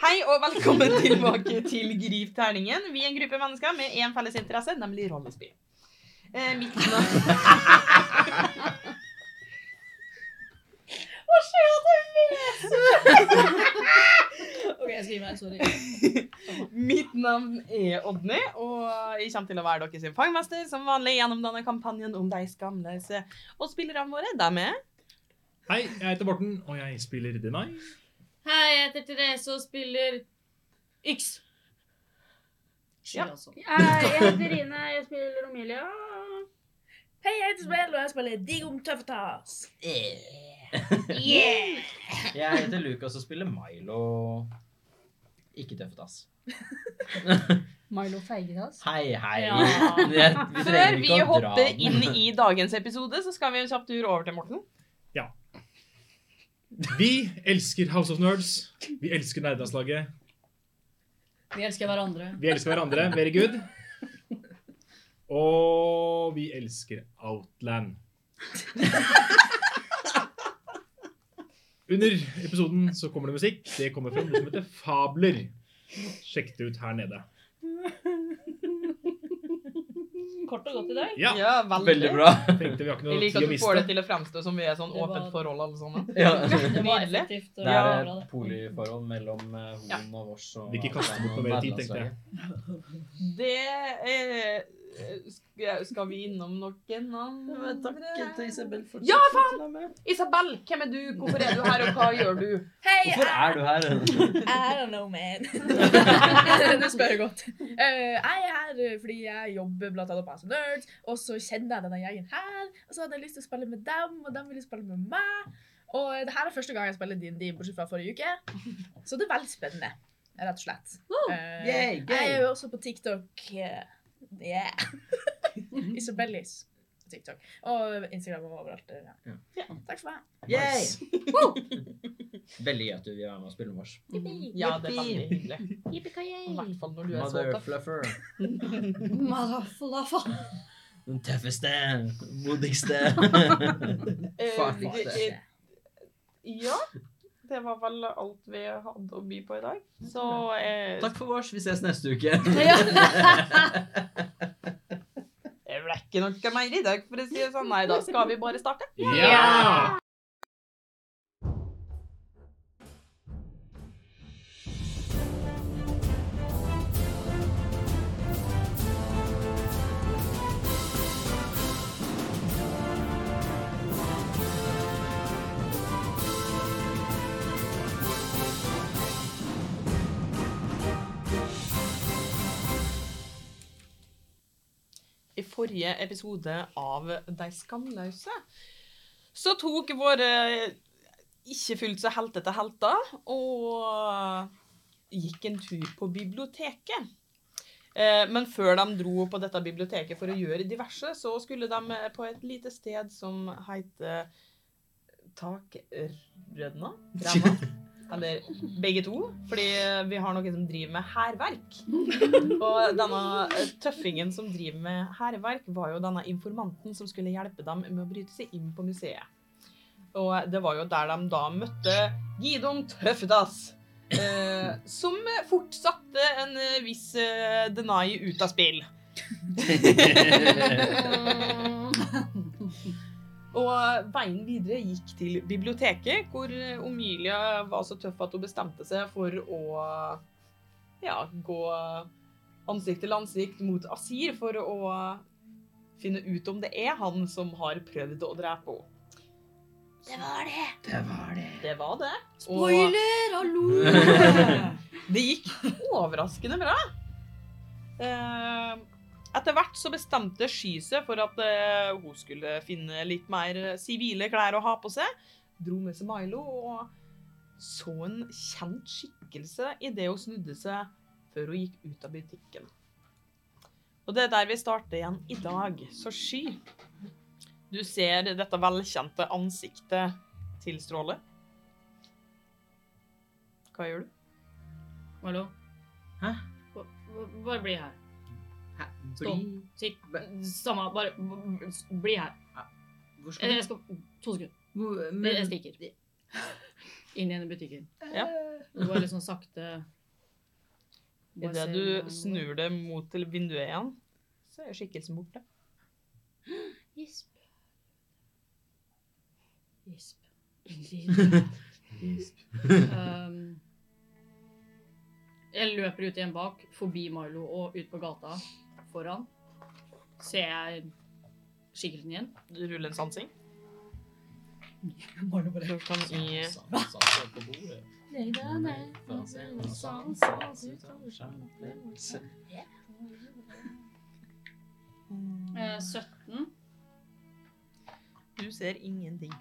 og velkommen tilbake til Griv terningen. Vi er en gruppe mennesker med én felles interesse, nemlig rollespill. Eh, mitt navn Hva skjer at jeg OK, jeg skal gi meg. Sorry. Mitt navn er Odny, og jeg kommer til å være deres fangmester som vanlig gjennom denne kampanjen om de skamløse. Og spillerne våre, dem er Hei, jeg heter Morten, og jeg spiller Denai. Hei, jeg heter Therese og spiller Yks. Ja. Skyld, altså. Jeg heter Rine, jeg spiller Romilia. Hei, jeg heter Spel, og jeg spiller Digom Tøffatas. Yeah! Jeg heter Lukas og spiller Milo. Ikke tøft, ass. Milo Feigedas. Hei, hei. Ja. Jeg, vi Før trenger vi ikke å dra hopper den. inn i dagens episode, så skal vi en kjapp tur over til Morten. Vi elsker House of Nerds. Vi elsker nerdelandslaget. Vi elsker hverandre. Vi elsker hverandre. Very good. Og vi elsker Outland. Under episoden så kommer det musikk. Det kommer fra noe som heter Fabler. Sjekk det ut her nede. Kort og godt i dag. Ja, Veldig bra. tenkte vi har Jeg ikke noe liker tid å at du får det miste. til å fremstå som vi er sånn Det var- åpent forhold, alle sammen. Ja. Det var Nydelig. effektivt. og Det bra, er bra, det. et polyforhold mellom eh, Ja. Hoen og vårs. Og altså. Vi ikke kaster bort noe mer tid, tenkte jeg. Det er sk- Skal vi innom noen andre? Isabel. at Ja, Isabel, hvem er du? Hvorfor er du her, og hva gjør du? Hei, Hvorfor er du her? I don't know, man. du spør godt. Eh, jeg er her eh, fordi jeg jobber blant annet på House of Nerds, og så kjenner jeg denne gjengen her, og så hadde jeg lyst til å spille med dem, og de ville spille med meg. Og eh, det her er første gang jeg spiller D&D, bortsett fra forrige uke, så det er veldig spennende, rett og slett. Eh, Yay, gøy. jeg er jo også på TikTok. eh, Yeah. Isabellis TikTok. Og Instagram og overalt. eh, Ja. Ja. Takk for meg. Nice. Veldig gøy at du vil være med og spille med oss. Ja, det er veldig hyggelig. I Yippee-ki-yay! hvert fall når du er så Mother tøff. Fluffer. Motherfluffa. Den tøffeste, modigste. Eh, Fuck, vi- fuck eh, Ja. Det var vel alt vi hadde å by på i dag. Så eh, Takk for vårs. Vi ses neste uke. jeg rekker noe mer i dag, for å si det sånn. Nei, da skal vi bare starte. Ja! I forrige episode av De skamløse så tok våre ikke fullt så heltete helter og gikk en tur på biblioteket. Eh, Men før de dro på dette biblioteket for å gjøre diverse, så skulle de eh, på et lite sted som heter Takrødna? Ræva? Eller begge to, fordi vi har noen som driver med hærverk. Og denne eh, tøffingen som driver med hærverk, var jo denne informanten som skulle hjelpe dem med å bryte seg inn på museet. Og det var jo der de da møtte Gidon Tøffetas, eh, som fort satte en eh, viss eh, Denai ut av spill. Og veien videre gikk til biblioteket, hvor eh, Omilia var så tøff at hun bestemte seg for å ja, gå ansikt til ansikt mot Asir for å finne ut om det er han som har prøvd å drepe henne. Det var det. Det var det. Det var det. Og Spoiler! Hallo! det gikk overraskende bra. Eh, Etter hvert så bestemte Sky seg for at eh, hun skulle finne litt mer eh, sivile klær å ha på seg. Dro med seg Milo og så en kjent skikkelse idet hun snudde seg før hun gikk ut av butikken. Og det er der vi starter igjen i dag. Så Sky, du ser dette velkjente ansiktet tilstråle. Hva gjør du? Hallo? Hæ? Ba- ba- Bare bli her. Hæ? Stå. Sitt. Samme, bare b- b- bli her. Hvor skal Eller Eh, jeg du? skal To sekunder. Mhm. Hvor- Jeg men- Eh, stikker. Inn igjen i butikken. Ja. Det var litt sånn sakte Idet du snur det mot til vinduet igjen, så er skikkelsen borte. Gisp. Gisp. Um, jeg løper ut igjen bak, forbi Milo og ut på gata foran. Ser jeg skikkelsen igjen? Du ruller en sansing. Milo Du kan i Legg deg ned. Eh, 17. Mm. Du ser ingenting.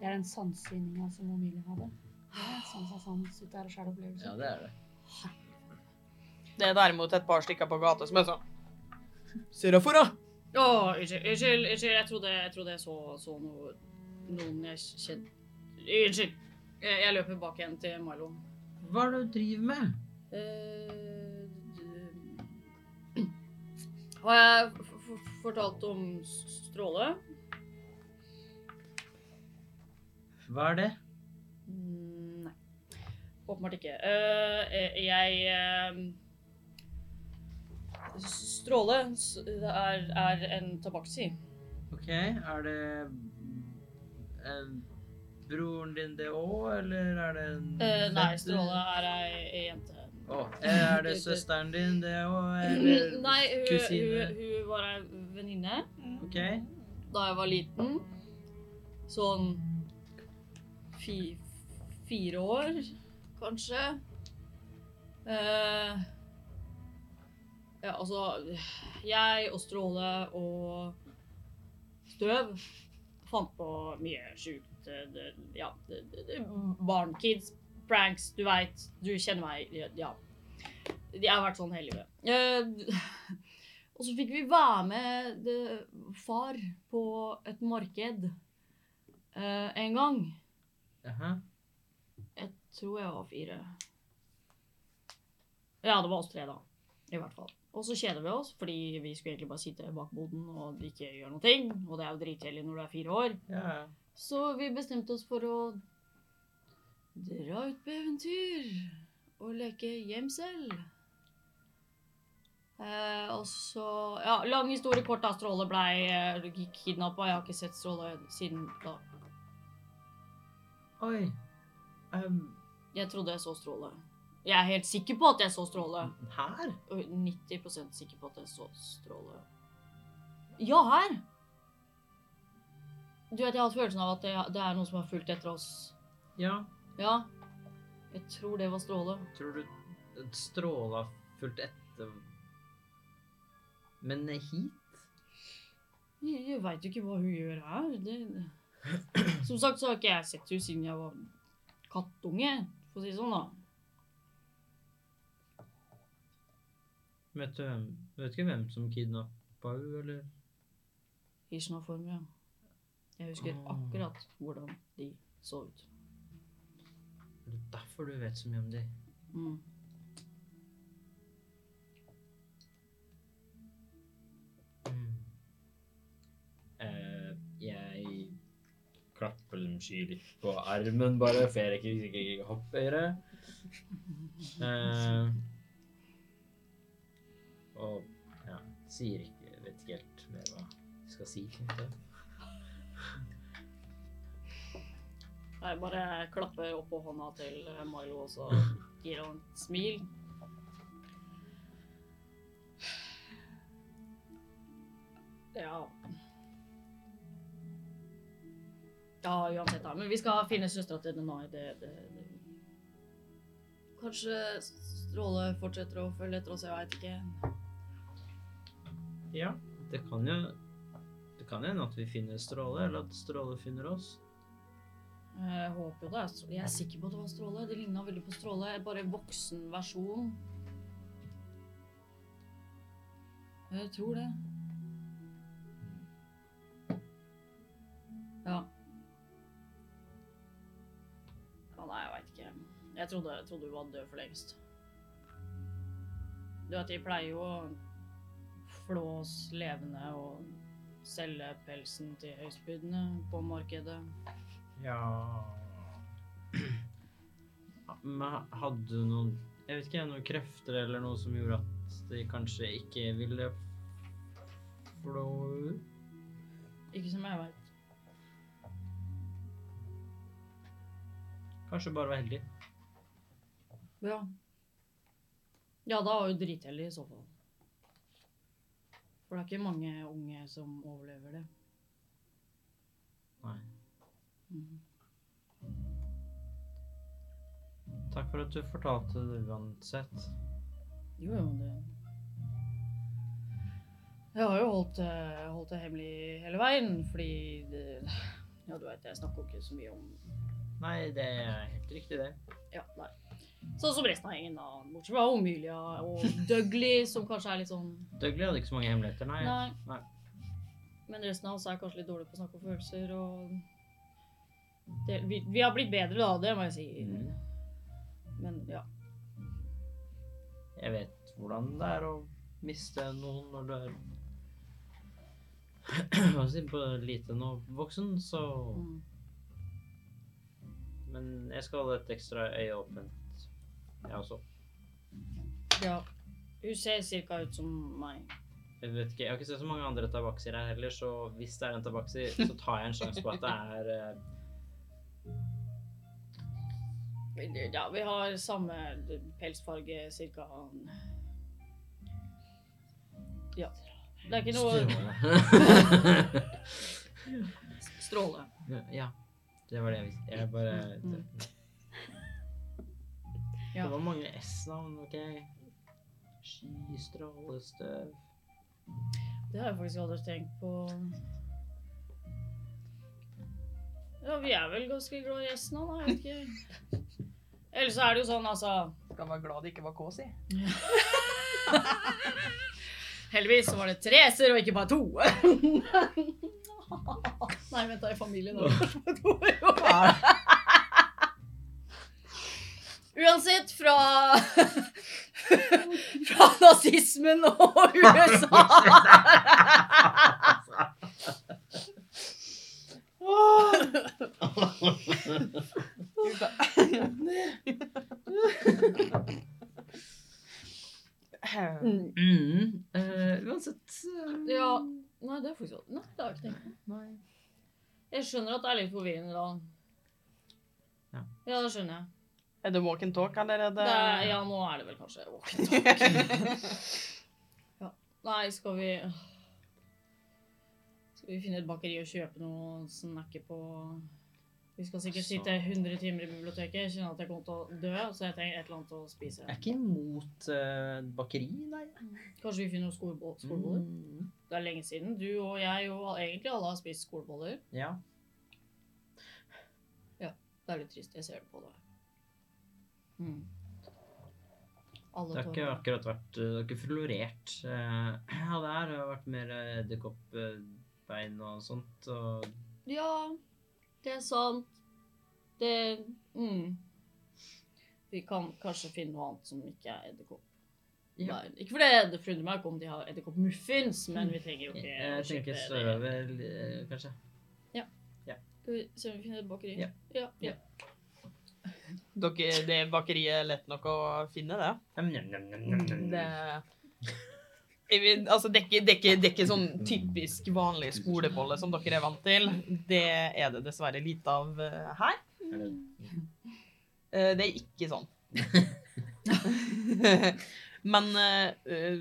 Det er den sansesinninga som Emilie hadde. Det er Sans og sans ut der og sjæl opplevelse. Ja, det er det. Det er derimot et par stykker på gata som er sånn Serafora! Å, unnskyld, unnskyld, unnskyld. Jeg trodde jeg, trodde jeg så, så noe, noen jeg kjente Unnskyld. Jeg, jeg løper bak igjen til Milo. Hva er det du driver med? Eh, d- Har jeg f- f- fortalt om s- Stråle? Hva er det? Mm, Nei. Åpenbart ikke. Eh, eh, jeg eh, s- Stråle s- det er, er en tabaksi. Ok, er det eh, broren din det òg, eller er Mm, det en Eh, nei, fetter? Stråle er ei, ei jente. Å, eh, er det søsteren din det òg, eller Nei, hun, kusine? hun, hun var ei venninne Ok, da jeg var liten. Sånn fi, fire år, kanskje. Eh, ja, altså Jeg og Stråle og Støv fant på mye sjukt eh, det- Ja, det- det- det- barnkids, pranks, du veit. Du kjenner meg. Ja. Jeg har vært sånn hele livet. Eh, og så fikk vi være med det, far på et marked eh, en gang. jaha. Jeg tror jeg var fire. Ja, det var oss tre, da. I hvert fall. Og så kjeder vi oss, fordi vi skulle egentlig bare sitte bak boden og ikke gjøre noe. ting, Og det er jo dritkjedelig når du er fire år. Ja, ja. Så vi bestemte oss for å dra ut på eventyr og leke hjem selv. Eh, og så Ja, lang historie kort, da. Stråle blei eh, kidnappa. Jeg har ikke sett Stråle siden da. Oi. em, Jeg trodde jeg så Stråle. Jeg er helt sikker på at jeg så Stråle. her? Og 90 sikker på at jeg så Stråle. Ja, her! Du vet, jeg har hatt følelsen av at det, det er noen som har fulgt etter oss. Ja, Ja. Jeg tror det var stråle. tror du et stråle har fulgt etter Men hit? Jeg, jeg veit jo ikke hva hun gjør her. Det... Som sagt så har ikke jeg sett henne siden jeg var kattunge, for å si det sånn, da. Vet du hvem Vet ikke hvem som kidnappa henne, eller? I snøform, ja. Jeg husker Ah. akkurat hvordan de så ut. Er det derfor du vet så mye om de? Mm. Mm. Eh, jeg klapper dem sky litt på armen, bare, for jeg rekker ikke, ikke hoppe høyere. Eh, og ja, sier ikke Vet ikke helt mer hva jeg skal si. på en måte. Jeg bare klapper opp på hånda til Milo, og så gir han et smil. Ja. Ja, uansett da. Men vi skal finne søstera til Denai. Det, det, det. Kanskje Stråle fortsetter å følge etter oss, jeg veit ikke. Ja, det kan jo Det kan hende at vi finner Stråle, eller at Stråle finner oss. Eh, Jeg håper jo det. Jeg er sikker på at det var Stråle. Det ligna veldig på Stråle. Bare voksen versjon. Jeg tror det. Ja. Ja, nei, jeg veit ikke. Jeg trodde, jeg trodde hun var død for lengst. Du vet, de pleier jo å flå oss levende og selge pelsen til høystbydende på markedet. Ja Men hadde du noen Jeg vet ikke, noen krefter eller noe som gjorde at de kanskje ikke ville flå ut? Ikke som jeg vet. Kanskje bare være heldig. Ja. Ja, da var jo dritheldig i så fall. For det er ikke mange unge som overlever det. Nei. Mhm. Takk for at du fortalte det uansett. Jo, jo, det Jeg har jo holdt, det- holdt det hemmelig hele veien, fordi det, Ja, du veit, jeg snakker jo ikke så mye om Nei, det er helt riktig, det. Ja, nei. Sånn som resten av gjengen, da. Bortsett fra Omilia og Dougley, som kanskje er litt sånn Dougley hadde ikke så mange hemmeligheter, nei. Nei. Nei. Men resten av oss er kanskje litt dårlige på å snakke om følelser og det, vi, vi har blitt bedre, da, det må jeg si. Mhm. Men ja. Jeg vet hvordan det er å miste noen når du er Hva skal jeg si, både liten og voksen, så Mm. Men jeg skal holde et ekstra øye åpent, jeg også. ja. Hun ser cirka ut som meg. Jeg vet ikke, jeg har ikke sett så mange andre tabaksier her heller, så hvis det er en tabaksi, så tar jeg en sjanse på at det er eh, Men, Ja, vi har samme pelsfarge cirka. Ja. Det er ikke noe stråle. stråle. ja, det var det jeg visste. Jeg bare Det, Mm. Ja. det var mange S-navn, OK? Skystrålestøv Det har jeg faktisk aldri tenkt på. Ja, vi er vel ganske glad i resten av, da. Jeg vet ikke. Eller så er det jo sånn, altså Skal være glad det ikke var K, si. Heldigvis så var det tre s-er og ikke bare to. Nei, vent, da er familien da. Uansett, fra fra nazismen og USA Mm. eh, uansett eh, Ja, nei, det er faktisk Nei, det har jeg ikke tenkt på. Jeg skjønner at det er litt forvirrende da. Ja. ja, det skjønner jeg. Er det walk and talk allerede? Det er, ja, nå er det vel kanskje walk and talk. ja. Nei, skal vi Skal vi finne et bakeri og kjøpe noe å snakke på Vi skal sikkert Så- sitte 100 timer i biblioteket. Jeg kjenner at jeg kommer til å dø, så jeg trenger et eller annet å Jeg spise. er ikke imot eh, bakeri, nei. Kanskje vi finner noen skolebo- skoleboller? Mm. Det er lenge siden. Du og jeg og egentlig alle har spist skoleboller. Ja. Det er litt trist. Jeg ser det på deg. Mm. Det Alle har ikke tårer. akkurat vært Det har ikke florert. eh, ja, det her har vært mer eh, edderkoppbein og sånt. Og Ja, det er sant. Det mm. Vi kan kanskje finne noe annet som ikke er edderkopp. Ja. Nei, Ikke fordi det forundrer meg ikke om de har edderkoppmuffins, men vi trenger jo jeg, ikke å jeg kjøpe tenker det. sørøver, eh, kanskje. Skal vi se om vi finner et bakeri? Ja. ja, ja. Dere, det bakeriet er lett nok å finne, det. Em, njam, njam, njam, njam, njam. Det jeg vil, altså, det er ikke- det er ikke- det er ikke sånn typisk vanlig skolebolle som dere er vant til. Det er det dessverre lite av eh, her. Er det- Eh, Det er ikke sånn. Men eh, eh,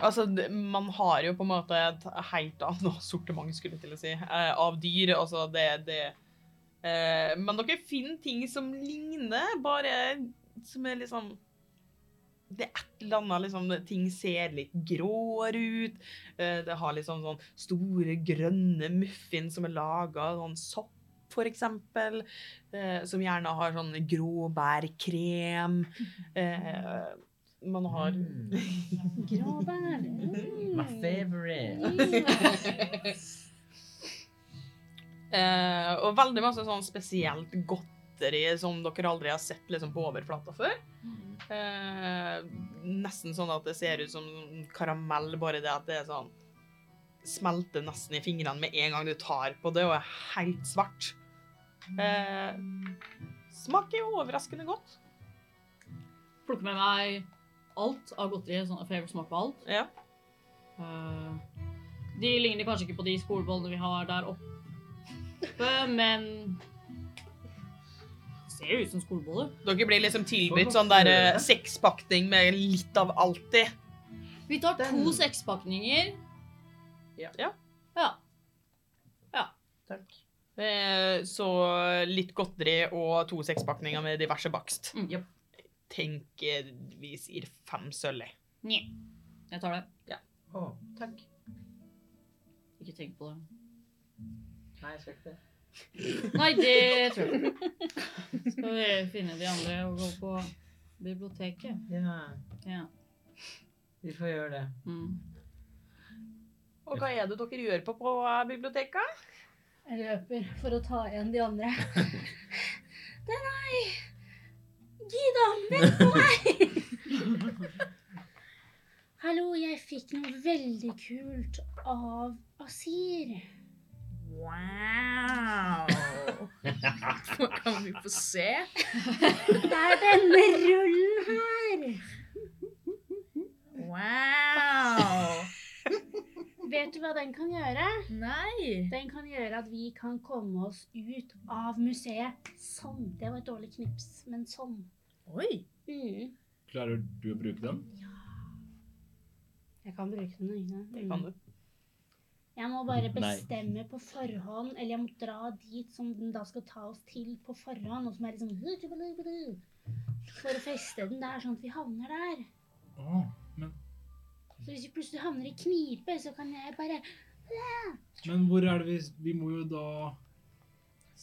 Altså, d- man har jo på en måte et helt annet sortiment, skulle jeg til å si, eh, av dyr. Altså, det, det eh, Men dere finner ting som ligner, bare som er liksom det er et eller annet liksom, Ting ser litt gråere ut. eh, Det har liksom sånn store, grønne muffins som er laga av sånn sopp, for eksempel. Eh, som gjerne har sånn gråbærkrem. Eh, man har Mm. Gråbær. My Mm. favorite. eh, Og veldig masse sånn spesielt godteri som dere aldri har sett liksom, på overflata før. Eh, nesten sånn at det ser ut som karamell, bare det at det er sånn Smelter nesten i fingrene med en gang du tar på det, og er helt svart. Eh, smaker jo overraskende godt. plukke med meg alt av godteri, sånn, for jeg vil smake på alt. Ja. Eh, de ligner kanskje ikke på de skolebollene vi har der oppe, men det ser jo ut som skoleboller. Dere blir liksom tilbudt sånn der eh, sekspakning med litt av alt i. Vi tar Den- to sekspakninger. Ja. Ja. Eh, Så litt godteri og to sekspakninger med diverse bakst. Mm. Yep. Tenk eh, vi sier fem sølv. Jeg tar det. Å, takk. Ikke tenk på det. Nei, jeg skal ikke det. Nei, det tror jeg ikke. Skal vi finne de andre og gå på biblioteket? Ja, Ja. vi får gjøre det. Mm. Og hva er det dere gjør på, på eh, biblioteket? Jeg løper for å ta igjen de andre. Det er nei! Gida, vent på meg! Hallo, jeg fikk noe veldig kult av Asir. Wow! kan vi få se? Det er denne rullen her. Wow! Vet du hva den kan gjøre? Nei! Den kan gjøre at vi kan komme oss ut av museet. Sånn. Det var et dårlig knips, men sånn. Oi! Mm. Klarer du å bruke den? Jeg kan bruke den øynene. Det kan du. Jeg må bare Nei. bestemme på forhånd, eller jeg må dra dit som den da skal ta oss til på forhånd, og som er liksom For å feste den der, sånn at vi havner der. Å, men, Så hvis vi plutselig havner i knipe, så kan jeg bare men hvor er det vi Vi må jo da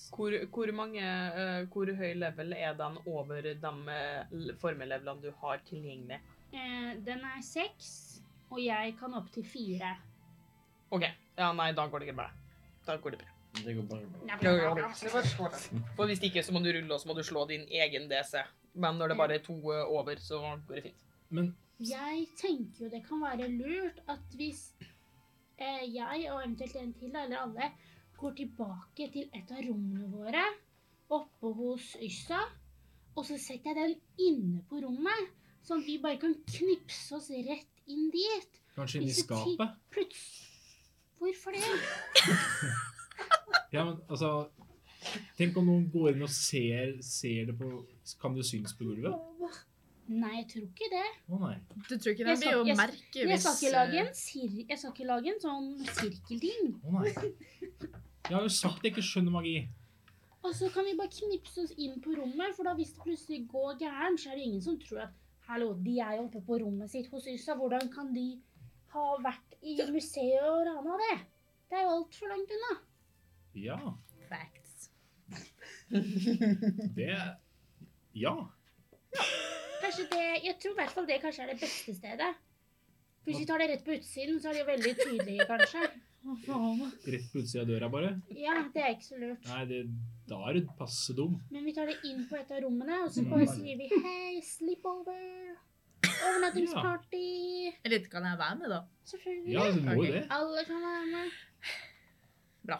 Hvor, hvor, mange, eh, hvor høy level er den over de eh, l- formelevelene du har tilgjengelig? eh, Den er seks, og jeg kan opp til fire. OK. Ja, nei, da går det ikke bra. Da går det bra. Det går bare For hvis ikke, så må du rulle, og så må du slå din egen DC. Men når det bare er to eh, over, så går det fint. Men Jeg tenker jo det kan være lurt at hvis eh, jeg og eventuelt en til, da, eller alle, går tilbake til et av rommene våre oppe hos Yssa, og så setter jeg den inne på rommet, sånn at vi bare kan knipse oss rett inn dit. kanskje inn i Ikke ti- skapet? Plutselig Hvorfor det? Ja, men altså Tenk om noen går inn og ser, ser det på Kan det synes på gulvet? Nei, jeg tror ikke det. Å nei. Du tror ikke Jeg den skal- blir å jeg- merke Jeg hvis skal ikke lage eh, en, sir jeg skal ikke lage en sånn sirkelting. Å nei. Jeg har jo sagt jeg ikke skjønner magi. Og så kan vi bare knipse oss inn på rommet, for da hvis det plutselig går gærent, så er det ingen som tror at Hallo, de er jo oppe på rommet sitt hos Yssa. Hvordan kan de ha vært i museet og rana det? Det er jo altfor langt unna. Ja, eh, Facts. det Ja. Kanskje det, Jeg tror i hvert fall det kanskje er det beste stedet. For Hvis vi tar det rett på utsiden, så er det jo veldig tydelig, kanskje. Rett på utsida av døra, bare. Ja, det er ikke så lurt. Nei, det, da er du passe dum. Men vi tar det inn på et av rommene, og så bare sier vi hei, sleepover, overnattingsparty Eller kan jeg være med, da? Selvfølgelig. Ja, du må jo Ok. det. Alle kan være med. Bra.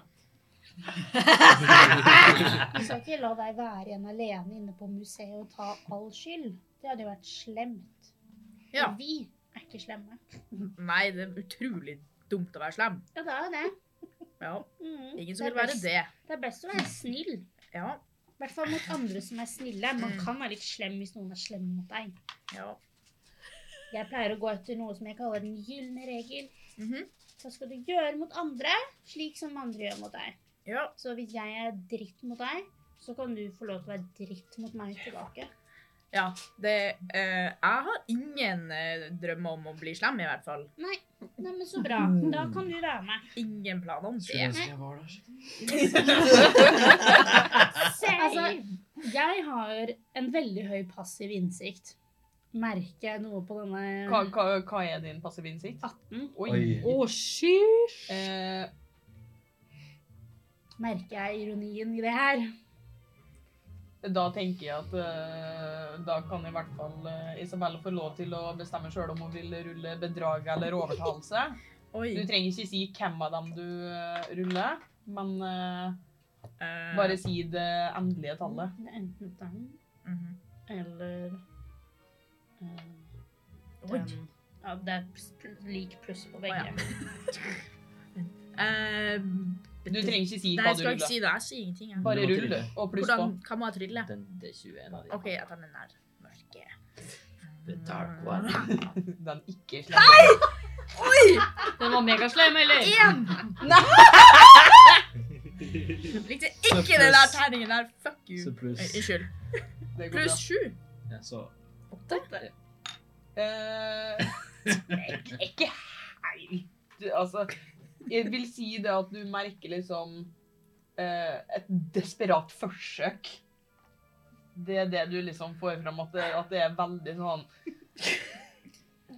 Du skal ikke la deg være igjen alene inne på museet og ta all skyld. Det hadde jo vært slemt. For Ja. Vi er ikke slemme. Nei, det er utrolig dumt å være slem. Ja, det er jo det. Ja, Mm. ingen som Det er vil være best- det. Det er best å være snill. Ja, I hvert fall mot andre som er snille. Man Mm. kan være litt slem hvis noen er slem mot deg. ja. Jeg pleier å gå etter noe som jeg kaller den gylne regel. Mhm. Hva skal du gjøre mot andre, slik som andre gjør mot deg? ja. Så hvis jeg er dritt mot deg, så kan du få lov til å være dritt mot meg tilbake. Ja, det eh, Jeg har ingen eh, drømmer om å bli slem, i hvert fall. Nei, men så bra. Da kan du være med. Ingen planer om det. Skulle ønske jeg var der. Altså, jeg har en veldig høy passiv innsikt. Merker jeg noe på Hva, denne hva, hva er din passive innsikt? 18? Oi. Oi. Eh, Merker jeg ironien i det her? da tenker jeg at eh, da kan i hvert fall eh, Isabella få lov til å bestemme sjøl om hun vil rulle bedrag eller overtalelse. Oi. Du trenger ikke si hvem av dem du eh, ruller, men eh, eh, bare si det endelige tallet. Det er enten den mhm. eller av. Det er pl- lik pluss på Å, begge. ja. Ehm, Du trenger ikke si Nei, hva jeg du skal ikke ruller. si det. Jeg sier ingenting. Jeg. Bare Du må rull, du. trylle. Og pluss på. Hvordan kan man trylle? Den D21 av de. OK, jeg tar den der mørke. The dark one. Den ikke slipper. Den var megaslem, eller? Én! Nei! Likte ikke den der terningen der. Fuck Så you. pluss Eh, Unnskyld. Det går Pluss sju. ja, så bra. Eh, jeg er ikke helt Altså, jeg vil si det at du merker liksom eh, et desperat forsøk. Det er det du liksom får fram, at det, at det er veldig sånn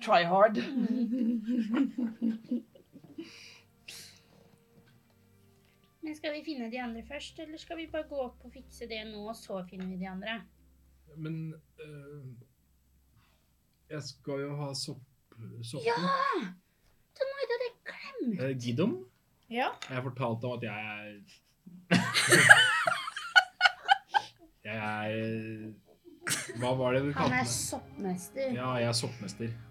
Try hard. Men skal vi finne de andre først, eller skal vi bare gå opp og fikse det nå, og så finner vi de andre? Men eh, jeg skal jo ha sopp, soppen. Så nå hadde jeg glemt! Eh, Gidom? Ja. Jeg fortalte om at jeg er Jeg er Hva var det du Han kalte er meg? soppmester. Ja, jeg er soppmester. Det,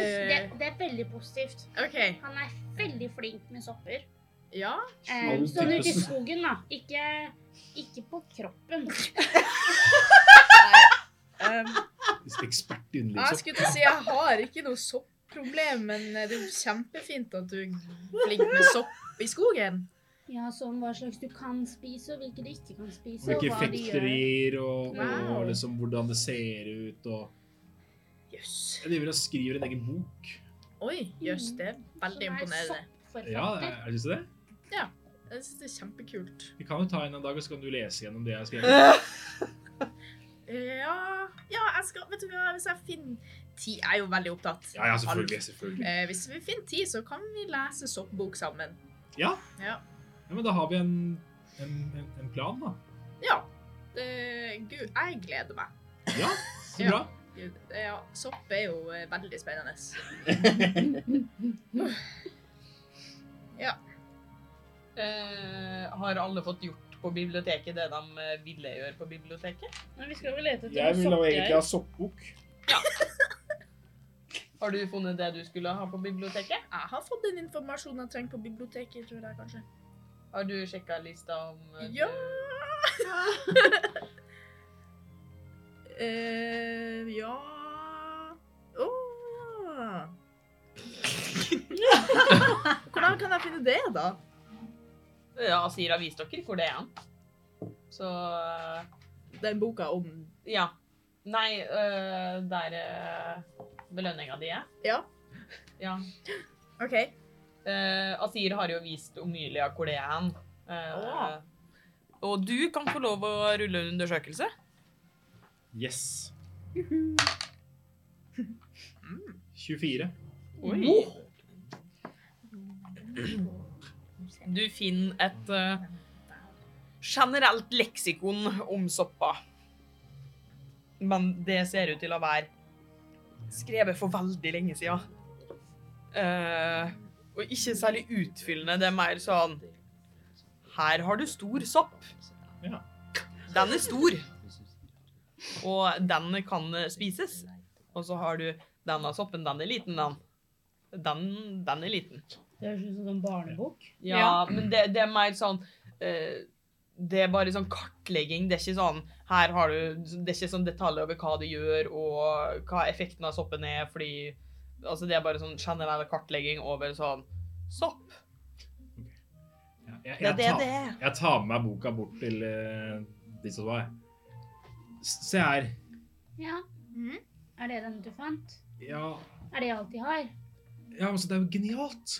Eh. det er veldig positivt. OK. Han er veldig flink med sopper. Ja. Eh, All sånn ute i type- skogen, da. Ikke, ikke på kroppen. Ehm, Ekspert i jeg underlivssopp. skulle til å si jeg har ikke noe soppproblem, men det er jo kjempefint at du er flink med sopp i skogen. Ja, sånn hva slags du kan spise, og hvilke du ikke kan spise, og Hvilke hva de effekter gjør. det gir, og, Wow. og liksom hvordan det ser ut. Og Jøss. jeg driver og skriver en egen bok. Oi, jøss. Det er veldig Som er Ja, imponerende. soppforfatter. er det ikke det? Jeg synes det er kjempekult. Vi kan jo ta en en dag, og så kan du lese gjennom det jeg har skrevet. Eh, Ja, ja, jeg skal Vet du hva, hvis jeg finner ti Jeg er jo veldig opptatt. Ja, ja, selvfølgelig. selvfølgelig. Eh, hvis vi finner ti, så kan vi lese soppbok sammen. Ja, men da har vi en, en, en, en plan, da. Ja. Det, gud, jeg gleder meg. Ja, så Ja. bra. Gud, det- ja, sopp er jo eh, veldig spennende. eh, har alle fått gjort på biblioteket det de eh, ville gjøre på biblioteket? Men vi skal vel lete etter noen sokker. ha soppbok. Har du funnet det du skulle ha på biblioteket? Jeg har fått den informasjonen jeg trenger på biblioteket, tror jeg kanskje. Har du sjekka lista om eh, Ja! Eh, ja Åh. Hvordan kan jeg finne det, da? Ja, sier avisdokker hvor det er han. Så eh, Den boka om ja. Nei, øh, der øh, belønninga di er. Ja. Ja. OK. Eh, Asir har jo vist Omylia hvor det er han. Eh, Å. Og du kan få lov å rulle en undersøkelse. Yes. Mm. 24. Oi. Du finner et eh, generelt leksikon om soppa. Men det ser ut til å være skrevet for veldig lenge siden. Eh, og ikke særlig utfyllende. Det er mer sånn Her har du stor sopp. Ja. Den er stor, og den kan eh, spises. Og så har du denne soppen. Den er liten, den. Den, den er liten. Det høres ut som en barnebok. Ja, men det, det er mer sånn eh, Det er bare sånn kartlegging. Det er ikke sånn her har du, det er ikke sånn detaljer over hva du gjør, og hva effekten av soppen er, fordi altså Det er bare sånn generell kartlegging over sånn Sopp! Ja, jeg, Det jeg, er det tar, det er. jeg tar med meg boka bort til eh, de som var her. S- Se her. Ja. Mhm. Er det den du fant? Ja, Er det alt de har? ja altså, det er jo genialt.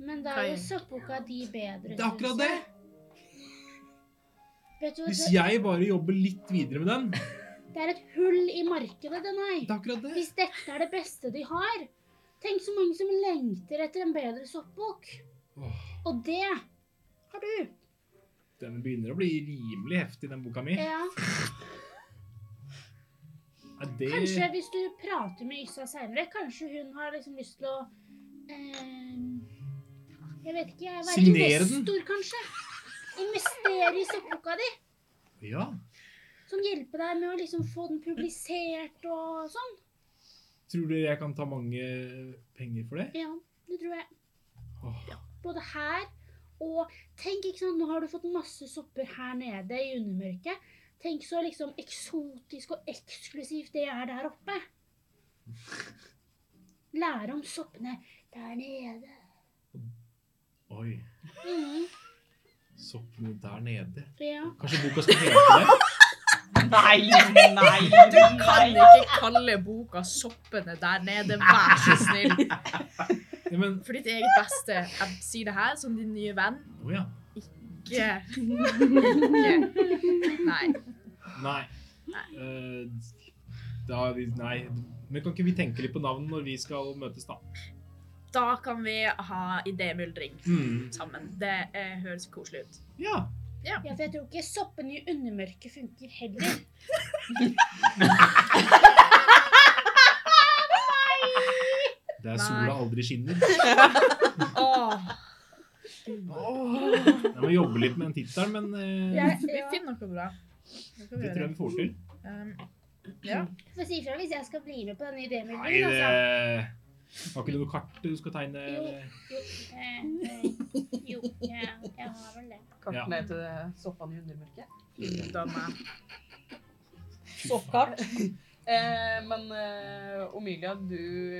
Men da er Kai. jo soppboka di bedre. Det er akkurat synes det. jeg. Vet du hva, Hvis det, jeg bare jobber litt videre med den, det er et hull i markedet, den her. det er akkurat det. Hvis dette er det beste de har Tenk så mange som lengter etter en bedre soppbok. Åh, Og det har du. den begynner å bli rimelig heftig, den boka mi. Ja. Er det Kanskje hvis du prater med Yssa seinere, kanskje hun har liksom lyst til å eh, Jeg vet ikke, jeg. Være Signere den? investor, kanskje? Investere i soppboka di. Ja. Som hjelper deg med å liksom få den publisert og sånn. Tror dere jeg kan ta mange eh, penger for det? Ja, det tror jeg. Åh, Både her og Tenk, ikke sant, nå har du fått masse sopper her nede i undermørket. Tenk så liksom eksotisk og eksklusivt det er der oppe. Lære om soppene der nede. oi. Mm, Soppene der nede. ja. Kanskje boka skal hete det? Nei, nei, Kan nei. ikke kalle boka 'Soppene der nede', vær så snill. Ja, men, For ditt eget beste. Jeg sier det her som din nye venn. å ja. Ikke Ikke. Nei. Nei. Eh, da, vi- nei. Men kan ikke vi tenke litt på navnet når vi skal møtes, da? Da kan vi ha idémyldring Mm. sammen. Det eh, høres koselig ut. Ja. ja, for jeg tror ikke soppene i undermørket funker heller. Det er Nei. sola aldri skinner. Åh, Jeg må jobbe litt med den tittelen, men eh, Jeg, vi ja. finner noe bra. Det kan vi det tror jeg gjøre. vi får til. Um, Få si ifra hvis jeg skal bli med på denne Nei, idémyldringen, det altså. Har ikke du noe kart du skal tegne? Jo, eh, eh, jo ja, jeg har vel det. Ja. Karten heter Soppene i undermørket. da må jeg- Soppkart. Eh, men eh, Omilia, du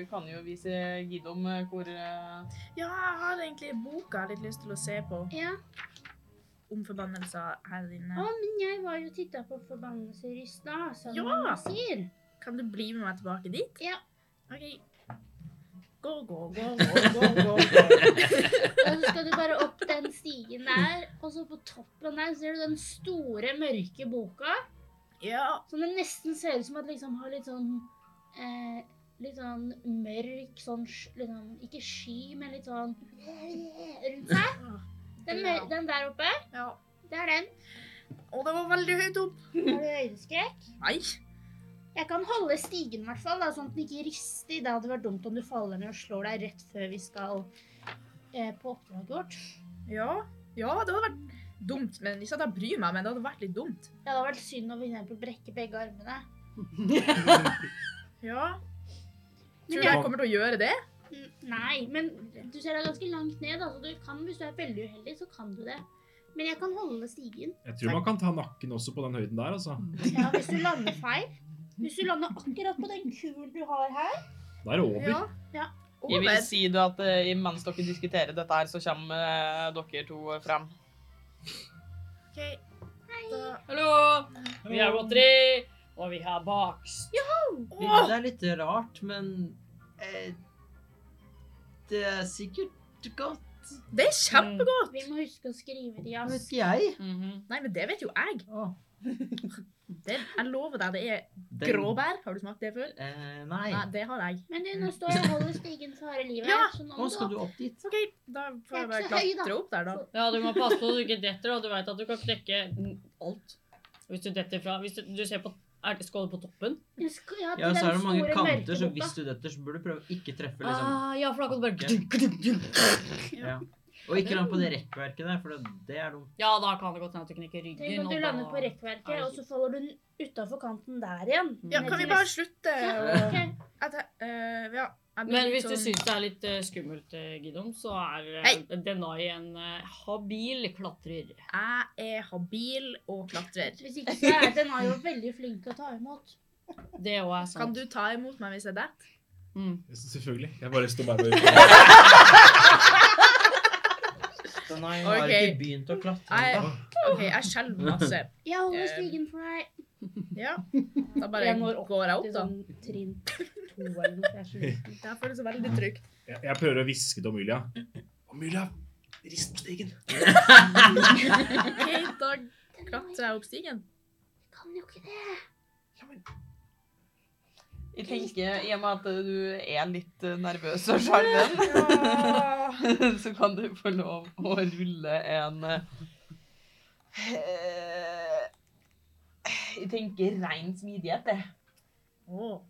kan jo vise Gidom eh, hvor eh, Ja, jeg har egentlig boka litt lyst til å se på. Ja. Om forbannelser her Å, inne. men jeg var jo titta på forbannelser i stad, som Ja. man sier. Kan du bli med meg tilbake dit? Ja. OK. Gå, gå, gå, gå, gå, gå. gå. Og så skal du bare opp den stigen der, og så på toppen der ser du den store, mørke boka. Ja. Som det nesten ser ut som at liksom har litt sånn eh, Litt sånn mørk, sånn sj- litt sånn- Ikke sky, men litt sånn rundt seg. Den, mør den der oppe, ja. det er den. Å, det var veldig høyt opp. Har du øyeskrekk? Nei. Jeg kan holde stigen, i hvert fall, da, sånn at den ikke rister. Det hadde vært dumt om du faller ned og slår deg rett før vi skal eh, på oppdraget vårt. Ja. ja, det hadde vært dumt. Men Ikke at jeg bryr meg, men det hadde vært litt dumt. Det hadde vært synd å for eksempel brekke begge armene. Ja. Men Tror du jeg, jeg kommer til å gjøre det? n- nei, men du ser det er ganske langt ned, da, så du kan, hvis du er veldig uheldig, så kan du det. Men jeg kan holde stigen. Jeg tror man kan ta nakken også på den høyden der, altså. Ja, hvis du lander feil. Hvis du lander akkurat på den kulen du har her. Da er det over. Ja. Ja. Jeg vil Over. si det at eh, mens dere diskuterer dette her, så kommer eh, dere to frem. Ok. Da Hallo! Vi har godteri, og vi har bakst. Det er litt rart, men eh, Det er sikkert godt. Det er kjempegodt! Vi må huske å skrive det i Vet ask. ikke jeg. Mhm. Nei, men det vet jo jeg. Å, Det, jeg lover deg, det er den- gråbær. Har du smakt det før? Eh, nei. Nei, det har jeg. Men du, nå står jeg og holder stigen for harde livet. Ja, her, så nå Å, må skal du du opp dit? OK, da får jeg Jeg er bare ikke så høy, da. klatre opp der, da. Så- Ja, du må passe på at du ikke detter, og du veit at du kan knekke alt. Hvis du detter fra Hvis du, du ser på er det skål på toppen? Sk- Ja, til Ja, den så er det mange store kanter, så mørke hvis boka. du detter, så burde du prøve å ikke treffe, liksom. ah, ja, for da kan du bare Ja. Og ikke land på det rekkverket der, for det- det er dumt. Ja, da kan det godt hende at du knekker Tenk ryggen. om du og lander på da- rekkverket, og så faller du utafor kanten der igjen. Mm. Ja, Ned kan vi til bare neste- slutte Ja, å ok. At jeg- eh, Ja. jeg blir Men litt hvis du sånn- syns det er litt eh, skummelt, eh, Gidom, så er eh, Hei. Denai en eh, habil klatrer. Jeg er habil og klatrer. Hvis ikke, så er den er jo veldig flink til å ta imot. Det òg er sant. Kan du ta imot meg hvis jeg detter? Mm. Selvfølgelig. Jeg bare står bare og Den har har Ok. ikke begynt å klatre. Nei. ennå. OK, jeg skjelver masse. Jeg holder Eh, stigen for deg. Ja. Da bare Jeg når går jeg opp, Til da. sånn trinn to eller noe. for jeg er så liten. Det her føles så veldig trygt. jeg, jeg prøver å hviske til Omilia. Omilia, rist på stigen. OK, da Den er- klatrer jeg opp stigen. Kan jo ikke det. Jeg tenker, i og med at du er litt eh, nervøs og sjarmen, Ja. så kan du få lov å rulle en eh, Jeg tenker rein smidighet, jeg. Åh. Oh.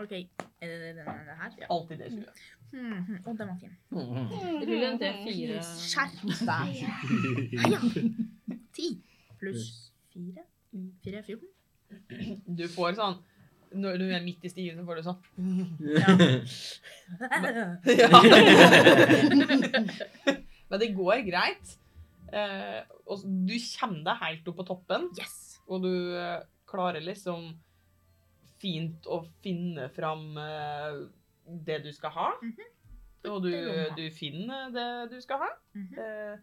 OK. Er det denne her? Ja. Alltid det skjønner jeg. Hmm, hmm. Å, den var fin. Rull en D4. Skjerp deg. Ja. Ti pluss fire. Fire er fjorten. Du får sånn Når du er midt i stigen, så får du sånn Men det går greit. Eh, og s- du kommer deg helt opp på toppen, Yes! og du eh, klarer liksom fint å finne fram eh, det du skal ha. Og du, Putte lomma. du finner det du skal ha. Mhm. Eh,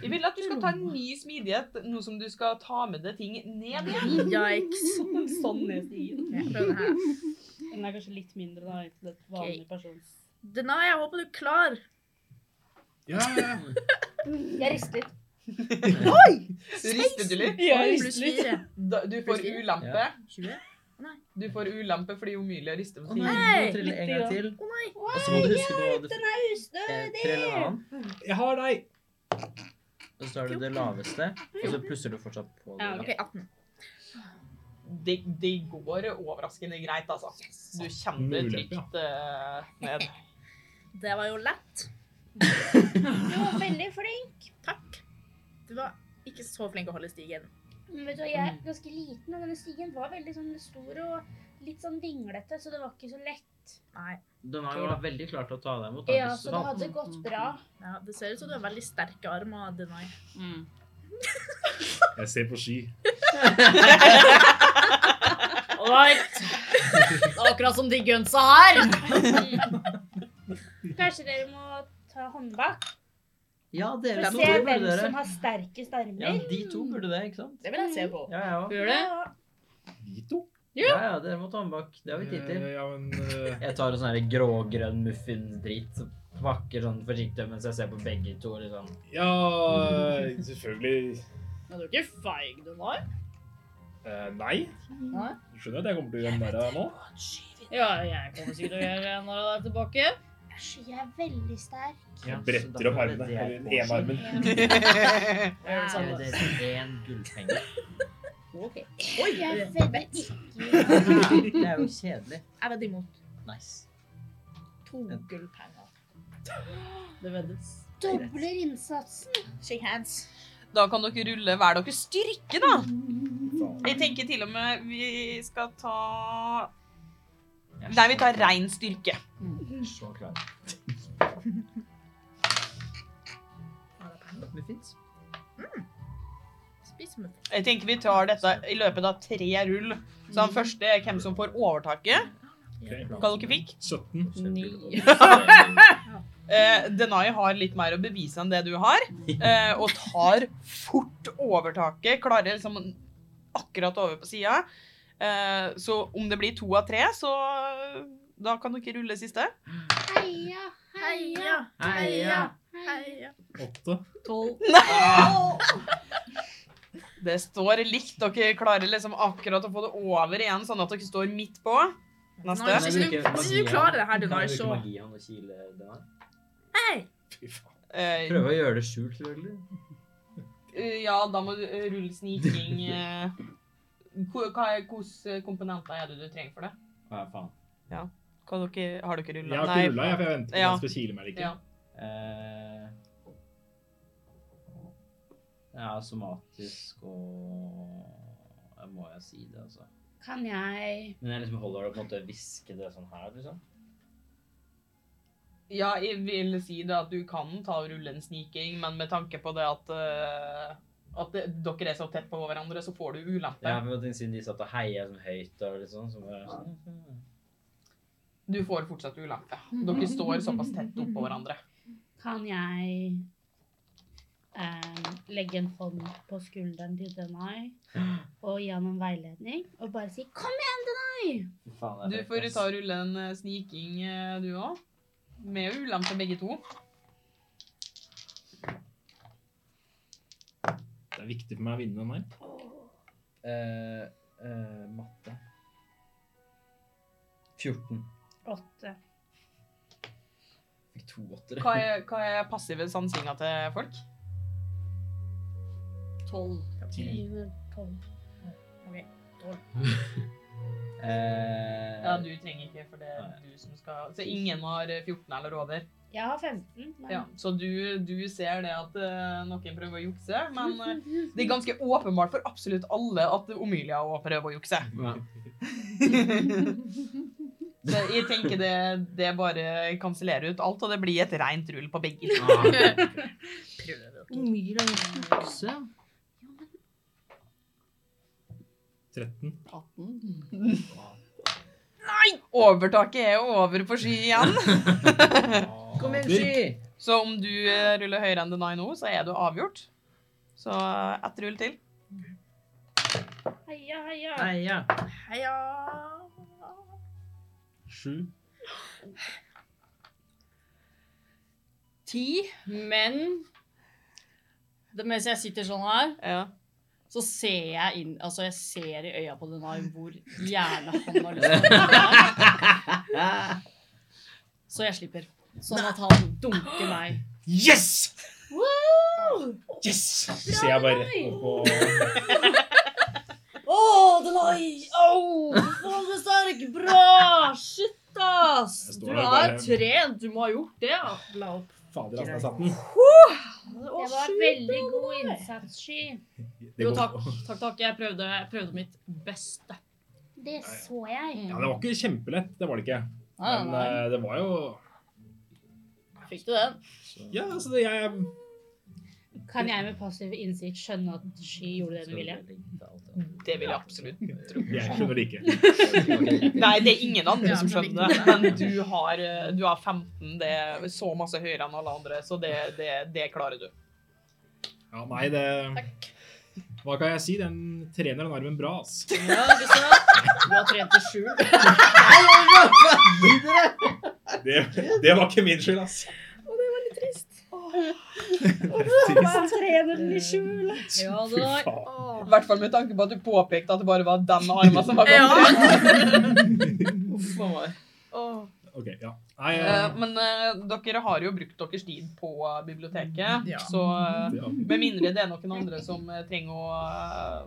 jeg vil at du skal ta en ny smidighet nå som du skal ta med deg ting ned igjen. Yikes. Sånn er stien. Jeg prøver den her. Den er kanskje litt mindre da, enn til et vanlig persons. Denai, jeg håper du er klar. Ja, ja. Jeg rister litt. Du rister du litt. Oi, pluss fire. Da- Du får Plutselig. ulempe. 20. Du får ulempe fordi Omilie rister på Å nei, siden. du må trille en gang til. Å nei. Og så må du huske på hva du eh, Trill en annen, Jeg har deg! og så er det det laveste, og så plusser du fortsatt på det. Ja, OK, 18. Det, det går overraskende greit, altså. Du kjenner Med det ulempe, ja. trygt eh, ned. Det var jo lett. Du var veldig flink. Takk. Du var ikke så flink å holde stigen. Men vet du, hva, jeg er ganske liten, og denne stigen var veldig sånn stor og litt sånn vinglete, så det var ikke så lett. Nei. Den har jo vært veldig klar til å ta deg imot. da, Ja, hvis du så det falt. hadde gått bra. Ja, det ser ut som du har veldig sterke armer, Denai. Mm. Jeg ser på ski. All right. Det er akkurat som de gunsa her. Kanskje dere må ta håndbak Ja, for dere å to se burde hvem dere. som har sterkest Ja, armer. de to burde det, ikke sant? Det vil jeg se på. Ja, jeg òg. Gjør det? Vi to? Ja, ja, dere må ta den bak. Det har vi tid til. Eh, Ja, men eh, Jeg tar en sånn her grågrønn muffins-drit, pakker sånn forsiktig mens jeg ser på begge to. liksom. Ja, selvfølgelig Men du er ikke feig, du var. eh, Nei. Nei. Du skjønner at jeg kommer til å gjøre narr av deg nå? Ja, jeg kommer sikkert til å gjøre det når jeg er tilbake. Æsj, jeg er veldig sterk. Ja, så Bretter da opp burde armene. dere Eller få seg- enarmen. Jeg gjør det Gir samme. dere én gullpenge. Ok. Jeg er veldig ikke Det er jo kjedelig. Jeg vedder imot. Nice. To gullpenger. Det veddes. Dobler innsatsen. Shake hands. Mm. Da kan dere rulle hver deres styrke, da. Jeg tenker til og med vi skal ta Jeg er Nei, vi så tar klar. rein styrke. Jeg er Så klar. Muffins. Spis muffins. Jeg tenker vi tar dette i løpet av tre rull. Så Mhm. den første er hvem som får overtaket. Hva dere fikk? 17. Ni. Eh, Denai har litt mer å bevise enn det du har, eh, og tar fort overtaket. Klarer liksom akkurat over på sida. Eh, så om det blir to av tre, så eh, da kan dere rulle siste. Heia, heia, Heia, heia, Heia. heia. heia. 8. Tolv. Det står likt. Dere klarer liksom akkurat å få det over igjen, sånn at dere står midt på. Nei, Neste. men- Hvis du- hvis du klarer det her, du var jo så- Hei! Fy faen. Eh, Prøve å gjøre det skjult, selvfølgelig. Eh, Ja, da må du eh, rulle sniking. eh. Ko- Hva er Hvilke komponenter er det du trenger for det? Hva faen? Hva dere, har dere Jeg rulla? har ikke rulla, jeg, for jeg venter på Ja. at han skal kile meg eller ikke. Ja. Eh, ja, somatisk og ja, Må jeg si det, altså? Kan jeg Men jeg liksom holder det på en måte hviske det sånn her, liksom? ja, jeg vil si det at du kan ta og rulle en sniking, men med tanke på det at eh, at det, dere er så tett på hverandre, så får du ulempe. Ja, men Siden de satt og heia sånn høyt og litt sånn, så var jeg sånn Du får fortsatt ulempe. Dere står såpass tett oppå hverandre. Kan jeg eh, legge en hånd på skulderen til Denai og gi han en veiledning og bare si 'kom igjen, Denai'? Fy faen, Du det er får høyt, ass. ta og rulle en eh, sniking, eh, du òg. Med ulempe, begge to. Det er viktig for meg å vinne den her. Eh, eh, matte 14. Åtte. Fikk to åttere. Hva er, hva er passive sansinga til folk? Tolv. Eh, Ja, du trenger ikke, for det er du som skal Så ingen har eh, 14 eller over. Jeg har 15. Men Ja, så du, du ser det at eh, noen prøver å jukse, men eh, det er ganske åpenbart for absolutt alle at Omilia også prøver å jukse. Ja. Så jeg tenker det, det bare kansellerer ut alt, og det blir et rent rull på begge. Myra Okse? 13. 18. Overtaket er jo over på sky igjen. Kom igjen, sky! Så om du eh, ruller høyere enn deny nå, så er du avgjort. Så eh, ett rull til. Heia, heia. Eia. Heia! Sju. Ti. Men det, mens jeg sitter sånn her, Ja. så ser jeg inn Altså, jeg ser i øya på Denai hvor gjerne han har lyst til å være. Så jeg slipper. Sånn at han dunker meg. Yes! Yes! Så jeg bare rett opp og Å, Denai! Au! Faen, du er sterk! Bra! Shit, ass! Jeg står Du her er bare- trent. Du må ha gjort det. ja. La opp. Fader, altså, jeg satt den. Å, Det var sjukt, veldig bra. god innsatssky. Jo, går- takk. Takk, takk. Jeg prøvde, jeg prøvde mitt beste. Det så jeg. Ja, det var ikke kjempelett, det var det ikke. Nei, Ah, Men nei, eh, det var jo nei. Fikk du den? Ja, altså, det, jeg Kan jeg med passiv innsikt skjønne at Sky gjorde det med vilje? Det vil jeg absolutt tro. Jeg skjønner det ikke. Nei, det er ingen andre Ja, som men skjønner det. Men du har, eh, du har 15. Det er så masse høyere enn alle andre, så det, det, det klarer du. Ja, nei, det Hva kan jeg si? Den trener den armen bra, ass. Ja, Gustav. Du har trent i skjul. Det, det var ikke min skyld, ass. Å, det var litt trist. Trener den i skjul. Ja, Fy det var faen. I hvert fall med tanke på at du påpekte at det bare var den armen som var Ja. Mamma. Åh. Ok, ja. Nei, Eh, eh, Men eh, dere har jo brukt deres tid på eh, biblioteket, Ja. så eh, ja. med mindre det er noen andre som eh, trenger å eh,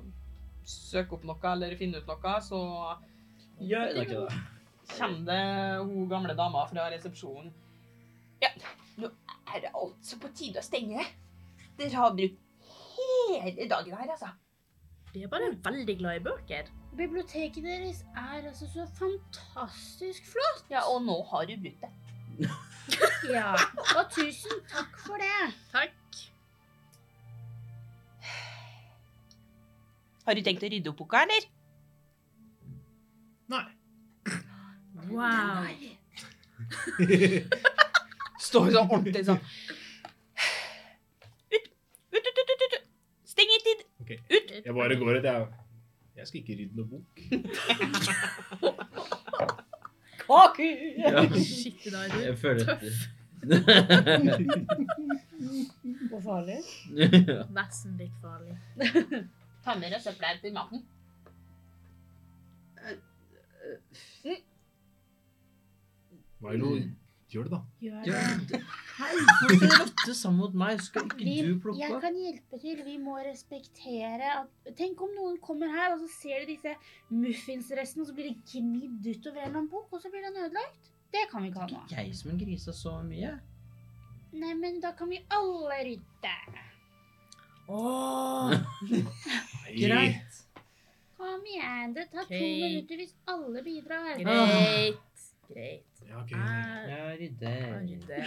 søke opp noe eller finne ut noe, så Gjør det ikke det? kommer det hun gamle dama fra resepsjonen. Ja, nå er det altså på tide å stenge. Dere har brukt hele dagen her, altså. Vi er bare veldig glad i bøker. Biblioteket deres er altså så fantastisk flott. Ja, og nå har du brukt det. Ja. Og tusen takk for det. Har du tenkt å rydde opp boka, eller? Nei. Wow. Står sånn ordentlig sånn. Ut, ut, ut, ut, ut, ut. Stengetid. Jeg bare går ut, jeg. Jeg skal ikke rydde noe bok. Kaku. Ja. Shit, i dag er Jeg føler at Hvor farlig? Ja. du vesentlig farlig. Ta med deg søpla til maten. Milo, gjør det, da. Gjør det. Ja, det- Hei, hvorfor skal du rotte sammen mot meg? Skal Vi, ikke du plukke jeg opp? kan hjelpe til. Vi må respektere at Tenk om noen kommer her, og så ser de disse muffinsrestene, og så blir det gnidd utover en eller annen bok, og så blir den ødelagt. Det kan vi ikke ha nå. Jeg som en grisa så mye. Nei, men da kan vi alle rydde. Nei. Kom igjen. Det tar to Ok. minutter hvis alle bidrar. Greit. Greit. Ja, ok. Jeg Jeg har rydder. det.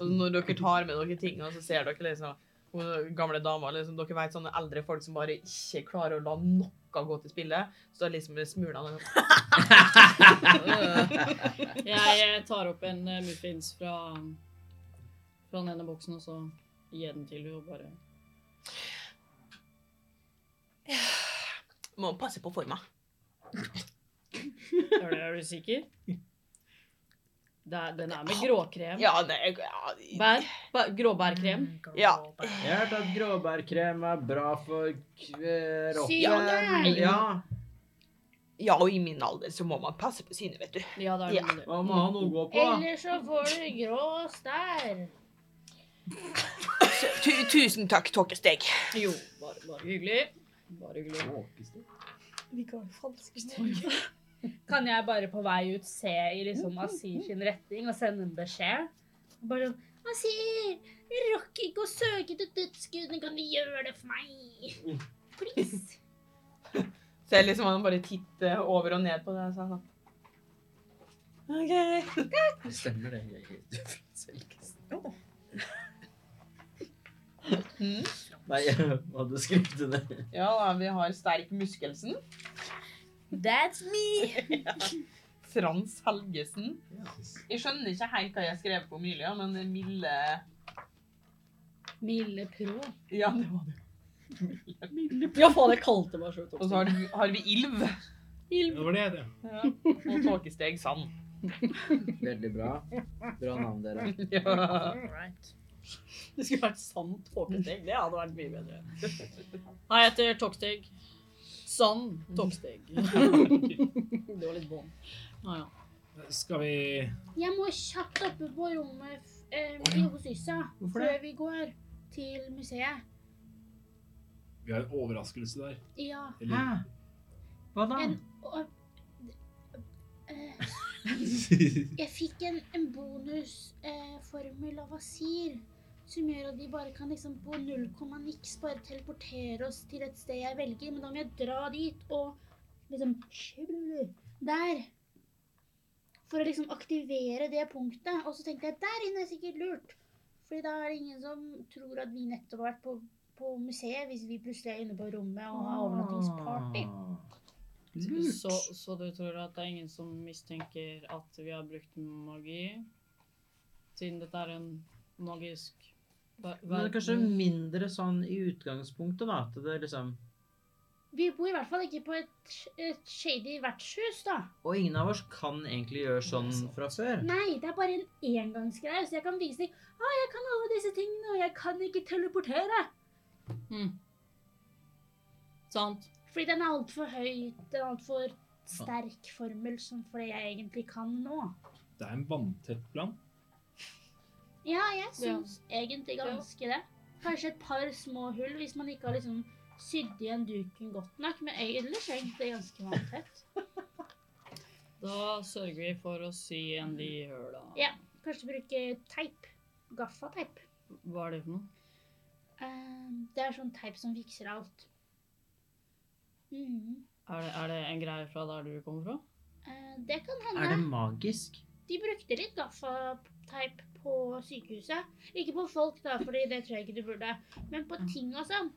Og når dere tar med dere ting, og så ser dere liksom hun gamle dama liksom, Dere vet sånne eldre folk som bare ikke klarer å la noe gå til spille. Så det er liksom smuler han og- Jeg eh, tar opp en eh, muffins fra, fra den ene boksen, og så gir jeg den til henne og bare Må passe på forma. Er du, er du sikker? Det er, den er med gråkrem. Ja, det ja, Bær, bær, gråbærkrem. Ja. Jeg har hørt at gråbærkrem er bra for k- eh, rotten. Synet! Ja, ja, og i min alder så må man passe på synet, vet du. Ja, det er noe med det. man må ha noe å gå på. Eller så får du grå stær. Så, tu, tusen takk, Tåkesteg. Jo, bare, bare hyggelig. Bare hyggelig. Kan jeg bare på vei ut se i liksom Asir sin retning og sende en beskjed? Bare sånn Asir, vi rakk ikke å søke til dødsgudene. Kan du gjøre det for meg? Please. Ser liksom han bare titter over og ned på det, så er han sånn OK. Det stemmer, det. Jeg er helt selvkast. Mm. Nei, jeg hadde skrevet det ned. Ja da, vi har Sterk Muskelsen. That's me! Frans Helgesen. Jeg skjønner ikke helt hva jeg skrev på Mylia, men Mille Milde pro. Ja, det var det. Ja, faen, jeg kalte meg sjøl Og så har, har vi Ilv. Det var det, det. Ja. Og Tåkesteg Sand. Veldig bra. Bra navn, dere. Ja. Alright. Det skulle vært sann tåkesteg. Det hadde vært mye bedre. Nei, jeg heter Tåkesteg. Sann Tåkesteg. Det var litt bånd. Ja, ja. Skal vi Jeg må kjapt oppe på rommet f- eh, hos Yssa Hvorfor det? før vi går til museet. Vi har en overraskelse der. Ja. Eller Ah. Hva da? En, og, eh, jeg fikk en, en bonusformel av Asir som gjør at vi bare kan liksom på null komma niks bare teleportere oss til et sted jeg velger, men da må jeg dra dit og liksom Der. For å liksom aktivere det punktet. Og så tenkte jeg der inne er sikkert lurt. Fordi da er det ingen som tror at vi nettopp har vært på, på museet hvis vi plutselig er inne på rommet og har overnattingsparty. Ah. Så, så du tror at det er ingen som mistenker at vi har brukt magi? Siden dette er en magisk ver- Men det er kanskje verden. mindre sånn i utgangspunktet, da. At det liksom Vi bor i hvert fall ikke på et, et shady vertshus, da. Og ingen av oss kan egentlig gjøre sånn fra før. Nei, det er bare en engangsgreie, så jeg kan vise deg ah, jeg kan alle disse tingene, og jeg kan ikke teleportere. Mm. Sant. Fordi den er altfor høy, den er altfor sterk formel som for det jeg egentlig kan nå. Det er en vanntett plan. Ja, jeg syns egentlig ganske det. Kanskje et par små hull hvis man ikke har liksom sydd igjen duken godt nok, men ellers er egentlig ganske vanntett. Da sørger vi for å sy igjen de høla. Ja. Kanskje bruke teip. Gaffateip. Hva er det for noe? Eh, det er sånn teip som fikser alt. Mhm. Er det, er det en greie fra der du kommer fra? Eh, det kan hende. Er det magisk? De brukte litt gaffateip på sykehuset. Ikke på folk, da, fordi det tror jeg ikke du burde. Men på ting og sånn.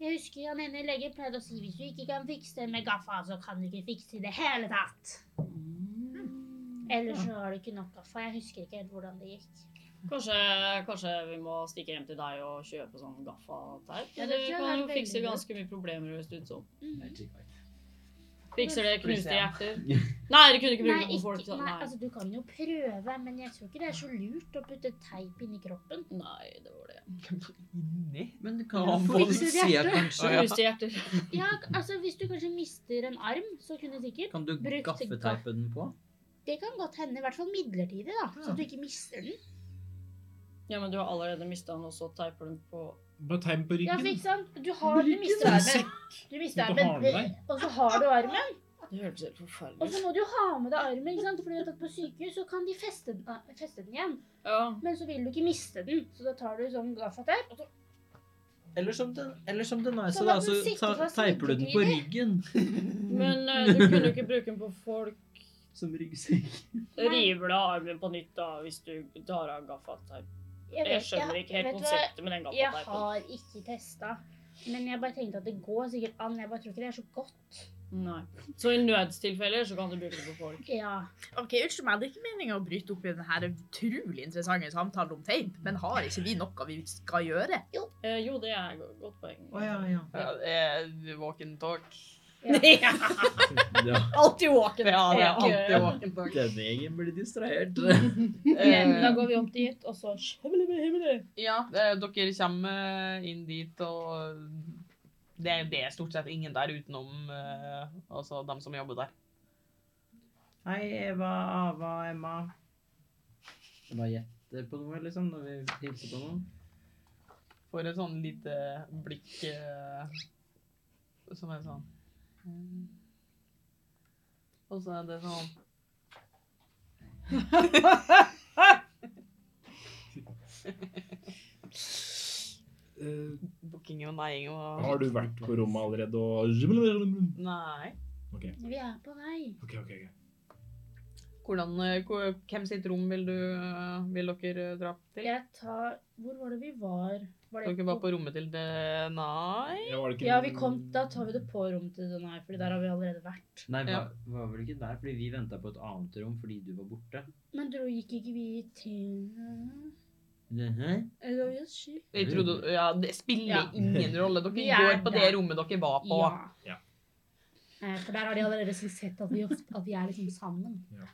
Jeg husker han ene legen pleide å si hvis du ikke kan fikse det med gaffa, så kan du ikke fikse det i det hele tatt. Hmm. Ellers så har du ikke nok gaffa. Jeg husker ikke helt hvordan det gikk. Kanskje, kanskje vi må stikke hjem til deg og kjøpe sånn gaffateip? Ja, det det tror jeg kan er jo veldig fikse lurt. ganske mye problemer hvis du sånn. Mm. Fikser det knuste Kristian. hjerter? Nei, dere kunne ikke Nei, bruke det på folk. ikke, sånn. nei, Nei. altså du kan jo prøve, men jeg tror ikke det er så lurt å putte teip inni kroppen. nei, det var det. Inni? Men kan Ja, du folk- produsere kanskje? ja. Knuste hjerter. Ja, altså hvis du kanskje mister en arm, så kunne du sikkert Kan du Brukt gaffeteipe den på? Det kan godt hende, i hvert fall midlertidig, da. Så du ikke mister den. Ja, men du har allerede mista den, og så teiper du den på Bare tegn på Ja, ryggen. for ikke sant? Du har du mister armen. Du mister Som du har med armen, og så har du armen. Det hørtes helt Og forferdelig så ut. må du jo ha med deg armen, ikke sant? Fordi at på sykehus så kan de feste den, ah, feste den igjen. Ja. Men så vil du ikke miste den, så da tar du sånn gaffateip. og så- Eller som den, eller som den er, så, Sånn da, at så den ta, sitter fast teiper du den på midlertidig. ryggen. Men eh, du kunne jo ikke bruke den på folk. Som ryggsekk. River du av armen på nytt da, hvis du tar av gaffateip? Jeg vet- skjønner ikke helt vet du hva? konseptet med den Jeg gaffateipen. har ikke testa. Men jeg bare tenkte at det går sikkert an. Jeg bare tror ikke det er så godt. Nei. Så i nødstilfeller så kan du bruke det på folk. Ja. Ok, unnskyld meg, Det er ikke meningen å bryte opp i denne utrolig interessante samtalen om teip, men har ikke vi noe vi skal gjøre? Eh, jo, det er et go- godt poeng. Å ja, ja. Ja, det er walk and talk. ja. ja. Alltid våken. Ja, det er Ikke- alltid walk and talk. Denne gjengen blir distrahert. Eh, går vi opp dit, og så Ja, eh, dere kommer inn dit, og det er, det er stort sett ingen der utenom eh, altså dem som jobber der. Hei, Eva, Ava, Emma. Det bare gjetter på noe, liksom, når vi hilser på noen. Får et sånn lite blikk eh, som er sånn mm. Og så er det sånn eh, Booking og neiing og har du vært på rommet allerede og Nei. Vi er på vei. Ok, ok, ok. Hvordan, eh, hvor- hvem sitt rom vil, du, eh, vil dere eh, dra til? Jeg tar Hvor var det vi var? Var det Dere var på rommet til det Nei. Ja, var det ikke- Ja, vi kom, da tar vi det på rommet til Denai, for der har vi allerede vært. Nei, Ja. var, var vel ikke der, fordi vi venta på et annet rom fordi du var borte. Men dro gikk ikke vi til Mhm. Eller vi er syk. Jeg trodde, ja, det spiller Ja. ingen rolle. Dere Vi er går på det der. rommet dere var på. Ja. Eh, For der har de allerede liksom sett at vi, ofte, at vi er liksom sammen. Ja.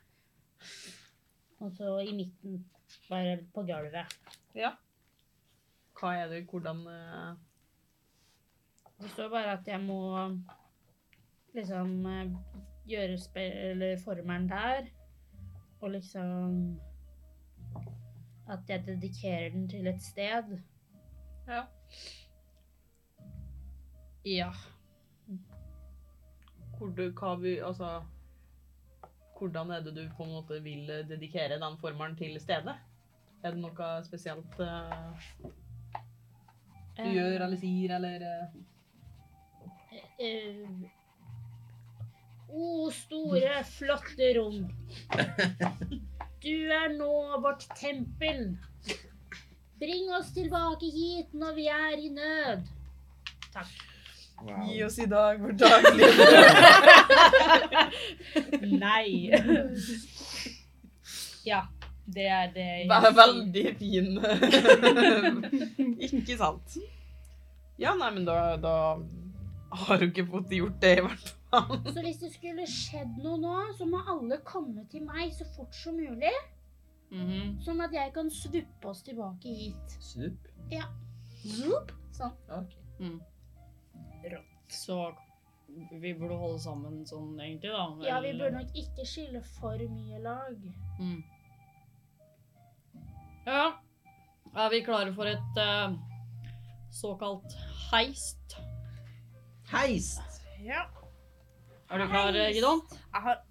Og så i midten, bare på gulvet. Hva er det, hvordan eh, Det står bare at jeg må liksom eh, gjøre spe eller formelen der, og liksom At jeg dedikerer den til et sted. Ja. Ja. hvor du, hva vi, altså, hvordan er det du på en måte vil eh, dedikere den formelen til stedet? Er det noe spesielt eh, Eh. du gjør eller sier, eller eh? Eh, O store, flotte rom. Du er nå vårt tempel. Bring oss tilbake hit når vi er i nød. Wow. oss i dag vår daglige Nei. ja, det er det Ve- Veldig fin. ikke sant. Ja, nei, men da, da har du ikke fått gjort det, i hvert fall. Så hvis det skulle skjedd noe nå, så må alle komme til meg så fort som mulig. Mhm. Sånn at jeg kan svuppe oss tilbake hit. Snupp. Sånn. Så vi burde holde sammen sånn egentlig, da. Ja, vi eller- burde nok ikke skille for mye lag. Mm. Ja. Er vi klare for et eh, såkalt heist? Heist! Ja. Er du klar, eh, Gidon? Jeg har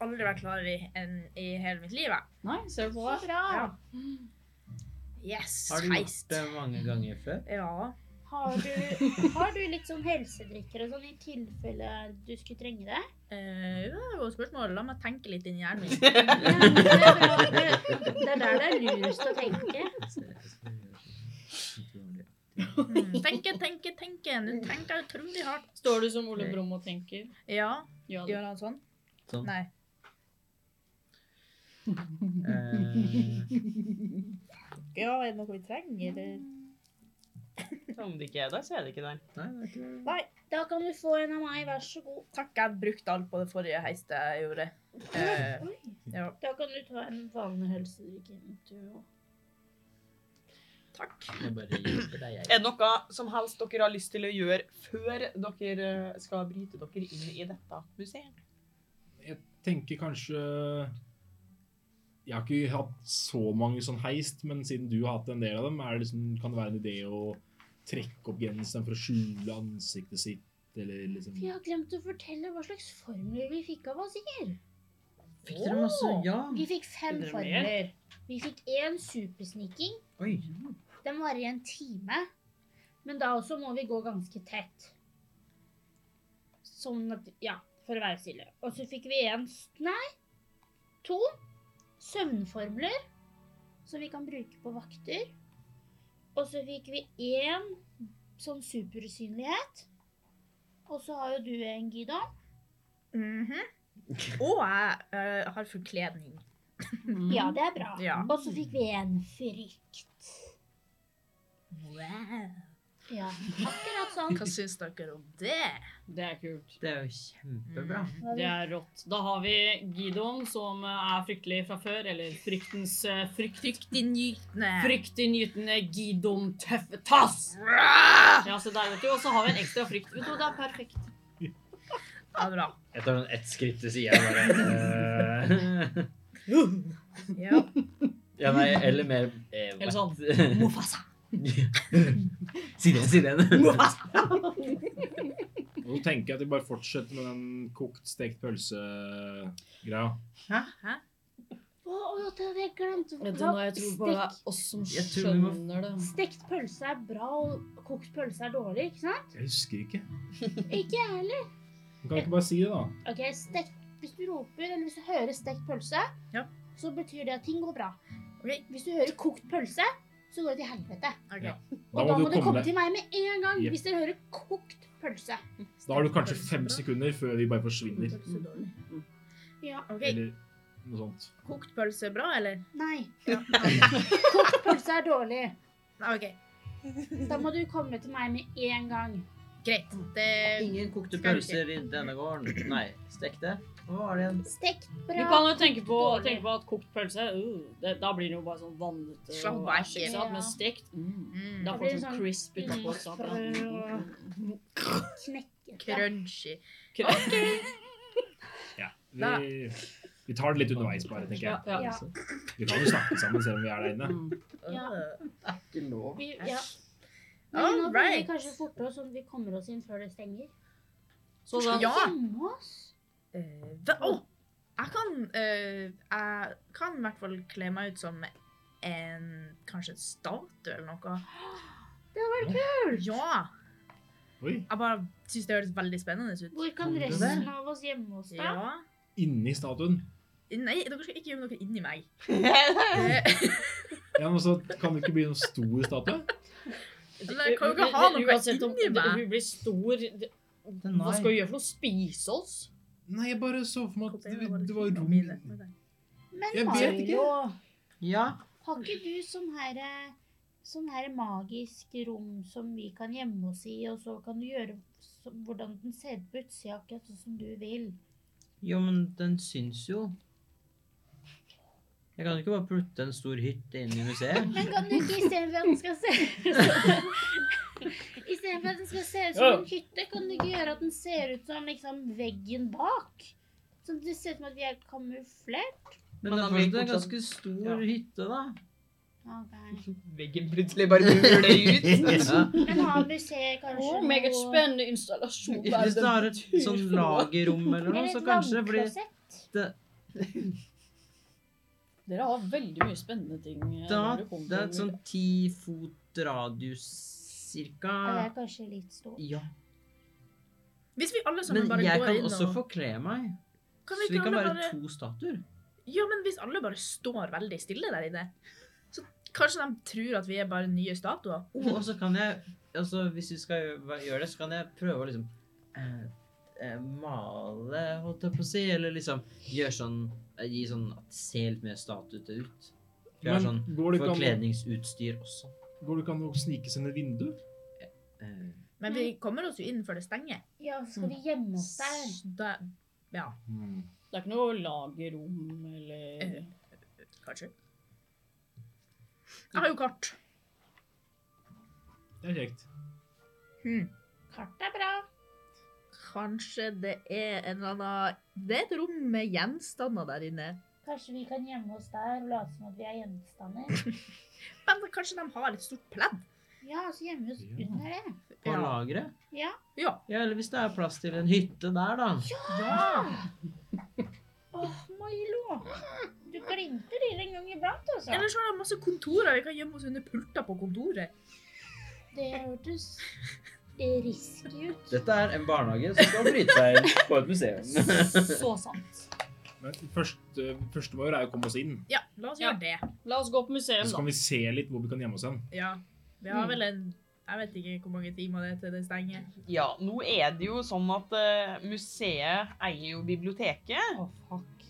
aldri vært klarere i, enn i hele mitt liv, jeg. Nei, ser du på Så det? bra! Yes, Har du gjort heist. det mange ganger før? Ja. Har du, har du litt sånn helsedrikker og sånn i tilfelle du skulle trenge det? Eh, det var et spørsmål. La meg tenke litt inni hjernen min. Ja, men det, er bra. Det- det er der det er lurest å tenke. Mm, Tenke, tenke, tenke. Nå tenker jeg utrolig hardt. Står du som Ole Brumm og tenker? Ja. Ja, det. Gjør han sånn? Sånn. Nei. Eh, Ja, er det noe vi trenger? eller? Om det ikke er der, så er det ikke der. nei, det er ikke det. Da kan du få en av meg, vær så god. Takk, jeg brukte alt på det forrige heistet jeg gjorde. Eh, ja. Da kan du ta en vanlig helsedrikker. du også. Takk. Jeg bare hjelper deg, jeg. Er det noe som helst dere har lyst til å gjøre før dere eh, skal bryte dere inn i dette museet? Jeg tenker kanskje Jeg har ikke hatt så mange sånn heist, men siden du har hatt en del av dem, er det liksom, kan det være en idé å trekke opp genseren for å skjule ansiktet sitt, eller liksom Vi har glemt å fortelle hva slags formler vi fikk av Azir. Fikk dere masse Ja! Vi fikk fem Vil dere formler. Vi fikk én supersniking. Oi. Den varer i en time. Men da også må vi gå ganske tett. Sånn at Ja, for å være stille. Og så fikk vi én s- Nei, to søvnformler som vi kan bruke på vakter. Og så fikk vi én sånn supersynlighet. Og så har jo du en, Gidon. Mhm. Og jeg eh, har forkledning. Mm. Ja, det er bra. Ja. Og så fikk vi en frykt. Ja, akkurat sånn. Hva syns dere om det? Det er kult. Det er jo kjempebra. Mm. Det er rått. Da har vi Gidon, som eh, er fryktelig fra før, eller fryktens eh, frykt. Fryktinngytende. Fryktinngytende Gidon Tøffe Tass! Ja, så der, vet du. Og så har vi en ekstra frykt. Vet du, det er perfekt. Ja, bra. Jeg tar sånn ett skritt til sida bare. eh. Ja. Ja, nei, eller mer eh, Eller sånn. wet. Mofasa. Si det, si det. Og så tenker jeg at vi bare fortsetter med den kokt, stekt pølse-greia. Hæ? Hva å, det hadde jeg glemt. Vet du hva, jeg tror bare det Stekt- er oss som Jeg tror vi må- skjønner det. Stekt pølse er bra, og kokt pølse er dårlig, ikke sant? Jeg husker ikke. Ikke jeg heller. Du kan ikke bare si det, da. Ok, stekt, Hvis du roper eller hvis du hører stekt pølse, Ja. så betyr det at ting går bra. Ok. Hvis du hører kokt pølse, så går det til helvete. Ok. Ja. Og da må, du komme til meg med en gang Jep. hvis dere hører kokt pølse. Da har du kanskje fem sekunder før vi bare forsvinner. Pølse dårlig. Ja, Ok, Eller noe sånt. kokt pølse bra, eller? Nei. Ja. Kokt pølse er dårlig. Nei, ok, Da må du komme til meg med en gang. greit. Mm. Det... Ingen kokte Skal ikke. pølser i denne gården. Nei, stekte. Hva var det igjen? Stekt Du bra. kan jo tenke på, Dårlig. tenke på at kokt pølse uh, det, Da blir det jo bare sånn vannete Slapp og av, æsj, ikke sant? ja. Men stekt mm. Mm. Da Det får du blir sånn sånn crisp utenpå. ikke sant? Ja. Mm. Knekkete. Crunchy. Da. Vi, vi tar det litt underveis, bare, tenker jeg. Ja, ja. Ja. Vi kan jo snakke sammen selv om vi er der inne. Mm. Ja. Øh. Ikke lov. Vi, ja. Men nå All blir vi right. kanskje fortere, sånn at vi kommer oss inn før det stenger. Så da, Ja. Hjemme oss? Eh, hva- Å! Jeg kan, eh, jeg kan i hvert fall kle meg ut som en kanskje en statue eller noe. Det hadde vært kult! Ja! Oi. Jeg bare syns det høres veldig spennende ut. Hvor kan Kan du resten det? av oss gjemme oss, da? Ja. Inni statuen. Nei, dere skal ikke gjemme dere inni meg. Nei, Eh, Ja, men så kan det ikke bli noen stor statue? Eller jeg kan jo ikke ha Men noe uansett om inni det- meg. Hun blir stor det- Hva nei. skal hun gjøre for noe? Spise oss? Nei, jeg bare så for meg at det, det var rom Mine. Men Jeg vet ikke. Mario, Ja. har ikke du sånn her eh, Sånn her magisk rom som vi kan gjemme oss i, og så kan du gjøre så, hvordan den ser ut på utsida, akkurat sånn som du vil. Jo, men den syns jo. Jeg kan ikke bare putte en stor hytte inn i museet. Men kan du ikke istedenfor at den skal se ut som Istedenfor at den skal se ut som en hytte, kan du ikke gjøre at den ser ut som liksom veggen bak? Sånn at det ser ut som at vi er kamuflert? Men Men det da er blir det fortsatt en fortsatt- ganske stor Ja. hytte, da. Ok. Veggen plutselig bare ruller det ut. Ja. Men har museet kanskje Å, meget spennende installasjon. Hvis det er et sånn lagerrom eller noe, Eller så et kanskje det blir vannklosett? Dere har veldig mye spennende ting. eh, da, når kommer Det er til- et sånn ti fot radius cirka. Ja, det er kanskje litt stort. Ja. Hvis vi alle sammen Men bare jeg går kan inn også og få kle meg. kan Så vi vi ikke kan alle være bare... to statuer. Ja, men hvis alle bare står veldig stille der inne, så kanskje de tror at vi er bare nye statuer. Oh, og så kan jeg altså, Hvis vi skal gjø- gjøre det, så kan jeg prøve å liksom eh, eh, Male, holdt jeg på å si. Eller liksom gjøre sånn eh, Gi sånn at det ser litt mer statuete ut. Vi har Men sånn går det ikke an, forkledningsutstyr også. går det ikke an å snike seg ned vinduet? Eh, Men vi kommer oss jo inn før det stenger. Ja, så skal vi gjemme oss der. Så Da, ja, Hmm, Det er ikke noe lagerrom eller Eh. kanskje. Jeg har jo kart. Det er kjekt. Hmm. Kart er bra. Kanskje det er en eller annen Det er et rom med gjenstander der inne. Kanskje vi kan gjemme oss der og late som at vi er gjenstander. Men da kanskje de har et stort pledd? Ja, så gjemme oss Ja. under det. på Ja. lageret? Ja. Ja, eller hvis det er plass til en hytte der, da. Åh, Milo! Du glimter til en gang iblant, altså. Eller så har de masse kontorer. Vi kan gjemme oss under pulter på kontoret. Det hørtes risky ut. Dette er en barnehage som skal bryte seg inn på et museum. Så sant. Men først, eh, første vår er jo å komme oss inn. Ja, la oss Ja. gjøre det. La oss gå på museum, Så da. kan vi se litt hvor vi kan gjemme oss hen. Ja. Vi har vel en Jeg vet ikke hvor mange timer det er til det stenger. Ja, nå er det jo sånn at eh, museet eier jo biblioteket. Å, fuck.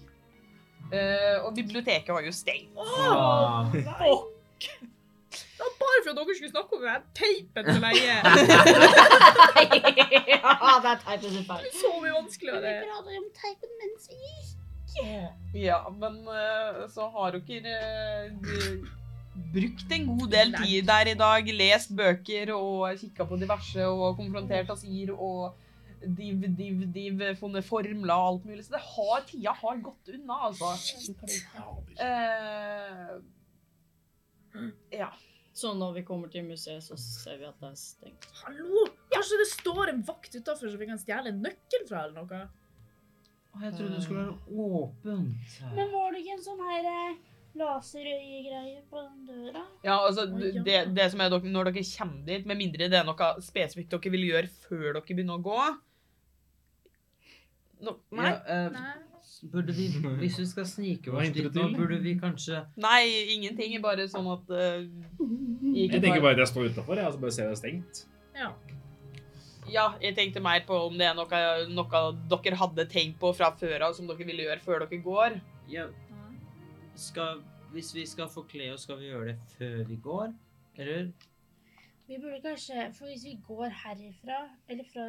eh, og biblioteket var jo stengt. Ah. Det var bare for at dere skulle snakke om den teipen som leier. Ah, Ja, det er teit og feil. Så mye Vi vanskeligere. prater om teipen mens vi Ja, men eh, så har dere eh, d- brukt en god del tid der i dag. Lest bøker og kikka på diverse og konfrontert Asir og div, div, div, funnet formler og alt mulig. Så det har, tida har gått unna, altså. Eh, Så når vi kommer til museet, så ser vi at det er stengt. Hallo! Kanskje det står en vakt utafor som vi kan stjele en nøkkel fra, eller noe? Å, Jeg trodde det skulle være åpent. Men var det ikke en sånn her eh, laserøyegreie på den døra? Ja, altså, Å, ja. det, det som er dere, Når dere kommer dit, med mindre det er noe spesifikt dere vil gjøre før dere begynner å gå no, nei, Ja, eh, Nei. burde vi, hvis vi skal snike Hva oss hinter dit du nå, til? burde vi kanskje nei, ingenting. Bare sånn at eh, ikke Jeg tenker bare at jeg står utafor, og så bare ser jeg det er stengt. Ja, jeg tenkte mer på om det er noe, noe dere hadde tenkt på fra før av, som dere ville gjøre før dere går. ja, skal, Hvis vi skal forkle oss, skal vi gjøre det før vi går? Eller? Vi burde kanskje, for hvis vi går herifra, eller fra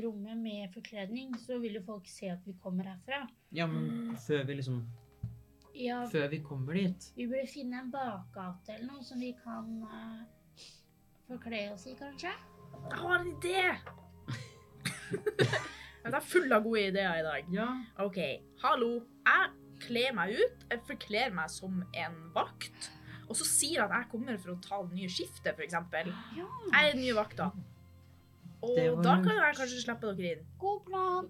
rommet med forkledning, så vil jo folk se at vi kommer herfra. Ja, Mm. men før vi liksom Ja, Før vi kommer dit. vi burde finne en bakgate eller noe som vi kan eh, forkle oss i, kanskje. Jeg har en idé! Jeg er full av gode ideer i dag. Ja. OK, hallo. Jeg kler meg ut. Jeg forkler meg som en vakt. Og så sier jeg at jeg kommer for å ta det nye skiftet, f.eks. Ja. Jeg er den nye vakta. Og Det var da lurt. kan jeg kanskje slippe dere inn. God plan.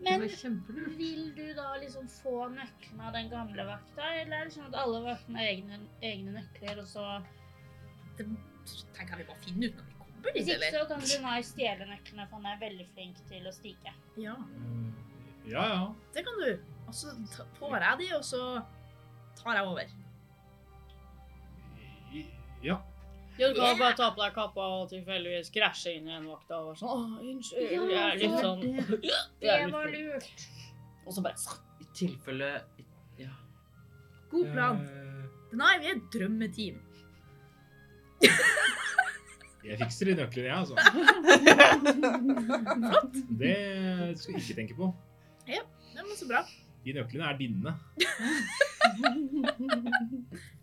Det Men var kjempelurt. vil du da liksom få nøklene av den gamle vakta, eller er det sånn at alle vaktene har egne, egne nøkler, og så Det tenker jeg vi bare finner ut når vi kommer Hvis dit, ikke eller? så kan Brunei stjele nøklene, for han er veldig flink til å stike. Ja, Mm. Eh, Ja, ja. det kan du. Og så ta- får jeg de, og så tar jeg over. I- Ja. Ja, du kan jo bare ta på deg kappa og tilfeldigvis krasje inn i en vakt og være sånn Åh, unnskyld. Ja, Jeg er litt det- sånn Det jeg er litt var full. lurt. Og så bare I tilfelle Ja. God plan. Eh, Nei, vi er et drømmeteam. Jeg fikser de nøklene, jeg, altså. Flott. Det skal du ikke tenke på. Det var så bra. De nøklene er dine.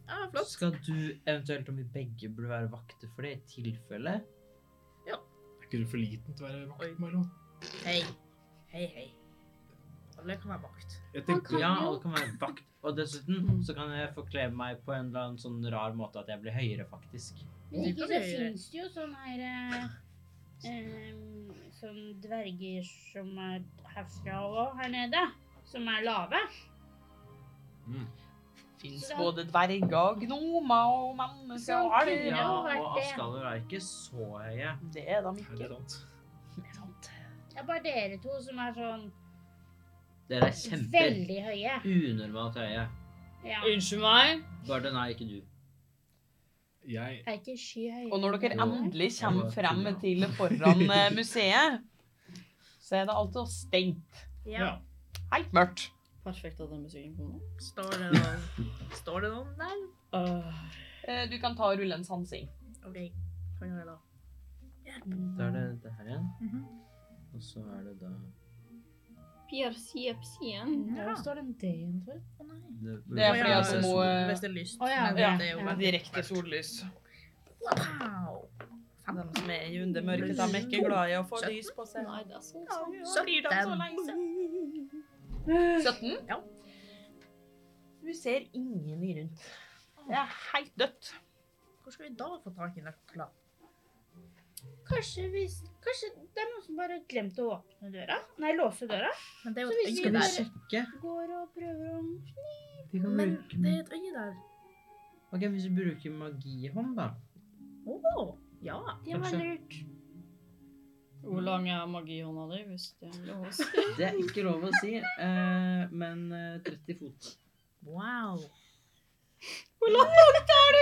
Ja, flott. Skal du eventuelt, om vi begge burde være vakter for det, i tilfelle Er ikke du for liten til å være vakt, Milo? Hei. Hei, hei. Alle kan være vakt. Jeg Han tenker kan Ja, jo alle kan være vakt. Og dessuten så kan jeg forkle meg på en eller annen sånn rar måte at jeg blir høyere, faktisk. Men Det kan ikke så vi gjøre. fins det jo sånn her eh, em, Sånn dverger som er herfra og her nede. Som er lave. Fins både dverger, og gnomer og mennesker og Det alger. Ja, har vært og det. Askaller er ikke så høye. Det er de Er det ikke. sant? Det er bare dere to som er sånn Dere er kjempe veldig høye. unormalt høye. Ja. Unnskyld meg. Bare den er ikke du. Jeg Er ikke sky høye. Og når dere Jo. endelig kommer Jeg bare frem tuller. til foran eh, museet, så er det alltid stengt. Ja. Helt mørkt. Perfekt at den musikken kom nå. Står det noen, står det noen der? Øh, Eh, Du kan ta og rulle en sansing. OK, kan gjøre det da. Da er det det her igjen. Mhm. Og så er det da Hvor står den D-en for? Å nei. Det, Det er Å, fordi ja, at du må eh, Hvis det er lyst. Å, ja, men ja, det er jo ja. veldig- direkte sollys. Wow. De som er i undermørket, de er ikke glad i å få lys på seg. nei, det er sånn. Så blir de så lei seg. 17? Ja. Du ser ingen rundt. Det er helt dødt. Hvor skal vi da få tak i nøkler? Kanskje, hvis, kanskje det er noen som bare har glemt å åpne døra? Nei, låse døra. Men det er jo et Så hvis øye vi Vi bare- der. sjekke. Går og prøver å Vi kan Men bruke det er et øye der. Ok, Hvis vi bruker magihånd, da. Å, ja. Det var Kanskje. lurt. Hvor lang er magihånda di, hvis det er lov å si? Det er ikke lov å si, eh, men eh, 30 fot. Wow.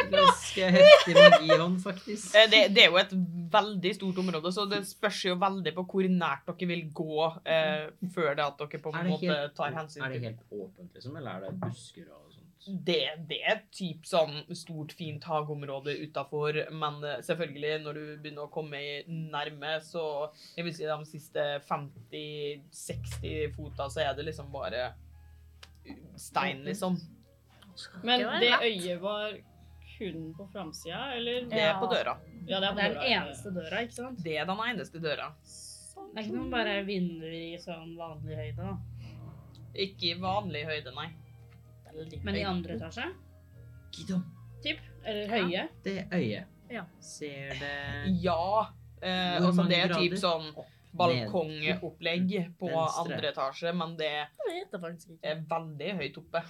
Ganske heftig magihånd, faktisk. Eh, Det, det er jo et veldig stort område, så det spørs jo veldig på hvor nært dere vil gå eh, før det at dere på en måte tar hensyn er det til helt åpent, liksom, eller er det busker og sånt? det, det er et typ sånn stort, fint hagområde utafor, men eh, selvfølgelig, når du begynner å komme i nærme, så Jeg vil si de siste 50-60 fota, så er det liksom bare stein, liksom. Men Det var det lett. øyet var kun på framsida, eller? Det er på døra. Ja, det er på Det er døra. den eneste døra, ikke sant? Det er den eneste døra. Det er ikke noen bare vinduer i sånn vanlig høyde, da. Ikke i vanlig høyde, nei. Men i andre etasje? Gidom, Typ. Eller høye. det øyet. Ja. Ser det Ja. Eh, Hvor altså, mange det er grader? typ sånn balkongopplegg på Venstre. andre etasje, men det Jeg vet det faktisk ikke. er veldig høyt oppe.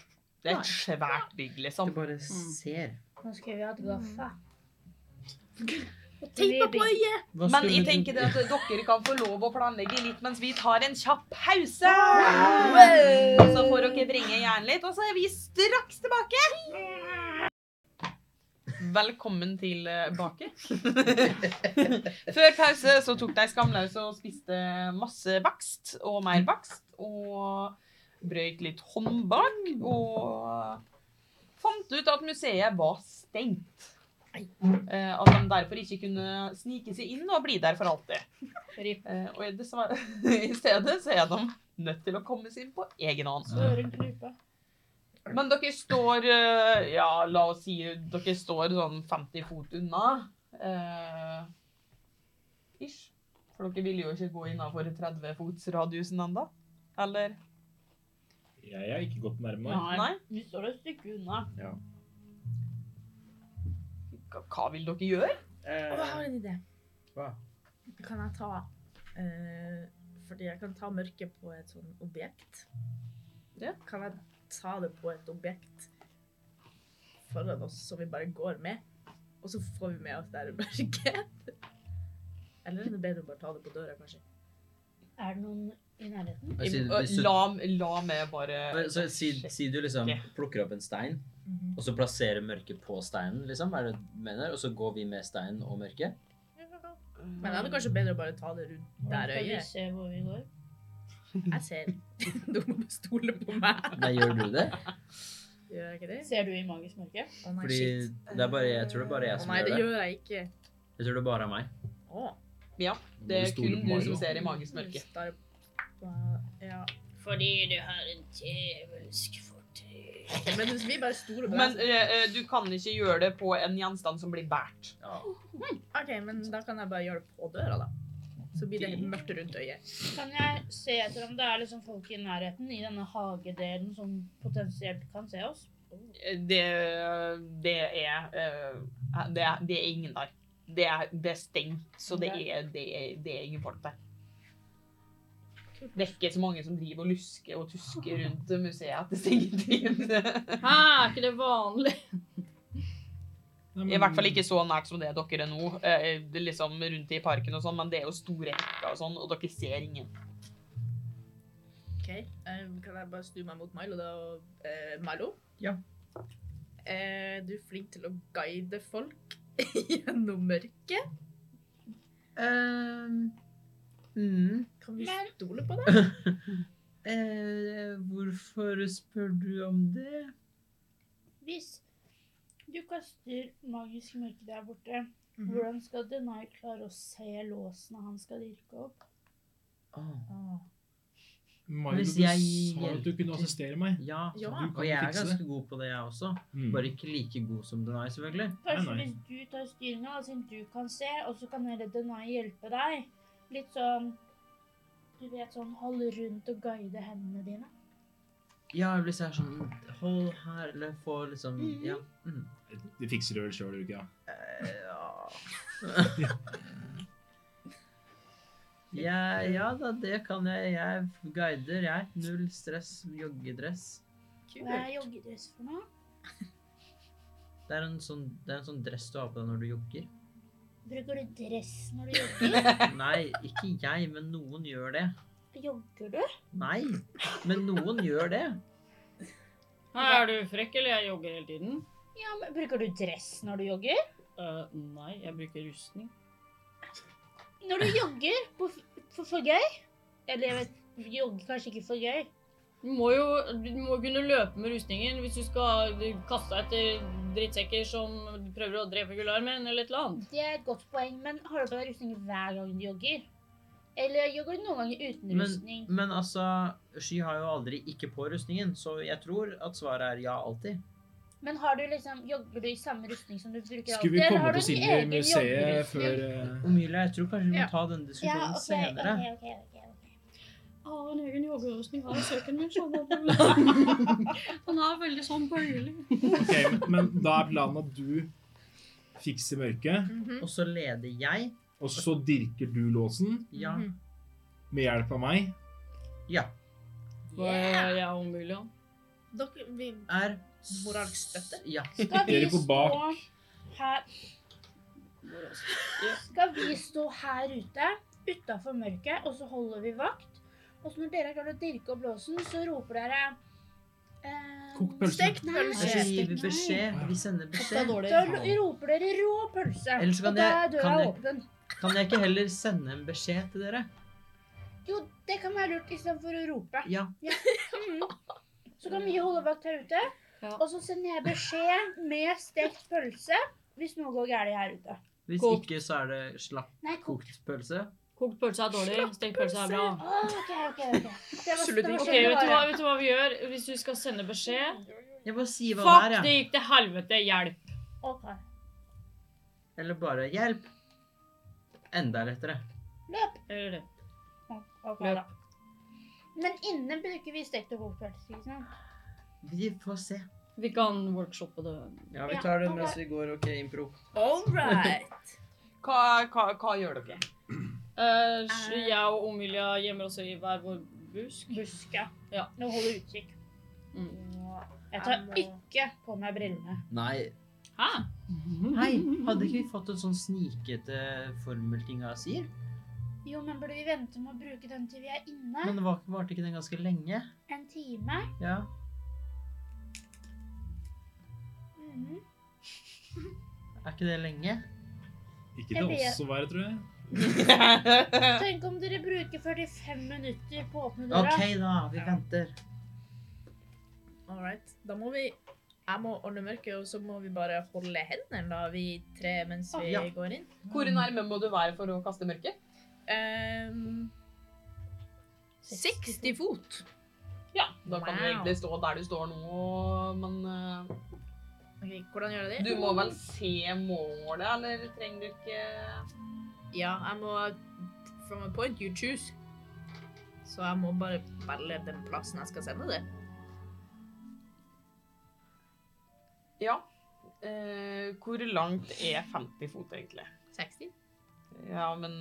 Det er et svært bygg, Du liksom. bare ser. Nå skulle vi hatt gaffa. Teipa på øyet! Hva Men skulle jeg du- tenker det at dere kan få lov å planlegge litt mens vi tar en kjapp pause. Så får dere vrenge hjernen litt, og så er vi straks tilbake. Velkommen tilbake. Før pause så tok de skamløse og spiste masse bakst og mer bakst. Og brøyt litt håndbak og fant ut at museet var stengt. Eh, At de derfor ikke kunne snike seg inn og bli der for alltid. Rip. Eh, Og i dessverre- i stedet så er de nødt til å komme seg inn på egen hånd. Øren klypa. Men dere står eh, Ja, la oss si dere står sånn 50 fot unna. eh, ish. For dere ville jo ikke gå innafor 30 fots radiusen ennå. Eller? Jeg er ikke godt nærme. Nei? Vi står et stykke unna. Hva- Hva vil dere gjøre? Og jeg har en idé. Hva? Kan jeg ta eh, Fordi jeg kan ta mørket på et sånn objekt. Ja. Kan jeg ta det på et objekt foran oss som vi bare går med? Og så får vi med oss det her mørket? Eller er det bedre å bare ta det på døra, kanskje? Er det noen i nærheten? Jeg sier- hvis du- La, la meg bare Så si, si du liksom plukker opp en stein, og så plasserer mørket på steinen, liksom, er det du mener? Og så går vi med steinen og mørket? Men det er kanskje bedre å bare ta det rundt der Skal vi øyet. se hvor vi går? Jeg ser. Du må bare stole på meg. Nei, gjør du det? Gjør jeg ikke det? Ser du i magisk mørke? Å nei, Fordi shit. det er bare, jeg tror det er bare Å jeg som nei, det gjør det. gjør jeg ikke. Jeg tror det bare er meg. Å. Det er kun du som ser. ser i magisk mørke. Star- Hva- Ja. Fordi du har en djevelsk fortid. Men hvis vi bare stoler på Men deg, eh, eh, du kan ikke gjøre det på en gjenstand som blir båret. Ja. så- OK, men da kan jeg bare gjøre det på døra, da. Så blir det helt mørkt rundt øyet. Kan jeg se etter om det er liksom folk i nærheten i denne hagedelen som potensielt kan se oss? Eh, Det, det er eh, det, er- det er ingen der. Det er, det er stengt, så det er, det, er, det er ingen folk der. Det er ikke så mange som driver og lusker og tusker rundt museet etter stengetid. Hæ, er ikke det vanlig? I hvert fall ikke så nært som det dere er nå. eh, det er liksom rundt i parken og sånn, men det er jo store hekker og sånn, og dere ser ingen. OK, eh, Kan jeg bare snu meg mot Milo, da? og, Eh, Milo? Ja. Eh, du er flink til å guide folk gjennom mørket. mm. Kan vi Men- stole på deg? Eh, hvorfor spør du om det? Hvis du kaster magisk mørke der borte, hvordan skal Denai klare å se låsene han skal dirke opp? Åh, Åh. Milo, Hvis du jeg sa at du hjelper- kunne assistere meg. ja. Ja. Du Og kan jeg er fikse det. ganske god på det, jeg også. Mm. Bare ikke like god som den er, selvfølgelig. Kanskje Nei, nei. hvis du tar styringa, altså du kan se, og så kan heller Denai hjelpe deg. Litt sånn Du vet sånn holde rundt og guide hendene dine. Ja, hvis jeg er sånn Hold her, eller få liksom Ja. Mm. Du fikser det vel sjøl, gjør du ikke? Ja. Eh, ja. ja, ja da, det kan jeg. Jeg guider, jeg. Null stress, joggedress. Hva er joggedress for noe? Det er en sånn, det er en sånn dress du har på deg når du jogger. Bruker du dress når du jogger? Nei, ikke jeg, men noen gjør det. Jogger du? Nei, men noen gjør det. Hæ, er du frekk, eller jeg jogger hele tiden? Ja, men Bruker du dress når du jogger? Eh, nei, jeg bruker rustning. Når du jogger på, for, for gøy Eller jeg vet, jogger kanskje ikke for gøy. Du må jo du må kunne løpe med rustningen hvis du skal kaste deg etter drittsekker som prøver å drepe gullarmen, eller et eller annet. Det er et godt poeng, men har du på deg rustning hver gang du jogger? Eller jogger du noen ganger uten Men- rustning? Men altså, Sky har jo aldri ikke på rustningen, så jeg tror at svaret er ja alltid. Men har du liksom, jogger du i samme rustning som du bruker Skulle vi alltid, komme du oss en inn i egen museet joggerustning? før eh, Omilia, jeg tror kanskje vi Ja. må ta denne Ja, diskusjonen ok, senere. ok, ok, ok, ok. har en egen joggerustning her i søken min, så han er veldig sånn bøyelig. Ok, men, men da er planen at du fikser mørket, Mhm. Og så leder jeg. og så dirker du låsen. Ja. Mhm. med hjelp av meg. Ja. Hva er jeg og Mulian? Dere, vi, Er Moralsk støtte? Ja. Skal vi Dere går stå bak. her Skal vi stå her ute, utafor mørket, og så holder vi vakt? Og så når dere har klart å dirke opp låsen, så roper dere eh, Kokt pølse. Stekt Nei. Her pølse. Nei. gir vi beskjed. Vi sender Det er beskjed. dårlig. Da roper dere rå pølse, Ellers kan og da jeg- er døra kan jeg- åpen. Kan jeg ikke heller sende en beskjed til dere? Jo, det kan være lurt istedenfor å rope. Ja. Så kan vi holde vakt her ute, Ja. og så sender jeg beskjed med stekt pølse hvis noe går galt her ute. Hvis Kokt. ikke, så er det slapp Nei, kokt. kokt pølse. Kokt pølse er dårlig, stekt pølse er bra. Å, OK, OK. ok. Det var, det var Ok, sånn vet det du, hva, var. vet du hva vi gjør hvis du skal sende beskjed? Jeg bare sier hva Fuck, det er, det jeg. gikk til helvete. Hjelp. Ok. Eller bare hjelp. Enda lettere. Løp. Eller det. Ok, Løp. da. Men inne bruker vi stekt og kokt pølse. ikke sant? Vi får se. Vi kan workshoppe det. Ja, vi tar det mens vi går. OK, impro. All right. Hva, hva, hva gjør dere? Eh, så jeg og Omilia gjemmer oss i hver vår busk. Buska. Ja. Nå holder jeg utkikk. Mm. Jeg tar ikke på meg brillene. Nei. Hæ? Hei, hadde ikke vi fått en sånn snikete formelting av sier? Jo, men burde vi vente med å bruke den til vi er inne? Men var- varte ikke den ganske lenge? En time? Ja. Mhm. Er ikke det lenge? Ikke til Jeg oss å være, tror jeg. Tenk om dere bruker 45 minutter på å åpne døra. OK, da. Vi venter. All right. Da må vi Jeg må ordne mørket, og så må vi bare holde hendene, da, vi tre, mens vi Ah, Ja. går inn. Hvor nærme må du være for å kaste mørket? Ehm, 60 fot. Ja, da kan du Wow. egentlig stå der du står nå, men eh, Ok, Hvordan gjør jeg det? du må vel se målet, eller trenger du ikke Ja, jeg må From a point you choose. Så jeg må bare velge den plassen jeg skal sende det. Ja. Eh, hvor langt er 50 fot, egentlig? 60? Ja, men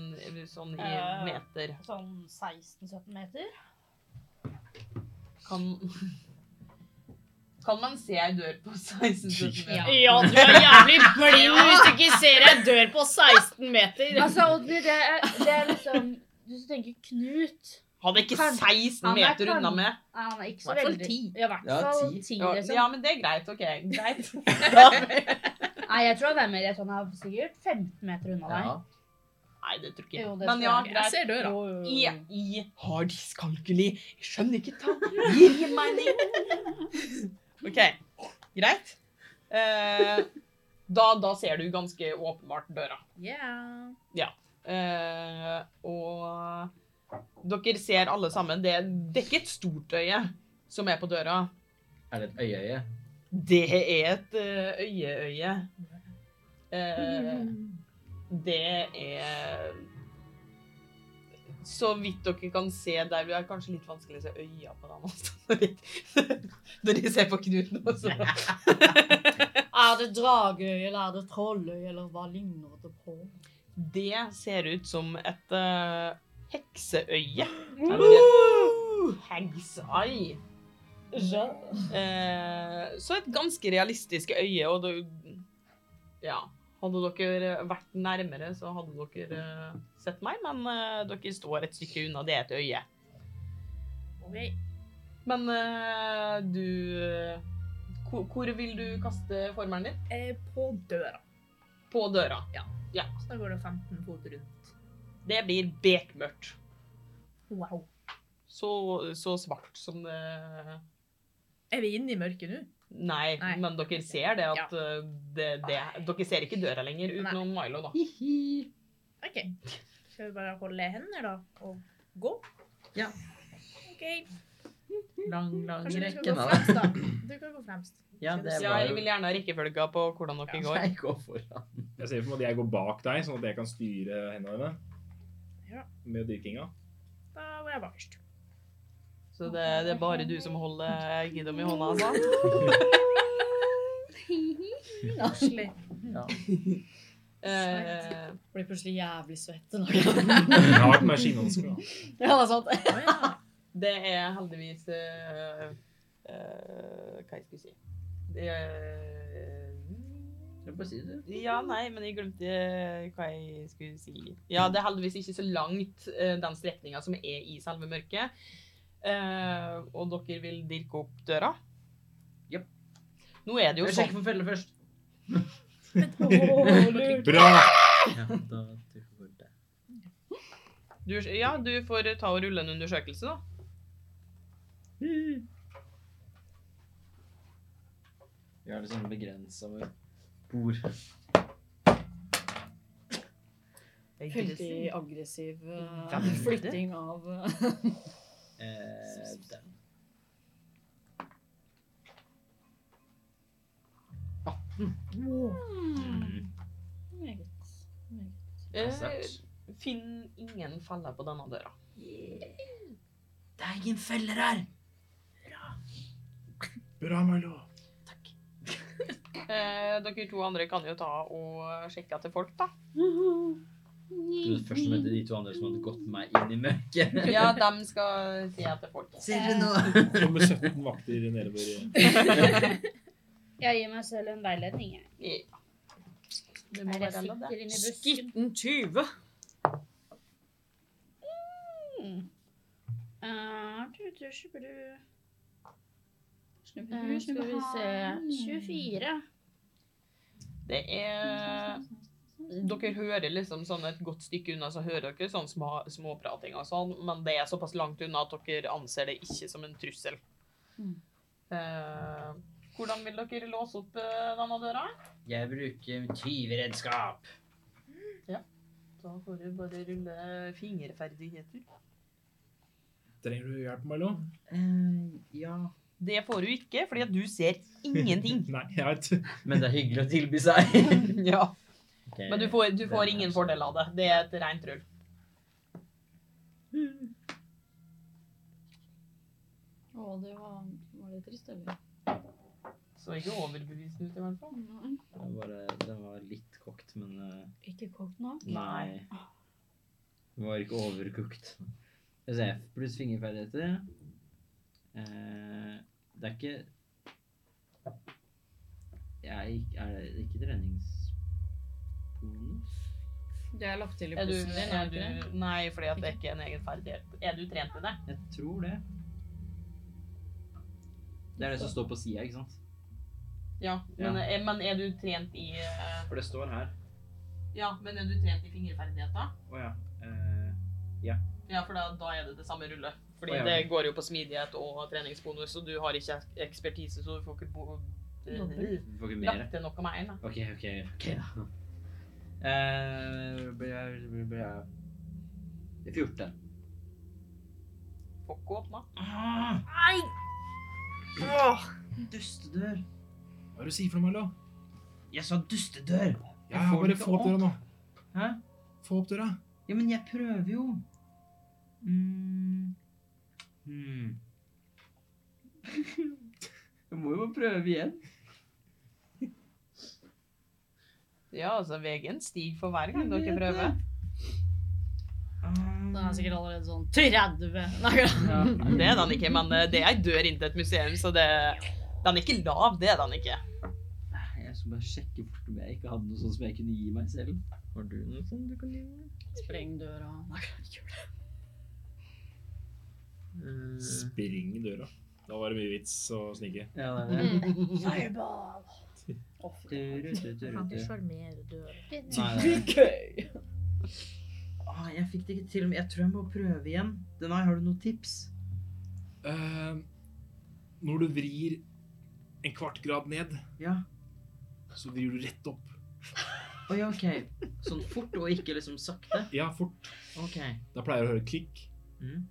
sånn i Eh. meter Sånn 16-17 meter. kan Kan man se ei dør på 16-17 meter? Ja, du er jævlig blind hvis du ikke ser ei dør på 16 meter. Altså, Odny, det er, det er liksom Du som tenker Knut Han er ikke Kan- 16 han er meter kan- unna med. Nei, han er ikke så Hvertfall veldig ti. Ja, I hvert Ja, fall ti. ti. Ja, liksom. ja, men det er greit. OK, greit. Nei, jeg tror han er mer sånn han er sikkert 15 meter unna deg. Ja. Nei, det tror ikke jeg. Jo, det Men tror ja, jeg. Jeg Altså- greit. ser døra. I, I har dyskalkuli. Jeg skjønner ikke ta. Gi meg det. OK, greit. Eh, da, da ser du ganske åpenbart døra. Yeah. Eh, og dere ser alle sammen, det, det er ikke et stort øye som er på døra. Er det et øyeøye? Det er et eh, øyeøye. Eh, det er Så vidt dere kan se der Det er kanskje litt vanskelig å se øya på den avstanden. Når de ser på Knut nå, så Er det drageøye, eller er det trolløye, eller hva ligner det på? Det ser ut som et eh, hekseøye. Hags eye. Eh, så et ganske realistisk øye, og det Ja. Hadde dere vært nærmere, så hadde dere eh, sett meg, men eh, dere står et stykke unna. Det er et øye. Ok. Men eh, du hvor, hvor vil du kaste formelen din? Eh, På døra. På døra. Så da går det 15 fot rundt. Det blir bekmørkt. Wow. Så, så svart som eh, det Er vi inne i mørket nå? Nei, Nei. men dere ser det at eh, det, det, Dere ser ikke døra lenger utenom Milo, da. OK. Skal vi bare holde hender, da, og gå? Ja. OK. Lang, lang Kanskje du skal rekke, gå da. fremst, da. Du kan gå fremst. Ja, det Så var jeg vil jo gjerne ha rekkefølga på hvordan dere går. Jeg går foran. Jeg ser for meg at jeg går bak deg, sånn at jeg kan styre hendene dine. Ja. Med dyrkinga. Da går jeg bakerst. Så det, det er bare du som holder Gidom i hånda, altså. Koselig. Ja. Eh, Blir plutselig jævlig svett. den dagen. Jeg har vært med skinnhansker, da. ja, det er sant. Å, ja. det er heldigvis eh, eh, Hva jeg skulle si det, er- Jeg bare si det. Ja, nei, men jeg glemte eh, hva jeg skulle si. Ja, det er heldigvis ikke så langt eh, den strekninga som er i selve mørket. Eh, og dere vil dirke opp døra? Japp. Nå er det jo Jeg sånn sjekker for felle først. Bra! Ja, da trykker jeg det. du, Ja, du får eh, ta og rulle en undersøkelse, da. Vi har liksom begrensa vår bord. Veldig aggressiv eh, Ja, men- flytting av eh, Eh, der. 18. Mm. Meget. meget. Eh, Sterkt. Finn ingen feller på denne døra. Det er ingen feller her! Bra, Milo. Eh, dere to andre kan jo ta og sjekke etter folk, da. Du først møtte de to andre som hadde gått meg inn i mørket. Ja, dem skal se etter folk. Ser Eh, du nå? Kommer 17 Sånn vakter nedover. Jeg gir meg selv en veiledning. jeg. Ja. Det må Er jeg være lov, det. sikker inni busken? Skitten 20. Eh, Ah, du, du, skjubbedu. Eh, Eh, Snubbe, Skal vi se 24. Det er Dere hører liksom sånn et godt stykke unna, så hører dere sånn sma- småprating og sånn, men det er såpass langt unna at dere anser det ikke som en trussel. Mm. Eh, hvordan vil dere låse opp eh, denne døra? Jeg bruker tyveredskap. Da får du bare rulle fingerferdigheter. Trenger du hjelp, Milo? Eh, ja. Det får du ikke, fordi at du ser ingenting. Nei, jeg vet. Men det er hyggelig å tilby seg. ja. Ok. Men du får, du får ingen fordel av det. Det er et rent rull. Å, det var, var det trist, eller? Så ikke overbevist ut, i hvert fall. Det var, det var litt kokt, men eh, Ikke kokt nå? Nei. Det var ikke overkokt. Skal vi se. Pluss fingerferdigheter. Eh, det er ikke jeg, Er det ikke treningsbonus? Det er lagt til i Er du, posen din, er er det ikke det? du, nei, fordi at det er ikke en egen ferdighet. Er du trent i det? Jeg tror det. Det er det som står på sida, ikke sant? Ja, men, Er, men er du trent i eh, For det står her. Ja, men er du trent i fingerferdigheter? Å ja. Eh, Ja, for da, da er det det samme rullet. Fordi Å, ja. det går jo på smidighet og treningsbonus, og du har ikke ekspertise, så du får ikke bo... eh, Dobbelt. vi får ikke mer. Lagt til noe med en, da. OK, OK. ok da. Eh, blir jeg- blir jeg- blir jeg- 14. Får ikke åpna. Ah, Nei! Åh, dustedør. Hva er det du sier for noe, Milo? Jeg sa dustedør. Ja, ja, bare få opp døra nå. Hæ? Få opp døra. Ja, men jeg prøver jo. Mm. Hmm. jeg må jo prøve igjen. Ja, altså, veien stiger for hver gang Jeg dere vet prøver. Ah. Den er sikkert allerede sånn 30! Nei, ja. Ja. Det er den ikke, men eh, det er ei dør inntil et museum, så det Den er ikke lav, det er den ikke. Jeg skal bare sjekke bort om jeg ikke hadde noe sånt som jeg kunne gi meg selv. Har du noe sånt du kan gi meg? Spreng døra. Nei, gjør det. Spring døra. Da var det mye vits å snike. Eh, ja, det Mm. er det. Fireball! Å, fy. Du, du, du, du, Kan du du. sjarmere døra? Nei, nei, nei. Gøy! Ah, jeg fikk det ikke til, men jeg tror jeg må prøve igjen. Denai, har du noen tips? Eh, når du vrir en kvart grad ned, Ja. så vrir du rett opp. Å ja, ok. Sånn fort og ikke liksom sakte? Ja, fort. Ok. Da pleier du å høre klikk, Mm.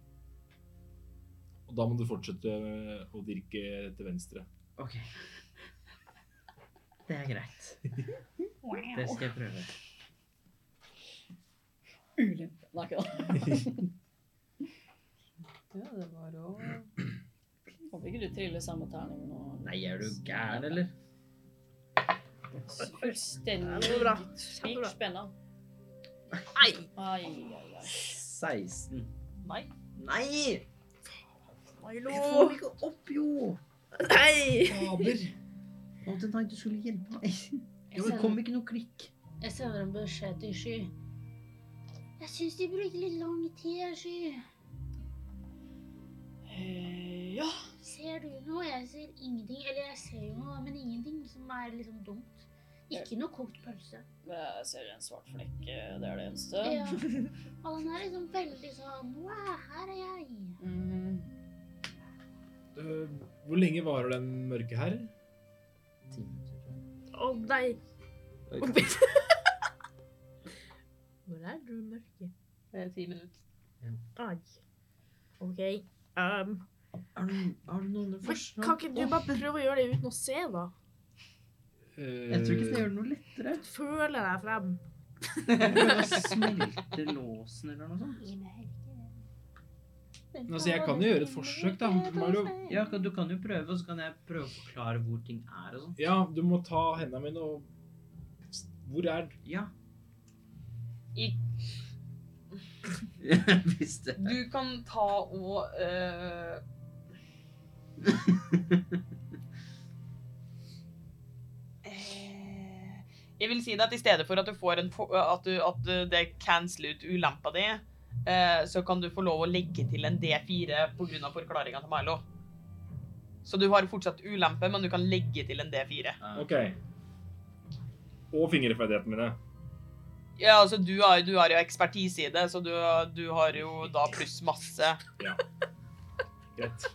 og da må du fortsette eh, å dirke til venstre. Ok. Det er greit. Det skal jeg prøve. Ulempe. Nei, ikke det. Ja, det var jo Håper ikke du triller samme terning nå. Nei, er du gæren, eller? Fullstendig det går bra. sykt spenna. Ai, ai, ai. 16. Nei. Nei! Milo! Jeg får ikke opp, jo! Nei! Fader. Nå til deg, du skulle hjelpe meg. Jo, det kom ikke noe klikk. Jeg sender en beskjed til Sky. Jeg syns de bruker litt lang tid, Sky. Eh, Ja. Ser du noe? Jeg ser ingenting. Eller jeg ser jo noe, men ingenting som er liksom dumt. Ikke noe kokt pølse. Jeg ser en svart flekk. eh, Det er det eneste. Ja. Og den er liksom veldig sånn Wow, her er jeg. Mm, Eh, Hvor lenge varer den mørke her? Å nei! Oi. Hvor er du, mørke? Det er ti minutter. Ai. OK. Um, Har du, har du noen andre men forslag? kan ikke du bare prøve å gjøre det uten å se, da? Jeg tror ikke det gjør det noe lettere. Føle deg frem. Bare Smelte låsen eller noe sånt. Gi meg helvete. Altså, jeg kan jo gjøre et forsøk, da. Milo. Ja, kan- du kan jo prøve, og så kan jeg prøve å forklare hvor ting er og sånn. Ja, du må ta hendene mine og Hvor er Ja. I- Jeg visste. Du kan ta og eh, eh, Jeg vil si det at i stedet for at du får en po- At, du, at det canceler ut ulempa di, eh, så kan du få lov å legge til en D4 pga. forklaringa til Milo. Så du har fortsatt ulempe, men du kan legge til en D4. OK. Og fingerferdighetene mine. Ja, altså Du har, du har jo ekspertise i det, så du, du har jo da pluss masse. Greit.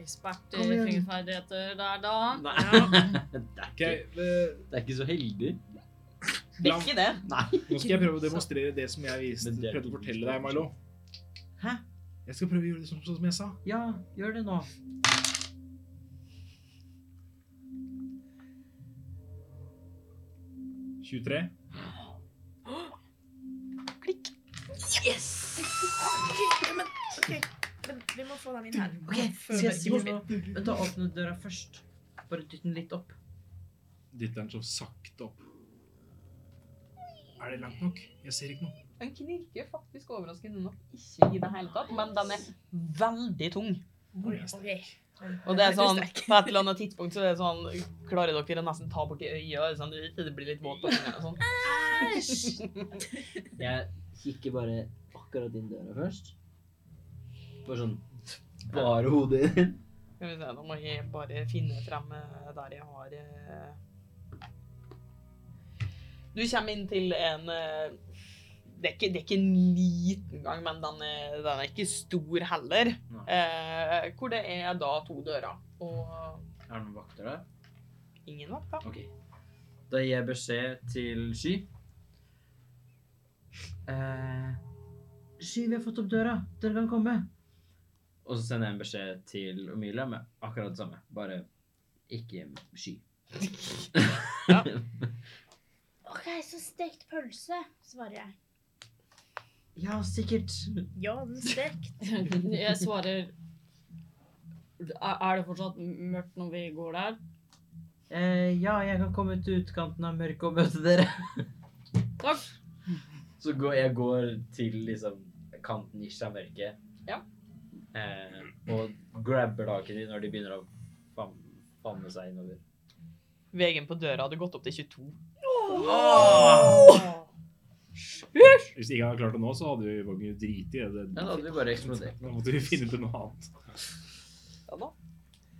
Ekspert i Kom igjen. fingerferdigheter der, da. Nei. Det er Ok, ikke, eh, det er ikke så heldig. Det er ikke det. Nå skal jeg prøve å demonstrere det som jeg viste, Men det er prøvde å ikke fortelle motstand. deg, Milo. Hæ? Jeg skal prøve å gjøre det sånn, sånn som jeg sa. Ja, gjør det nå. Ok, men, ok, men vi må få den inn her. Ok, Før skal jeg si mørket noe? Vent, da åpner du døra først. Bare dytt den litt opp. Dytter den så sakte opp. Er det langt nok? Jeg ser ikke noe. Den knirker faktisk overraskende nok ikke i det hele tatt, men den er veldig tung. Oi, jeg ser- Ok. Og det er sånn, på et eller annet tidspunkt så er det sånn, klarer dere å nesten ta borti øya, og sånn, det blir litt våt på øynene og sånn. Æsj! Jeg kikker bare akkurat inn døra først. Bare sånn Bare hodet inn. Skal vi se, nå må jeg bare finne frem eh, der jeg har... eh. Du kommer inn til en... eh, Det er, ikke, det er ikke en liten gang, men den er, den er ikke stor heller. Nei. Eh, hvor det er da to dører, og Er det noen vakter der? ingen vakt da. Ok. Da gir jeg beskjed til Sky. Eh, Sky, vi har fått opp døra. Dere kan komme. Og så sender jeg en beskjed til Omilia med akkurat det samme. Bare ikke Sky. Ja. OK, så stekt pølse, svarer jeg. ja, sikkert. Jan Stekt. Jeg svarer Er er det fortsatt mørkt når vi går der? Eh, ja, jeg kan komme til utkanten av mørket og møte dere. Takk. Så går, jeg går til liksom kanten ish av mørket. Ja. Eh, og grabber taket i når de begynner å fam famme seg innover. Vegen på døra hadde gått opp til 22. Hvis ikke jeg hadde klart det nå, så hadde vi bare driti i det. Ja, da hadde vi bare eksplodert. Nå måtte vi finne på noe annet. Ja da.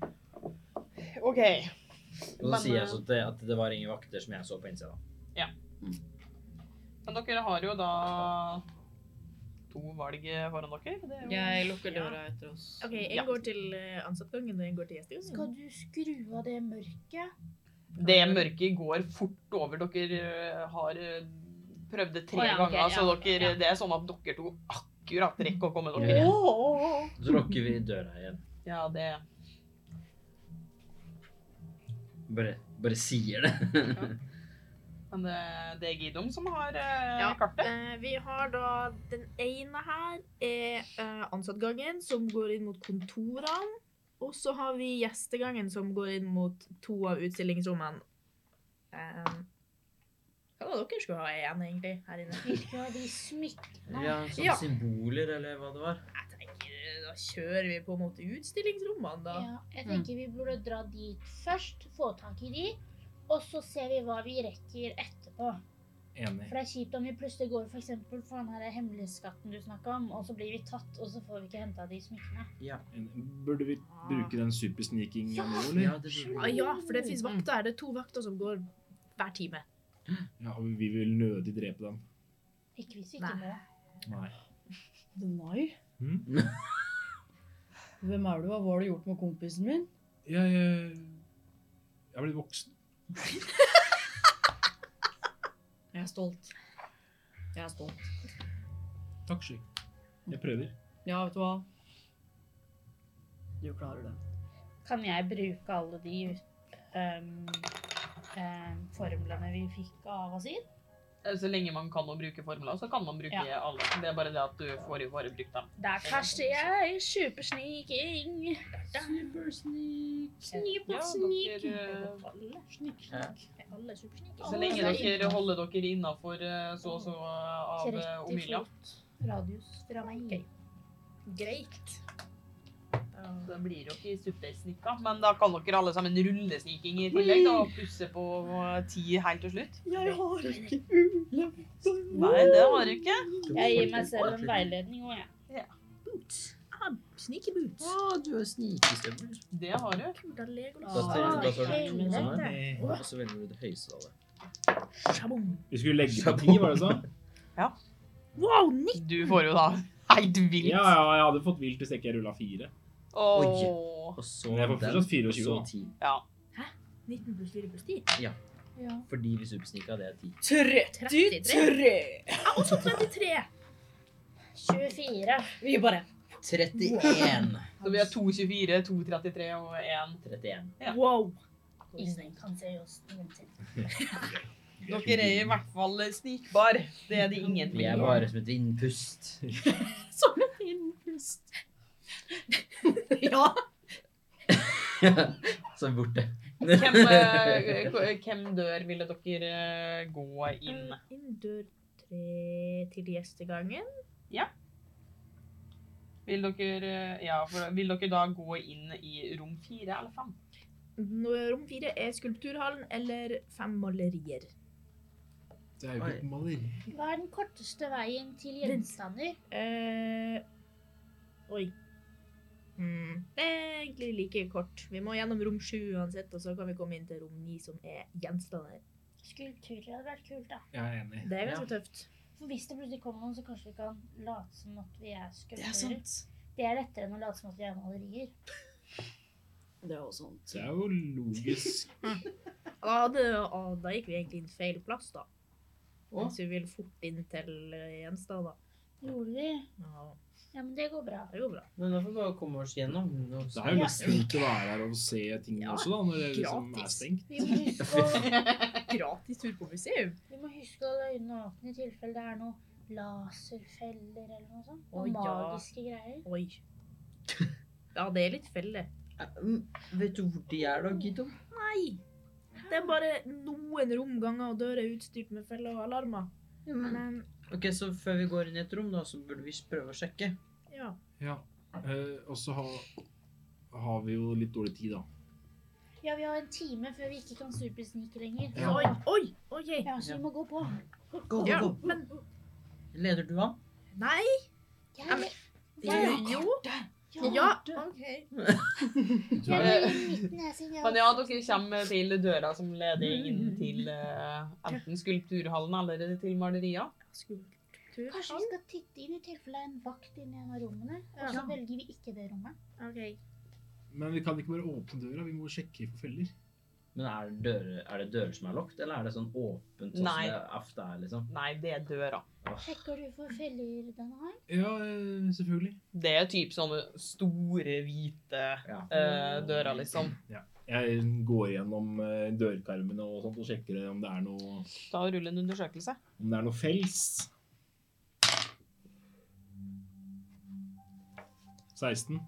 OK. Og så Men, sier eh, jeg så til at det var ingen vakter som jeg så på innsida. Men dere har jo da to valg foran dere. Det er jo Jeg lukker døra etter oss. Ok, en Ja. går til eh, ansattgangen, og en går til gjestegangen. Skal du skru av det mørket? Det mørket går fort over. Dere eh, har eh, prøvd det tre Å ja, ok, ganger, så ja, dere, ja. det er sånn at dere to akkurat rekker å komme Ja, dere. ja. Åh. Så lukker vi døra igjen. Ja, det Bare, bare sier det. Men det, det er Gidom som har eh, Ja. kartet. Eh, vi har da den ene her er eh, ansattgangen, som går inn mot kontorene. Og så har vi gjestegangen som går inn mot to av utstillingsrommene. Ehm, hva var det dere skulle ha igjen, egentlig, her inne? Ja, de smykkene. Ja, sånne Ja. symboler, eller hva det var. Jeg tenker, Da kjører vi på mot utstillingsrommene, da. Ja, jeg tenker vi burde dra dit først, få tak i de, og så ser vi hva vi rekker etterpå. Enig. For det er kjipt om vi plutselig går for eksempel for den her hemmelige skatten du snakka om, og så blir vi tatt, og så får vi ikke henta de smykkene. En- Burde vi bruke den supersnikinga nå, Ja, eller? det burde Ah, ja, for det fins vakter her. Det er to vakter som går hver time. Ja, og vi vil nødig drepe dem. Ikke hvis vi Nei. ikke må. Nei. Nei. Hm? Hvem er du, og hva har du gjort med kompisen min? Jeg eh, Jeg er blitt voksen. Jeg er stolt. Jeg er stolt. Takk, Sky. Jeg prøver. Ja, vet du hva? Du klarer det. Kan jeg bruke alle de ehm, ehm, formlene vi fikk av Asir? Eh, Så lenge man kan å bruke formler, så kan man bruke alle. Det er bare det at du får jo bare brukt dem. Der kaster jeg supersniking. Ja, dere, Ja. Alle supersniking. så lenge dere holder dere innafor så og så eh, av eh, 30 Omilia. fot radius fra meg. Ok. Greit. Så det blir jo ikke supersnikka, men da kan dere alle sammen rullesniking i tillegg da, og plusse på eh, ti helt til slutt. Jeg har ikke ulempe. Nei, det har du ikke. Jeg gir meg selv en veiledning òg, jeg. Ah, sneaky boots. Å, du har snikestøvler. Det har du. Kult av Legolas. Da tar Ah, da tar du helvete. sånn her, Eh. og så velger du det høyeste av det. Shabong. Vi skulle legge på ti, var det sånn? Wow, Nick! Du får jo da helt vilt. Ja, ja, jeg hadde fått vilt hvis ikke jeg rulla fire. Åh. Og så Men jeg får den, fortsatt 24, og da. så 10. 19 pluss 4 pluss 10. Fordi vi supersnika, det er 10. 33. Jeg har også 33. 24. Vi bare 31. Så vi har 2,24, 2,33 og 1. 31. Ja. Wow. Ingen kan se oss. Ingen ser. Dere er i hvert fall snikbar. Det er det ingen Vi er bare som et vindpust. Som en innpust. ja. Som borte. Hvem, eh, k- hvem dør ville dere eh, gå inn? Inn dør 3 til gjestegangen. Vil dere, eh, ja, for, vil dere da gå inn i rom 4 eller 5? Nå- Rom 4 er skulpturhallen eller fem malerier. Det er jo ikke maleri. Hva er den korteste veien til gjenstander? Eh, oi. Hmm, Det er egentlig like kort. Vi må gjennom rom 7 uansett, og så kan vi komme inn til rom 9 som er gjenstander. Skulpturer hadde vært kult, da. Jeg er enig. Det er Ja. ganske tøft. For hvis det plutselig kommer noen, så kanskje vi kan late som at vi er Det er skulpturer. sant. Det er lettere enn å late som at vi er malerier. Det er også sant. Det er jo logisk. Ja, det, å, da gikk vi egentlig inn feil plass, da. Å? Hvis vi vil fort inn til eh, gjenstander. Gjorde vi? Ja, Ja, men det går bra. det går bra. Men da får vi bare komme oss gjennom. Nå Det er jo mest fint å være her og se ting Ja, også, da, når det liksom er gratis. stengt. Vi må huske å Gratis tur på museum. Vi må huske å holde øynene åpne i tilfelle det er noen laserfeller eller noe sånt. Og Å, ja. magiske greier. Oi. Ja, det er litt felle. Eh, Vet du hvor de er da, Guido? Nei! Det er bare noen rom, ganger og dører er utstyrt med feller og alarmer. Men Ok, så før vi går inn i et rom da, så burde vi prøve å sjekke. ja. Ja. eh, og så har, har vi jo litt dårlig tid, da. Ja, vi har en time før vi ikke kan supersnike lenger. Ja. Oi, oi, ok. Ja, så vi må gå på. Gå, Ja, gå, gå. men Leder du an? Nei! Jeg, Jo, jeg, jo. jeg, Ja, jeg, OK. jeg vil i midten, jeg, siden jeg Eh, Men ja, dere kommer til døra som leder inn til eh, enten skulpturhallen eller til malerier. Skulptur. Kanskje vi skal titte inn i tilfelle det er en vakt inni en av rommene, og så Ja. velger vi ikke det rommet. OK. Men vi kan ikke bare åpne døra, vi må sjekke for feller. Men er det, dører, er det dører som er lukket, eller er det sånn åpent sånn Nei. som det ofte er, liksom? Nei, det er døra. Sjekker du for feller den har? Ja, eh, selvfølgelig. Det er typ sånne store, hvite Ja. eh, døra, liksom. Jeg går gjennom eh, dørkarmene og sånt og sjekker om det er noe, Da ruller en undersøkelse. om det er noe fels. 16.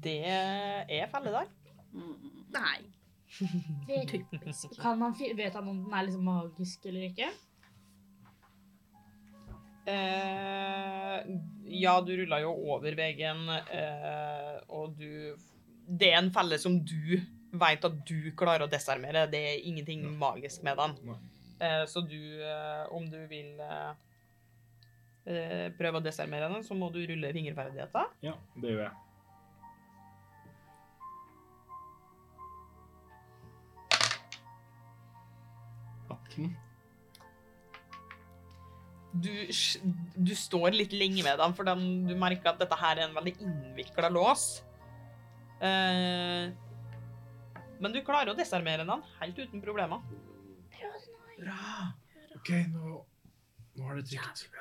Det er felle der. Mm. Nei. Vet, Kan man, fi- vet han om den er liksom magisk eller ikke? Eh, ja, du rulla jo over veggen, eh, og du Det er en felle som du veit at du klarer å desarmere. Det er ingenting magisk med den. Eh, så du, eh, om du vil eh, eh, prøve å desarmere den, så må du rulle fingerferdigheter. Ja, det gjør jeg. Atten. Du, s- du står litt lenge med den, for den, du merker at dette her er en veldig innvikla lås. Eh, men du klarer å desarmere den helt uten problemer. Bra! OK, nå, nå er det trygt.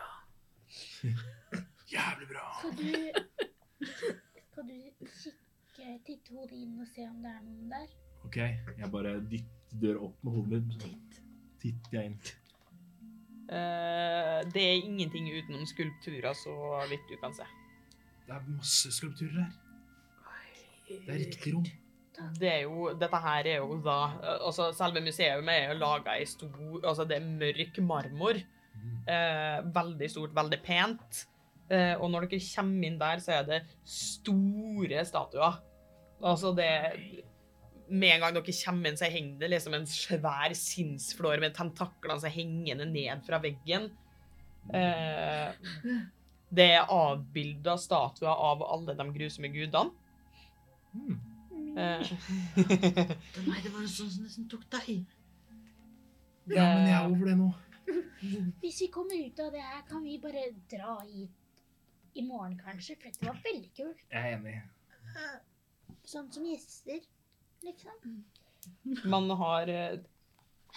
Jævlig bra. skal du Skal du kikke titte hodet inn og se om det er noen der? OK, jeg bare dytter døra opp med hodet mitt. Titter jeg inn. Eh, det er ingenting utenom skulpturer, så vidt du kan se. Det er masse skulpturer her. Det er riktig rom. Det er jo, dette her er jo da eh, altså Selve museet er jo laga i stor Altså, det er mørk marmor. Eh, veldig stort, veldig pent. Eh, og når dere kommer inn der, så er det store statuer. Altså, det Med en gang dere kommer inn, så henger det liksom en svær sinnsflår med tentakler som henger ned fra veggen. Eh, det er avbilda statuer av alle de grusomme gudene. Mm. Eh, Nei, det var en sånn som nesten tok deg. Ja, men jeg er over det nå. Hvis vi kommer ut av det her, kan vi bare dra hit i morgen, kanskje? For det var veldig kult. Jeg er enig. Sånn som gjester, liksom. Man har eh,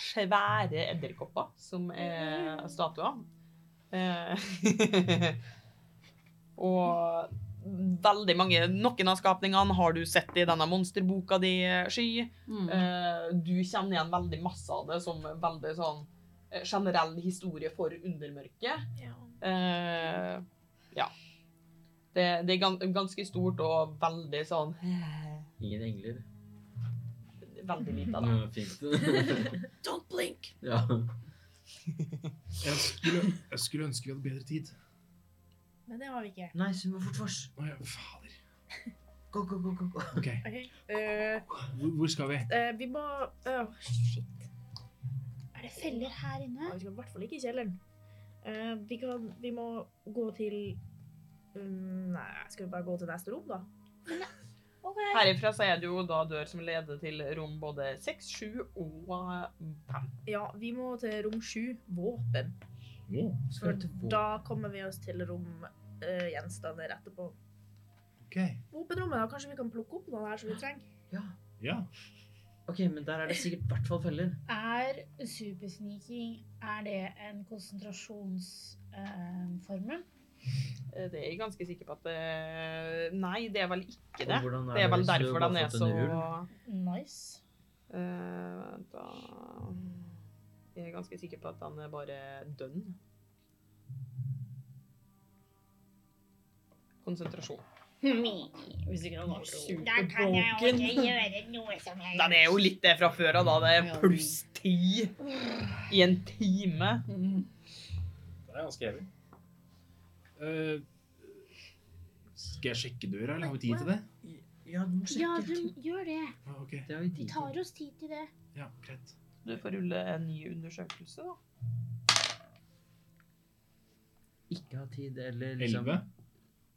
svære edderkopper som er statuer. Eh, og veldig mange Noen av skapningene har du sett i denne monsterboka di, Sky. Mm. Eh, du kjenner igjen veldig masse av det som veldig sånn eh, generell historie for undermørket. Ja. Eh, ja. Det, det er gan- ganske stort og veldig sånn Ingen engler. Veldig lite av det. Ja, fint. Don't blink! ja. Jeg skulle, jeg skulle ønske vi hadde bedre tid. Men det har vi ikke. Nei, så vi må fort vars. Å, ja, fader. Gå, gå, gå, gå, gå. OK, Ok. Eh, hvor, hvor skal vi? eh, vi må Åh, Shit. Er det feller her inne? Ja, vi skal i hvert fall ikke i kjelleren. Eh, vi, kan, vi må gå til mm, Nei, skal vi bare gå til neste rom, da? Ok. Herifra så er det jo da dør som leder til rom både 6, 7 og 5. Ja, vi må til rom sju, våpen. Å, Skal vi til vår- Da kommer vi oss til rom eh, gjenstander etterpå. OK. Våpenrommet, da. Kanskje vi kan plukke opp noe her som vi trenger? Ja. Ja. Ok, men der er det sikkert i hvert fall feller. Er supersniking Er det en eh, konsentrasjonsformel? Eh, Det er jeg ganske sikker på at det Nei, det er vel ikke Og det. hvordan Det er vel hvis du derfor bare den har er fått så en rull? nice. Eh, Vent, da Jeg er ganske sikker på at den er bare dønn. Konsentrasjon. Hvis ikke den var Da kan jeg jo superbroken. ikke gjøre noe som helst. Den er jo litt det fra før av, da. Det er pluss ti i en time. Mm. Det er ganske heavy. Eh, skal jeg sjekke døra, eller har vi tid til det? Ja, du må Ja, sjekke. du gjør det. Ja, OK. Det har vi Vi tid til. tar oss tid til det. Ja, greit. Du får rulle en ny undersøkelse, da. Ikke ha tid, eller liksom Elleve?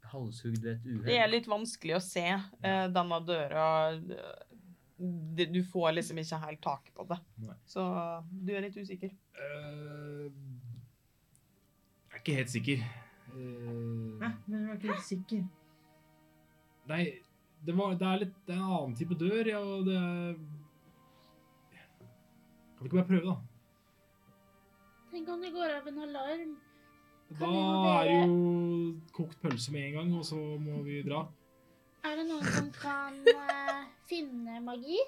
halshugd ved et uhell. Det er litt vanskelig å se eh, denne døra. eh, Det- Du får liksom ikke helt taket på det. Nei. Så du er litt usikker. Eh, jeg er ikke helt sikker. Eh, Hæ? Men jeg var ikke helt sikker. nei, det, var, det, er litt, det er en annen type dør, ja, og det er Kan vi ikke bare prøve, da? Tenk om det går av en alarm. Da Kan vi er det vurdere- jo kokt pølse med en gang, og så må vi dra. Er det noen som kan eh, finne magi?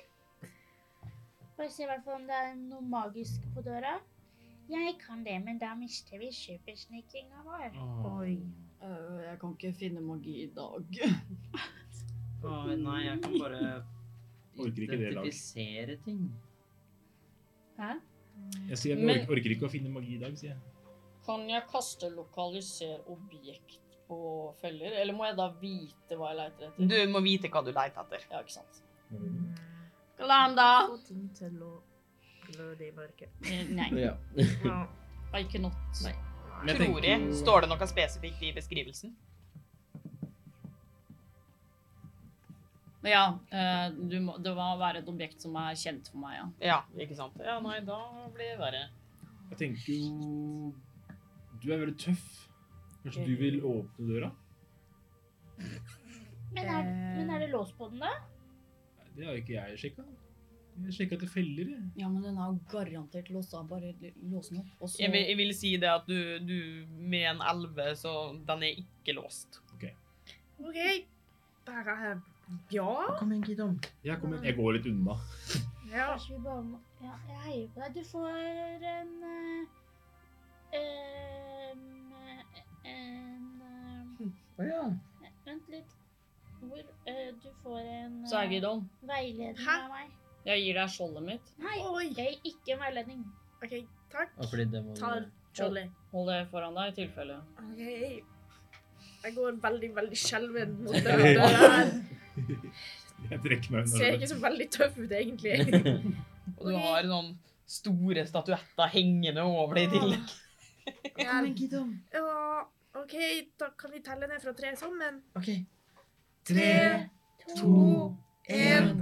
Bare se i hvert fall om det er noe magisk på døra. Jeg kan det, men da mister vi supersnikinga vår. Eh, jeg kan ikke finne magi i dag. Å Å, nei, jeg kan bare Orker ikke det, Lars. identifisere ting. Jeg sier jeg Men- orker, orker ikke å finne magi i dag, sier jeg. Kan jeg kaste lokalisere objekt på feller, eller må jeg da vite hva jeg leter etter? Du må vite hva du leter etter. Ja, ikke sant. Glanda! Mm. Få ting til å gløde i mørket. Eh, Nei. Ja. Ja. Nei, Ikke not. Nei. Tror jeg. Står det noe spesifikt i beskrivelsen? Men ja, eh, du må, det må være et objekt som er kjent for meg, ja. Ja, ikke sant? Ja, nei, da blir det verre. Jeg tenker jo Du er veldig tøff. Kanskje du vil åpne døra? Men er, men er det Eh, lås på den, da? Nei, Det har jo ikke jeg sjekka. Jeg sjekka etter feller, jeg. Ja, men den er jo garantert låst av. Bare lås den opp, og så Jeg vil, jeg vil si det at du, du med en elve, så den er ikke låst. OK. Der er jeg. Ja. Kom igjen, Gidom. Jeg, kom inn- jeg går litt unna. ja. Kanskje vi bare må Ja, jeg heier på deg. Du får en eh, em, En em, eh, Å ja. Vent litt. Hvor eh, Du får en Så er eh, Gidon. veiledning Hæ? av meg. Jeg gir deg skjoldet mitt. Nei, Oi. jeg gir ikke en veiledning. OK, takk. Og fordi det må Tar Jolly. Hold det foran deg i tilfelle. OK. Jeg går veldig, veldig skjelven mot døra. der. Jeg trekker meg unna. Ser ikke så veldig tøff ut, egentlig. Og du har sånn store statuetter hengende over deg i tillegg. Ja, Kom igjen, Gidom. Ja, OK, da kan vi telle ned fra tre sånn, sammen. OK. Tre, to, én.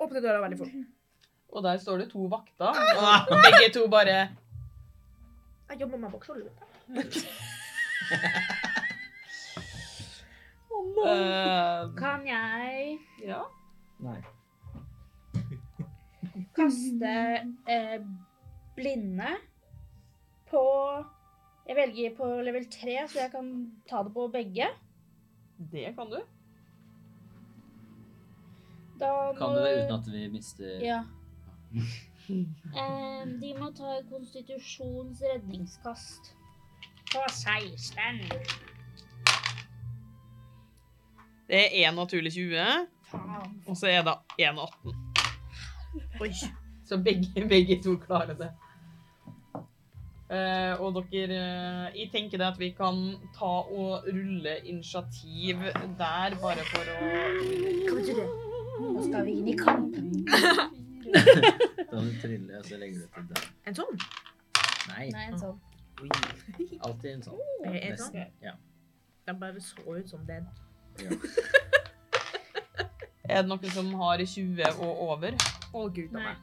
Åpne døra veldig fort. Og der står det to vakter. Og begge to bare Jeg jobber meg på knollen. eh, Kan jeg Ja. Nei. kaste eh, blinde på Jeg velger på level 3, så jeg kan ta det på begge. Det kan du. Da Kan du det uten at vi mister Ja. Eh, de må ta et konstitusjons redningskast. På 16. Det er én naturlig 20, Faen. og så er det én og 18. Oi. Så begge, begge to klarer det. Eh, og dere eh, Jeg tenker det at vi kan ta og rulle initiativ der, bare for å Kan ikke det? Nå skal vi inn i kamp. Da triller jeg, så legger du til det. En sånn? Nei. Nei, en sånn. Alltid en sånn. Eh, En sånn? Nesten. Ja. Den bare så ut som den. Er det noen som har 20 og over? Å, gud a Nei. meg.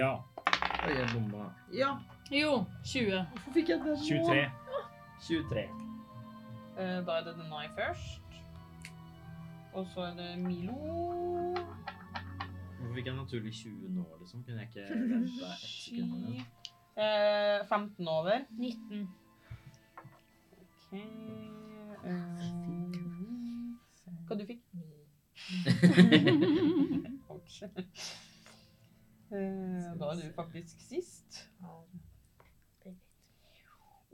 Ja. Oi, jeg bomma. Ja! Jo, 20. Hvorfor fikk jeg det 23. 23. Eh, da er det Denai først. Og så er det Milo. Hvorfor fikk jeg naturlig 20 nå, liksom? Kunne jeg ikke vente ett sekund? med det? Eh, 15 over. 19. Ok eh, Hva du fikk Ouch. Eh, Da er du faktisk sist.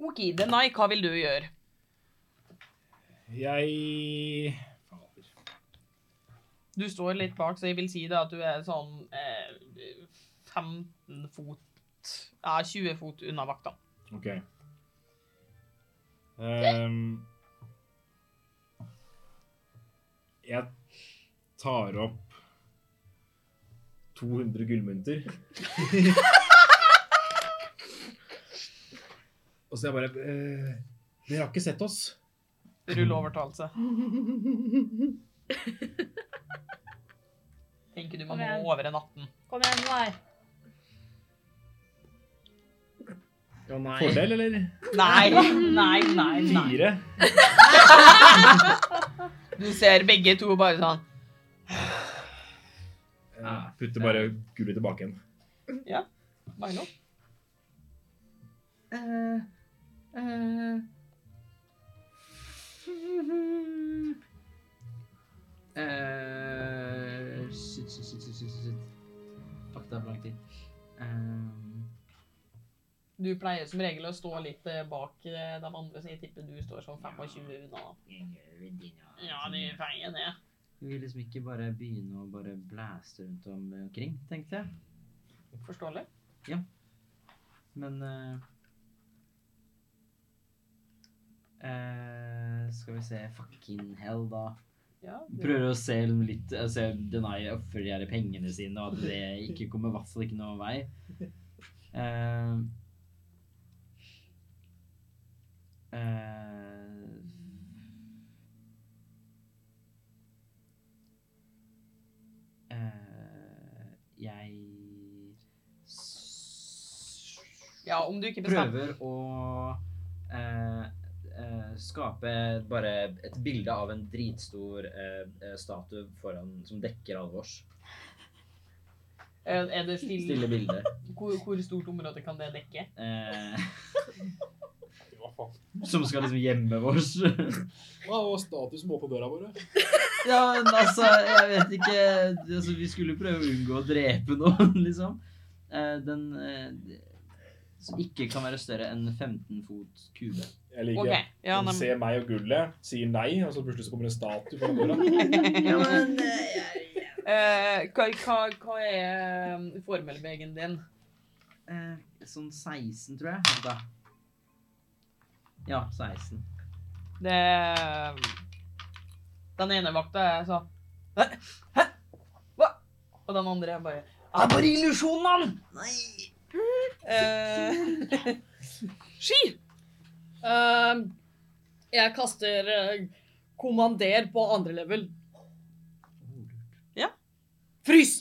OK, Denai, hva vil du gjøre? Jeg Fader. Du står litt bak, så jeg vil si det at du er sånn eh, 15 fot Ja, 20 fot unna vakta. OK. Ehm, jeg tar opp 200 gullmynter. Og så er jeg bare eh, Dere har ikke sett oss? Rull overtalelse. Tenker du man må over en 18. Kom igjen, Noir. Å nei. Fordel, eller? Nei, nei, nei. nei. Fire. Du ser begge to bare sånn Eh, Putter bare gullet tilbake igjen. Milo? Eh, eh. Eh, Shit, shit, shit, shit, shit, shit. Fuck, det er for lang tid. Ehm, Du pleier som regel å stå litt eh, bak eh, de andre, så jeg tipper du står sånn 25 unna. da. Ja, du feier det. Skal vi liksom ikke bare begynne å bare blæste rundt om, eh, omkring, tenkte jeg. Forståelig? Men eh, eh, Skal vi se Fucking hell, da. Ja, det, Prøver å se litt altså, Deny ofrer de her pengene sine, og at det ikke kommer i hvert fall ikke noen vei. Eh, eh, eh, jeg s- ja, om du ikke bestemmer prøver å eh, eh, skape bare et bilde av en dritstor eh, eh, statue foran, som dekker alvors. Eh, Er er det stille? Stille bilde. Hvor, hvor stort område kan det dekke? Eh, Hva faen? som skal liksom gjemme vårs. Hva var statusen på på døra våre? ja, men altså, jeg vet ikke altså, Vi skulle prøve å unngå å drepe noen, liksom. Eh, den eh, som ikke kan være større enn 15 fot kube. Jeg liker OK. okay. Ja, nei, Hun men- ser meg og gullet, sier nei, og så plutselig så kommer en statue foran døra. Ja, men, Eh, hva, hva, hva er eh, formelvegen din? eh, sånn 16, tror jeg. Da. Ja, 16. Det eh, Den ene vakta er sånn Hæ? Hæ? Hva? Og den andre er bare Er bare illusjonen! Nei! Eh, Sky! Ehm, jeg kaster eh, kommander på andre level. Frys!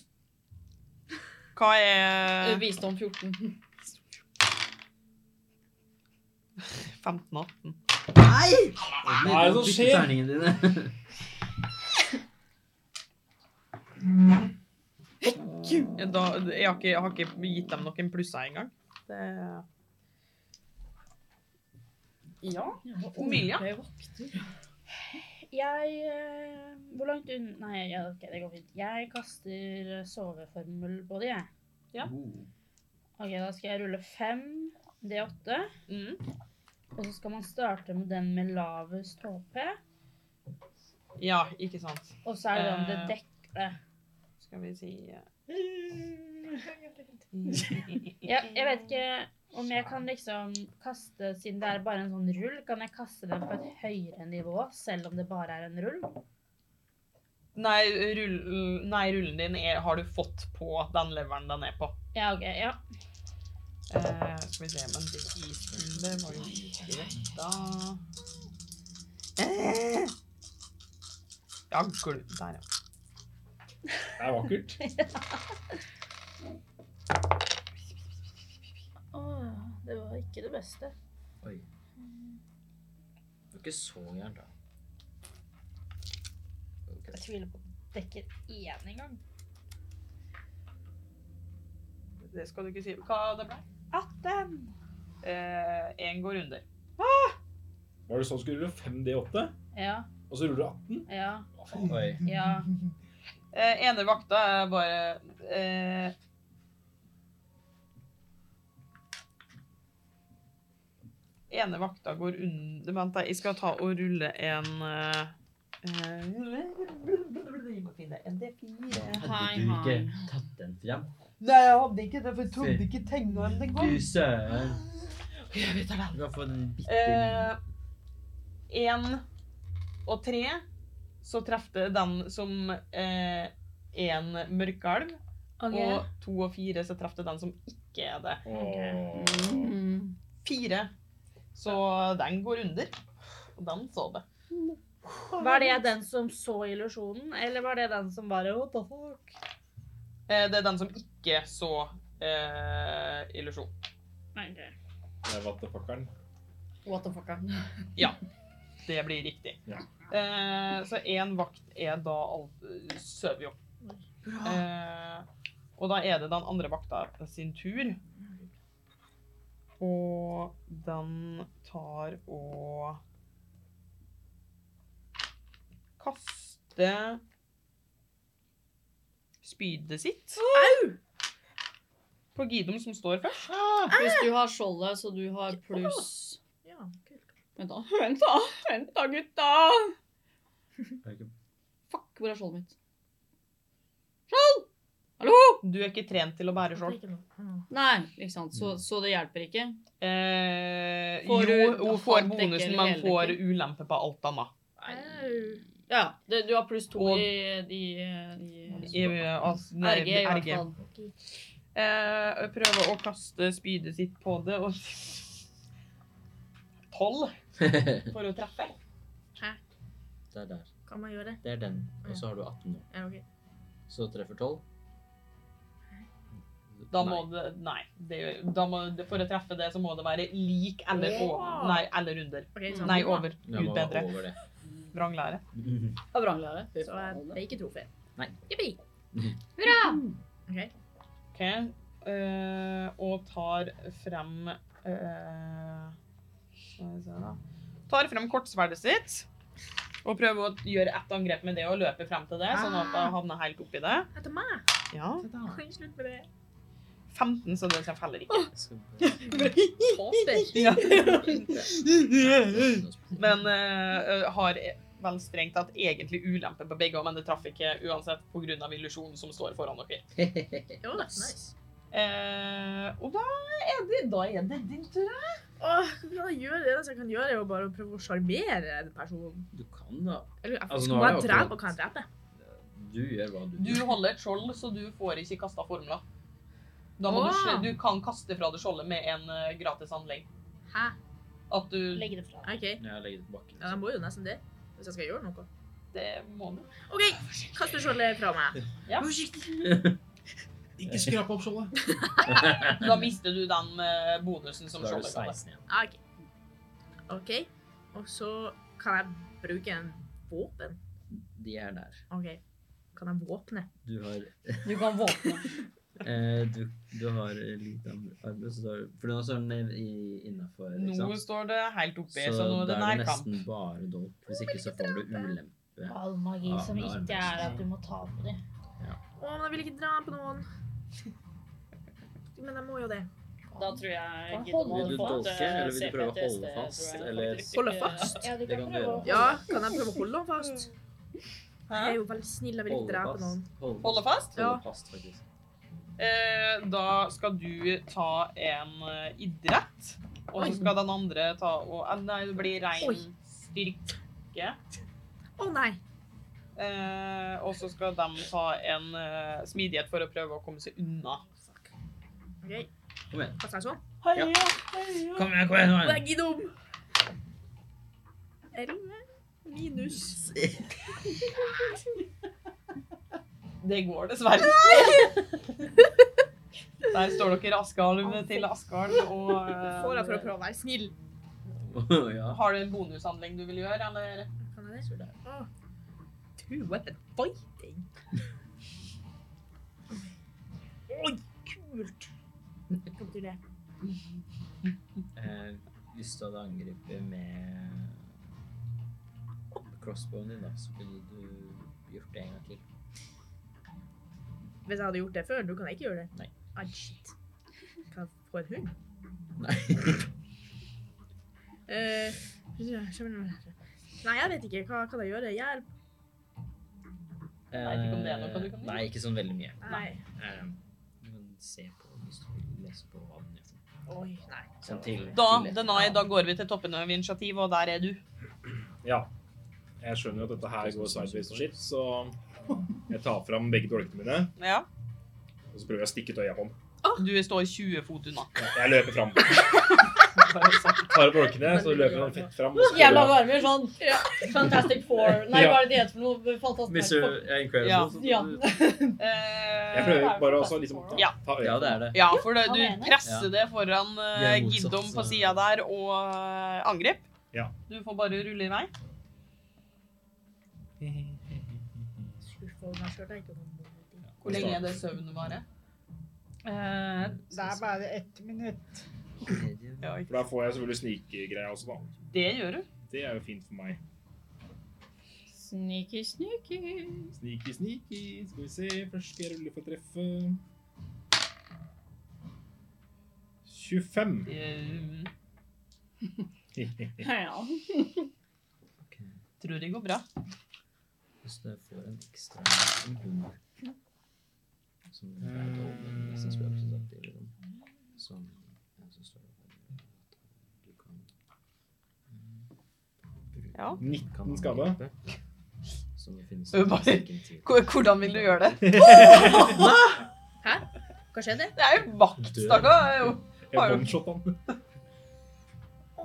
Hva Eh, er Visdom 14. 15-18? Nei! Hva er det som skjer? Terningene dine. Da, jeg, har ikke, jeg har ikke gitt dem noen plusser engang. Det Ja. Emilia? Jeg eh, Hvor langt unna Nei, ja, ok, det går fint. Jeg kaster eh, soveformel på det, jeg. Ja. Oh. Ok, da skal jeg rulle fem D8. Mm. Og så skal man starte med den med lavest HP. Ja, ikke sant. Og så er det om det Eh. dekker det. Skal vi si eh, Jeg, jeg vet ikke om jeg kan liksom kaste Siden det er bare en sånn rull, kan jeg kaste den på et høyere nivå selv om det bare er en rull? Nei, rull, nei rullen din er, har du fått på den leveren den er på. Ja, OK. Ja. Eh, skal vi se, men det isbildet var jo ikke rett da. Eh. Ja, gul, der ja. Det er vakkert. Åh, det var ikke det beste. Oi. Det var ikke så gærent, da. Jeg tviler på at det dekker én engang. Det skal du ikke si. Hva det ble? 18. Eh, en går under. Var det sånn skulle rulle 5D8, Ja, og så ruller du 18? ja, Hva faen? Oi. ja. Eh, ene vakta er bare eh, Ene vakta går under Vent, da. Jeg skal ta og rulle en eh, eh, Jeg må finne en D4. Hei, Hadde du ikke hei. tatt den fram? Nei, jeg hadde ikke det, for jeg trodde ikke tegna en Fy engang. søren. Jeg vet det. Du kan få den bitte Eh, en og tre, så treffer det den som eh, en mørkalv. Og to og fire, så treffer det den som ikke er det. Åh. Fire. Så den går under. Og den så det. Var det den som så illusjonen, eller var det den som bare What the fuck? Eh, Det er den som ikke så eh, illusjon. Det er vattepakkeren. What the fuck? er den? Det blir riktig. Ja. Eh, så én vakt er da alt- sover jo. Eh, og da er det den andre vakta sin tur. Og den tar og kaster spydet sitt. På Gidom som står først. Hvis du har skjoldet, så du har pluss Ja, kult. Vent, da. Vent, da, Vent da, gutta! Ikke Fuck, hvor er skjoldet mitt? Du er ikke trent til å bære skjold. Nei, ikke sant. Så, så det hjelper ikke. Eh, Får jo, du hun får halvdekke bonusen, eller men får heldekke? ulempe på alt annet. Ja, det, du har pluss to Og- i, i, i I, altså, nei, RG, i hvert RG. fall. Eh, prøve å kaste spydet sitt på det og Tolv for å treffe. Det er der. Kan man gjøre det? Det er den. Og så har du 18 nå. Ja, ok. Så treffer 12. Da må det Nei. Det, da må, det- for å treffe det, så må det være lik eller over. Nei, eller under. Ok, sånn. Nei, over. Nei, det Gud må bedre. være over det. Vranglære. Av vranglære. Fy Så er faen. det ikke trofé. Nei. Jippi! Hurra! OK. eh, og tar frem eh, Skal vi se, da. Tar frem kortsverdet sitt. Og prøver å gjøre ett angrep med det og løpe frem til det, sånn at jeg havner helt oppi det. Etter meg! Ja. Ah. Oi, Slutt med det. 15, så det treffer heller ikke. Jeg skal bare- Ja. Men eh, har vel strengt tatt egentlig ulempe på begge, men det traff ikke uansett pga. illusjonen som står foran dere. Jo da, nice. Eh, og da er, det, da er det din tur. Åh, kan jeg gjøre det eneste jeg kan gjøre, er jo bare å prøve å sjarmere den personen. Du kan da. Eller jeg Altså, altså, nå er skal man det akkurat- drepe, og kan jeg drepe? Du gjør hva du Du holder et skjold, så du får ikke kasta formler. Da må du, sl- du kan kaste fra deg skjoldet med en eh, gratis anlegg. Hæ? At du Legg det fra deg. Ok, Ja, legg det tilbake. ja, da må jo nesten det. Hvis jeg skal gjøre noe. Det må du. Ok, kaster skjoldet fra meg. Ikke skrap opp skjoldet. Da mister du den eh, bonusen som Da er du skjoldet ga deg. 16 igjen. Ah, Ok. Ok, og så kan jeg bruke en våpen. De er der. Ok, kan jeg våpne? Du har Du kan våpne. eh, du, du har litt arbeid, så tar du For nå står den innafor, ikke Nå sant? står det helt oppi, så, Så nå er det da er det nærkamp. nesten bare dolk. Hvis ikke så får du ulempe. All magi Ja, som det er ikke best. er at du må ta på det. Å, men jeg vil ikke dra på noen. Men jeg må jo det. Da tror jeg Hva gidder holder man Vil du fått, dolke, eh, eller vil du CP prøve å til holde SD, fast, tror jeg. eller- Holde fast? Ja, du Det kan kan du prøve å gjøre. Ja, kan jeg prøve å holde ham fast? Hæ? Jeg er jo veldig snill, jeg vil ikke dra på noen. Holde fast. Holde fast? Ja. Holde fast, faktisk. Eh, da skal du ta en eh, idrett, og så skal den andre ta og eh, Nei, det blir Oi. rein styrke. Å nei! Eh, og så skal de ta en eh, smidighet for å prøve å komme seg unna. Ok, Kom igjen. hva sa jeg sånn? Heia, Ja. heia. Kom igjen, kom igjen! Å, jeg gidder om! Elleve minus Det går dessverre. Der står dere Askalv til Askalv og eh, Får jeg for å prøve å være snill? kom igjen. ja. Har du en bonushandling du vil gjøre, eller? Kan jeg det? Å. Du, what a fighting! Oi, kult! Kom til det. Eh, hvis du hadde angrepet med crossbowen din, da, så kunne du gjort det en gang til. Hvis jeg hadde gjort det før, nå kan jeg ikke gjøre det. Nei. Ah, shit. Kan jeg få en hund? Nei. Eh, nei, jeg vet ikke. Hva kan jeg gjøre? Hjelp? vet ikke om det er noe du kan gjøre. Nei, ikke sånn veldig mye. Nei. Eh, du kan se på hvis du vil lese på hva den gjør. for noe. Oi, nei. Sånn til, Da, til et- Denai, da går vi til toppen av initiativ, og der er du. Ja. Jeg skjønner jo at dette her går sideways og shit, så jeg tar fram begge dolkene mine, Ja. og så prøver jeg å stikke ut øya på den. Du står 20 fot unna. Jeg løper fram. Tar opp dolkene, så løper han fett fram. og så prøver Jævla jeg- varmer sånn. Fantastic Four. Nei, Ja. hva er det de heter for noe? Fantastic Four. Ja. Incredible. Ja. Eh, Jeg prøver bare å liksom ta, ta øya. Ja, det er det. Ja, for det, han er du enig. presser det foran uh, Vi er motsatt, Giddom på så- sida der og eh, angrep. Ja. Du får bare rulle i vei. Skuffa over meg sjøl. Det er ikke noe modig. Hvor lenge er det søvnen varer? Det er bare ett minutt. Ja, For da får jeg selvfølgelig snikegreia også, da. det gjør du. Det er jo fint for meg. Sneaky, sneaky. Sneaky, sneaky. Skal vi se. Først skal jeg rulle for å treffe. 25. Eh, Ja. tror det går bra. Hvis det får en ekstra en hund som er et omen, nesten spøkelse samtidig, liksom. Som ja, så står det her at du kan mm, bruke- Ja. kan 19 angripe, skade. Som det finnes Øh, bare- teknikken til. Hvor- Hvordan vil du gjøre det? Hva skjedde? Det er jo vakt, stakkar. Har Jeg jo- omshot han.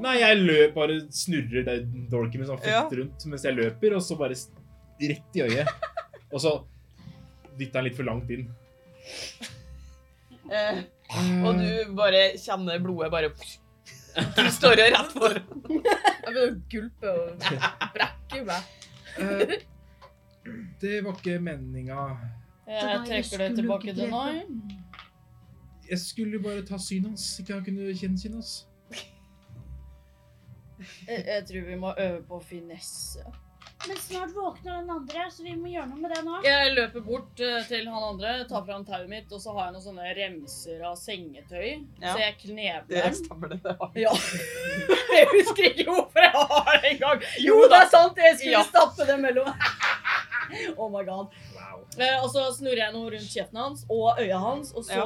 Nei, jeg løp bare snurrer der dolken min sånn fett Ja. rundt mens jeg løper, og så bare s- rett i øyet. Og så dytter han litt for langt inn. Eh, og Mm. du bare kjenner blodet bare Du står jo rett for. Jeg begynner å gulpe og brekke meg. Eh, Det var ikke meninga. Jeg Eh, trekker det tilbake til nå. Jeg skulle bare ta synet hans, ikke han kunne kjenne synet hans. Jeg, jeg tror vi må øve på finesse. Men snart våkner den andre, så vi må gjøre noe med det nå. Jeg løper bort eh, til han andre, tar fram tauet mitt, og så har jeg noen sånne remser av sengetøy. Ja. Så jeg knebler Det den. stemmer, det. det har jeg. Ja. Jeg husker ikke hvorfor jeg har det engang. Jo, det er sant! Jeg skulle Ja. stappe det mellom Oh my god. Eh, og så snurrer jeg noe rundt kjeften hans og øya hans, og så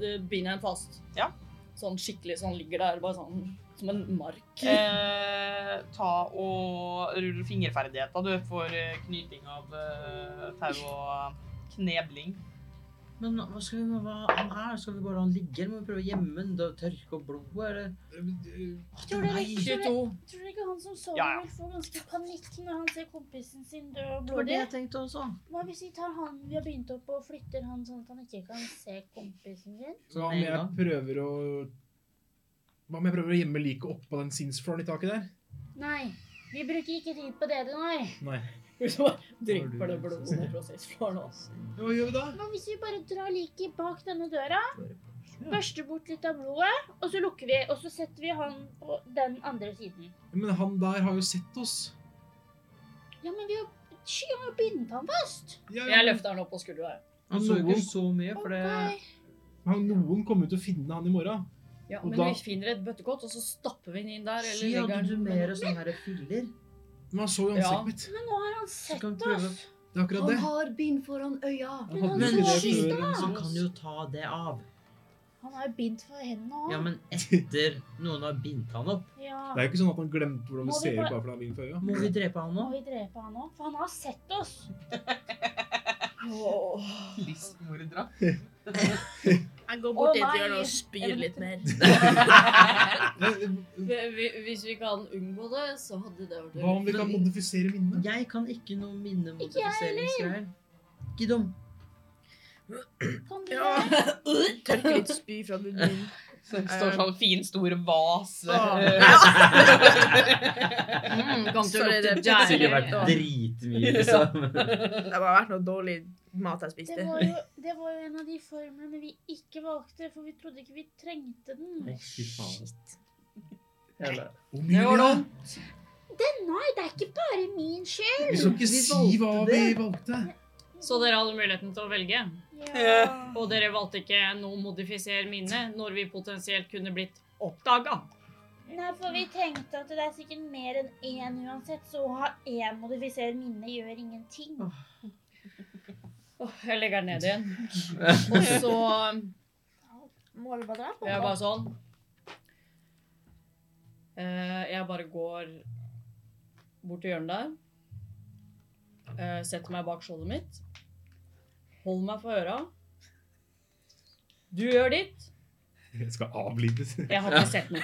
eh, binder jeg den fast. Ja. Sånn skikkelig, så han ligger der bare sånn som en mark. Eh, ta og rull fingerferdigheter, du, for eh, knyting av eh, tau og knebling. Men hva skal vi med hva han er? Skal vi bare la han ligge, eller må vi prøve å gjemme han, da tørke opp blodet, eller? Eh, Tror dere, tror, dere, 22. tror dere han som sover, Ja, ja. vil få ganske panikk når han ser kompisen sin dø Det og var det blodig? jeg tenkte også. Hva hvis vi tar han vi har begynt opp og flytter han sånn at han ikke kan se kompisen sin? Hva om jeg prøver å Hva om jeg prøver å gjemme liket oppå den sinnsflåren i taket der? Nei, vi bruker ikke tid på det, Denar. Nei. Så drypper det blodet ned prosessflaren hans. Hva gjør vi da? Hva hvis vi bare drar liket bak denne døra, børster bort litt av blodet, og så lukker vi, og så setter vi han på den andre siden? Men han der har jo sett oss. Ja, men vi har Sky han har jo bindet han fast! Ja, ja, Jeg men- løfter den opp på skuldra. Han så jo ikke Noen- så mye, for det Ok. han- Noen kommer jo til å finne han i morgen. Ja, Og men da- vi finner et bøttekott, og så stapper vi den inn der. Sky, Eller hadde legger du den mer sånne her filler? Men han så jo ansiktet Ja. mitt. Men nå har han Så sett kan vi prøve oss! Det er akkurat det. har bind foran øya. hadde Men han jo Men ikke det så oss! før. han kan jo ta det av. Han er jo bindt for hendene òg. Ja, men etter noen har bindt han opp, Ja. Det er jo ikke sånn at han glemte hvordan vi Må vi ser ut bare- bare fordi han vinner for øya. må vi drepe han Må nå? vi drepe han òg? For han har sett oss. Livsmordere. Jeg går bort Å, i et nei. hjørne og spyr litt mer. Hvis vi kan unngå det, så hadde det vært Hva om vi kan Men- modifisere minnet? Jeg kan ikke noe minnemodifiseringsgreier. Gidom. Kan du Ja. det? Tørker litt spy fra munnen min. Så det står sånn fin, stor vase. eh, Mm, gang til å Sorry, lukte det- jævlig. Sikkert vært Ja. dritmye, liksom. Det har bare vært noe dårlig mat jeg Det spiste. var, jo, det var jo en av de formlene vi ikke valgte, for vi trodde ikke vi trengte den. Nei, fy faen. Det var dumt. Nei, det er ikke bare min skyld! Vi skal ikke si hva vi valgte. Så dere hadde muligheten til å velge. Ja. Og dere valgte ikke noe modifiser minne når vi potensielt kunne blitt oppdaga. Nei, for vi tenkte at det er sikkert mer enn én uansett, så å ha én modifisert minne gjør ingenting. Åh, Jeg legger den ned igjen. Og så Må vi bare dra på? er jeg bare sånn Eh, Jeg bare går bort til hjørnet der. eh, setter meg bak skjoldet mitt. Hold meg for øra. Du gjør ditt. Jeg skal avlides. Jeg har ikke sett noe.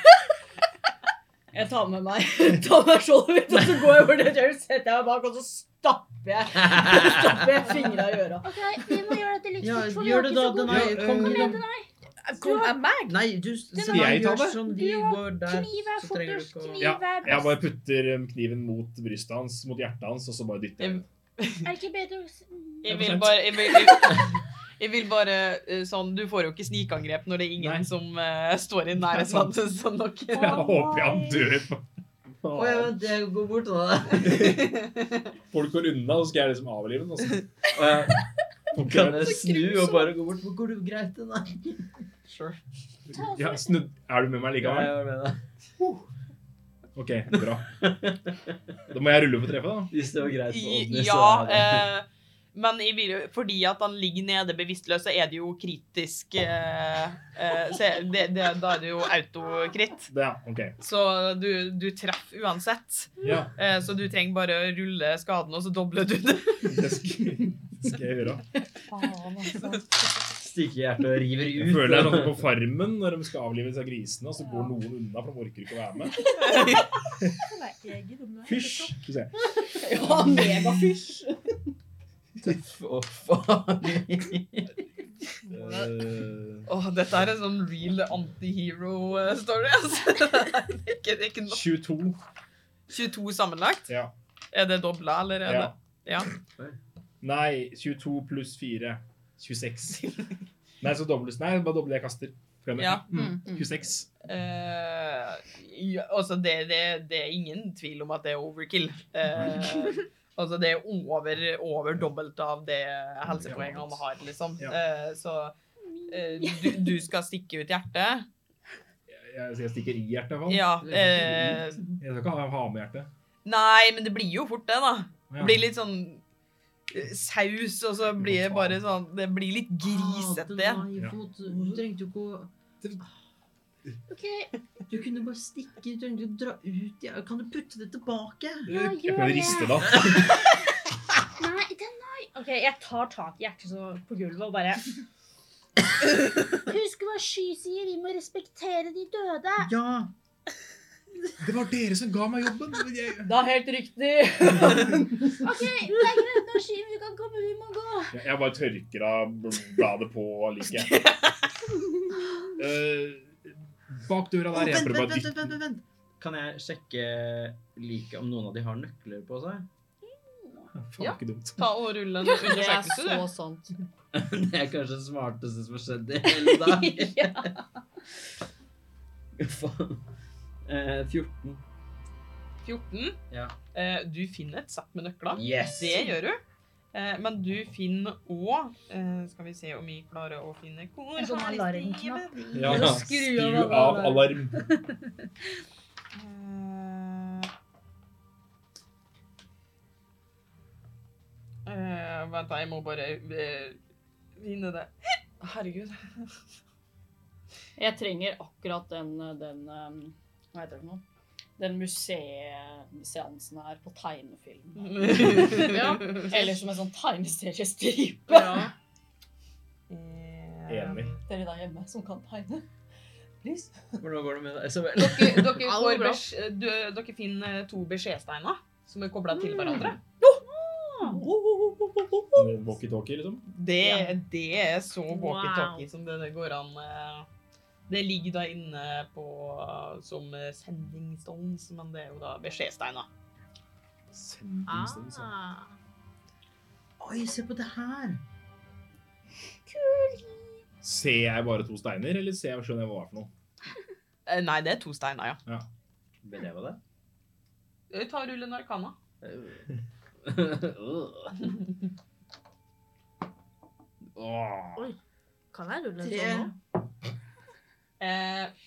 Jeg tar med meg tar med meg skjoldet mitt, og så går jeg bort til James, setter jeg meg bak, og så stapper jeg, stapper jeg fingra i øra. OK, vi må gjøre dette litt Ja, fort, for vi gjør har det ikke da, så god Denai. Ja, Kom, eh, Kom igjen, Gidom. Denai. Kom, er meg? Nei, du så Skal jeg gjør ta det? sånn, vi Du har går der, Kniv er så trenger du fortest, ikke å kniv Ja, er Jeg best. bare putter um, kniven mot brystet hans, mot hjertet hans, og så bare dytter jeg. den. Er det ikke bedre å s- Jeg vil bare jeg vil, jeg, jeg vil bare eh, sånn Du får jo ikke snikangrep når det er ingen Nei. som eh, står i nærheten sånn, sånn dere. Jeg håper han dør. Å ja, Faen. det går bort da. Folk går unna, så skal jeg liksom avlive den. og så- Å ja. Folk Kan er- jeg snu og bare gå bort? Hvor går du greit til, da? Sure. Ja, snudd. Er du med meg Ja, likevel? jeg var med, da. OK, bra. Da må jeg rulle for å treffe, da. Hvis det var greit for I, Odny, så ja, er det eh, men i, vir- fordi at han ligger nede bevisstløs, så er det jo kritisk eh, eh, så er det, det, Da er det jo autokritt. Det, ja, ok. Så du, du treffer uansett. Ja, Eh, så du trenger bare å rulle skaden, og så dobler du det. det skal, det skal jeg gjøre. stikker i hjertet og river ut. Jeg føler det er sånn på farmen når de skal avlive disse grisene, og så går noen unna, for de orker ikke å være med. Hysj! Skal vi se. Ja, megafysj! Tøff og farlig. Eh, Åh, dette er en sånn real antihero-story. Altså. Det er ikke, det er ikke nok. 22. 22 sammenlagt? Eh, Ja. Er det dobla, eller er ja. det Ja. Nei, 22 pluss 4. 26. Nei, så dobles Nei, bare doble det jeg kaster. Glemmer. Ja. Mm. 26. Eh, ja, altså, det, det, det er ingen tvil om at det er overkill. Eh, altså, det er over, over dobbelt av det helsepoenget han har, liksom. Ja. Eh, så eh, du, du skal stikke ut hjertet. Jeg, jeg, jeg stikker i hjertet, i hvert fall. Ja. eh, Jeg skal ikke ha, ha med hjertet. nei, men det blir jo fort det, da. Ja. blir litt sånn eh, saus, og så blir det bare sånn Det blir litt grisete. Ah, det var jo fot. Du trengte jo ikke å OK, Du kunne bare stikke. Du trengte ikke å dra ut. Ja, kan du putte det tilbake? ja, Jeg gjør kan det. riste da. Nei, den, Ok, jeg tar tak i hjertet så på gulvet og bare husk hva Sky sier, vi må respektere de døde. Ja. Det var dere som ga meg jobben! men Jeg, Det er helt riktig. OK, det er greit, nå, Sky, vi kan komme, vi må gå. jeg, jeg bare tørker av bl- bladet på liket. Eh, bak døra Å, der. Jeg vent, prøver vent, bare å vent, vent, dytte vent, vent. Kan jeg sjekke like om noen av de har nøkler på seg? Faen, ikke dumt. Ta og rulle en Det er undersøkelse, du. så sant. Det er kanskje det smarteste som har skjedd i hele dag. ja. Faen. Eh, 14. 14. Ja. Eh, du finner et sett med nøkler. Yes! Det gjør du. Eh, men du finner òg eh, Skal vi se om vi klarer å finne hvor En sånn har de alarmknapp. stivet? Ja, Ja, skru av alarm. Eh, eh, vent, da, jeg må bare eh, finne det. Herregud. Jeg trenger akkurat den, den um, Hva heter det for noe? Den museeseansen her på tegnefilm. Mm. ja. Eller som en sånn tegneseriestripe. Ja. Eh, Enig. Dere der hjemme som kan tegne. Please. Hvordan går det med deg, Isabel? Dere, dere, Ja, det var får bra. beskj- du, dere finner to beskjedsteiner som er kobla Mm. til hverandre. Walkietalkie, liksom. Det, det er så walkietalkie Wow. som det går an eh, Det ligger da inne på eh, som eh, sending stones, men det er jo da beskjedsteiner. Sendingsdans, ja. Ah. Oi, se på det her! Ser jeg bare to steiner, eller ser jeg, skjønner jeg hva det er for noe? Eh, Nei, det er to steiner, ja. Vet jeg hva det Eh, Ta og rull en arkana. er? Åh. Kan jeg rulle Tre. sånn nå? Eh,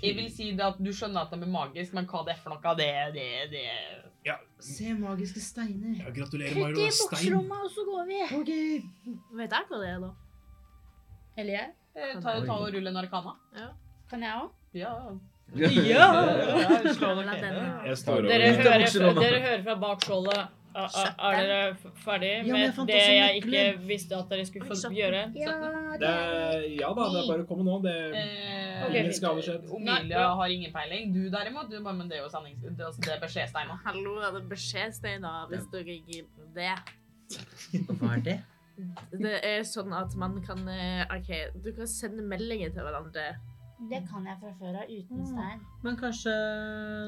jeg vil si det at du skjønner at de er magiske, men hva det er for noe, det, det, det Se magiske steiner. Ja, gratulerer, Putt Mairo. i det er Stein. bukserommet, og så går vi. Ok. Vet jeg hva det er, da? Eller jeg? eh, ta, ta og rull en arkana. Kan jeg òg? Ja. Slå meg den. Jeg står Dere hører, over. Ut av fra, bukselomma. dere hører fra bak skjoldet. Er, er dere f- ferdig Ja, men jeg med fant det også jeg ikke nøkler. visste at dere skulle Oi, få satt den. gjøre? Ja, Det det er, ja da, det er bare å komme nå. Det er Eh, Ok, ingen fint. skade skjedd. Nei, Omelia bra. har ingen peiling. Du derimot, du bare, men det er jo sendings... Det er- altså- det er beskjedsteiner. Hallo, er det beskjedsteiner hvis dere gir det? Hva er det? Det er sånn at man kan eh, OK, du kan sende meldinger til hverandre. Det kan jeg fra før av Mm. uten stein. Men kanskje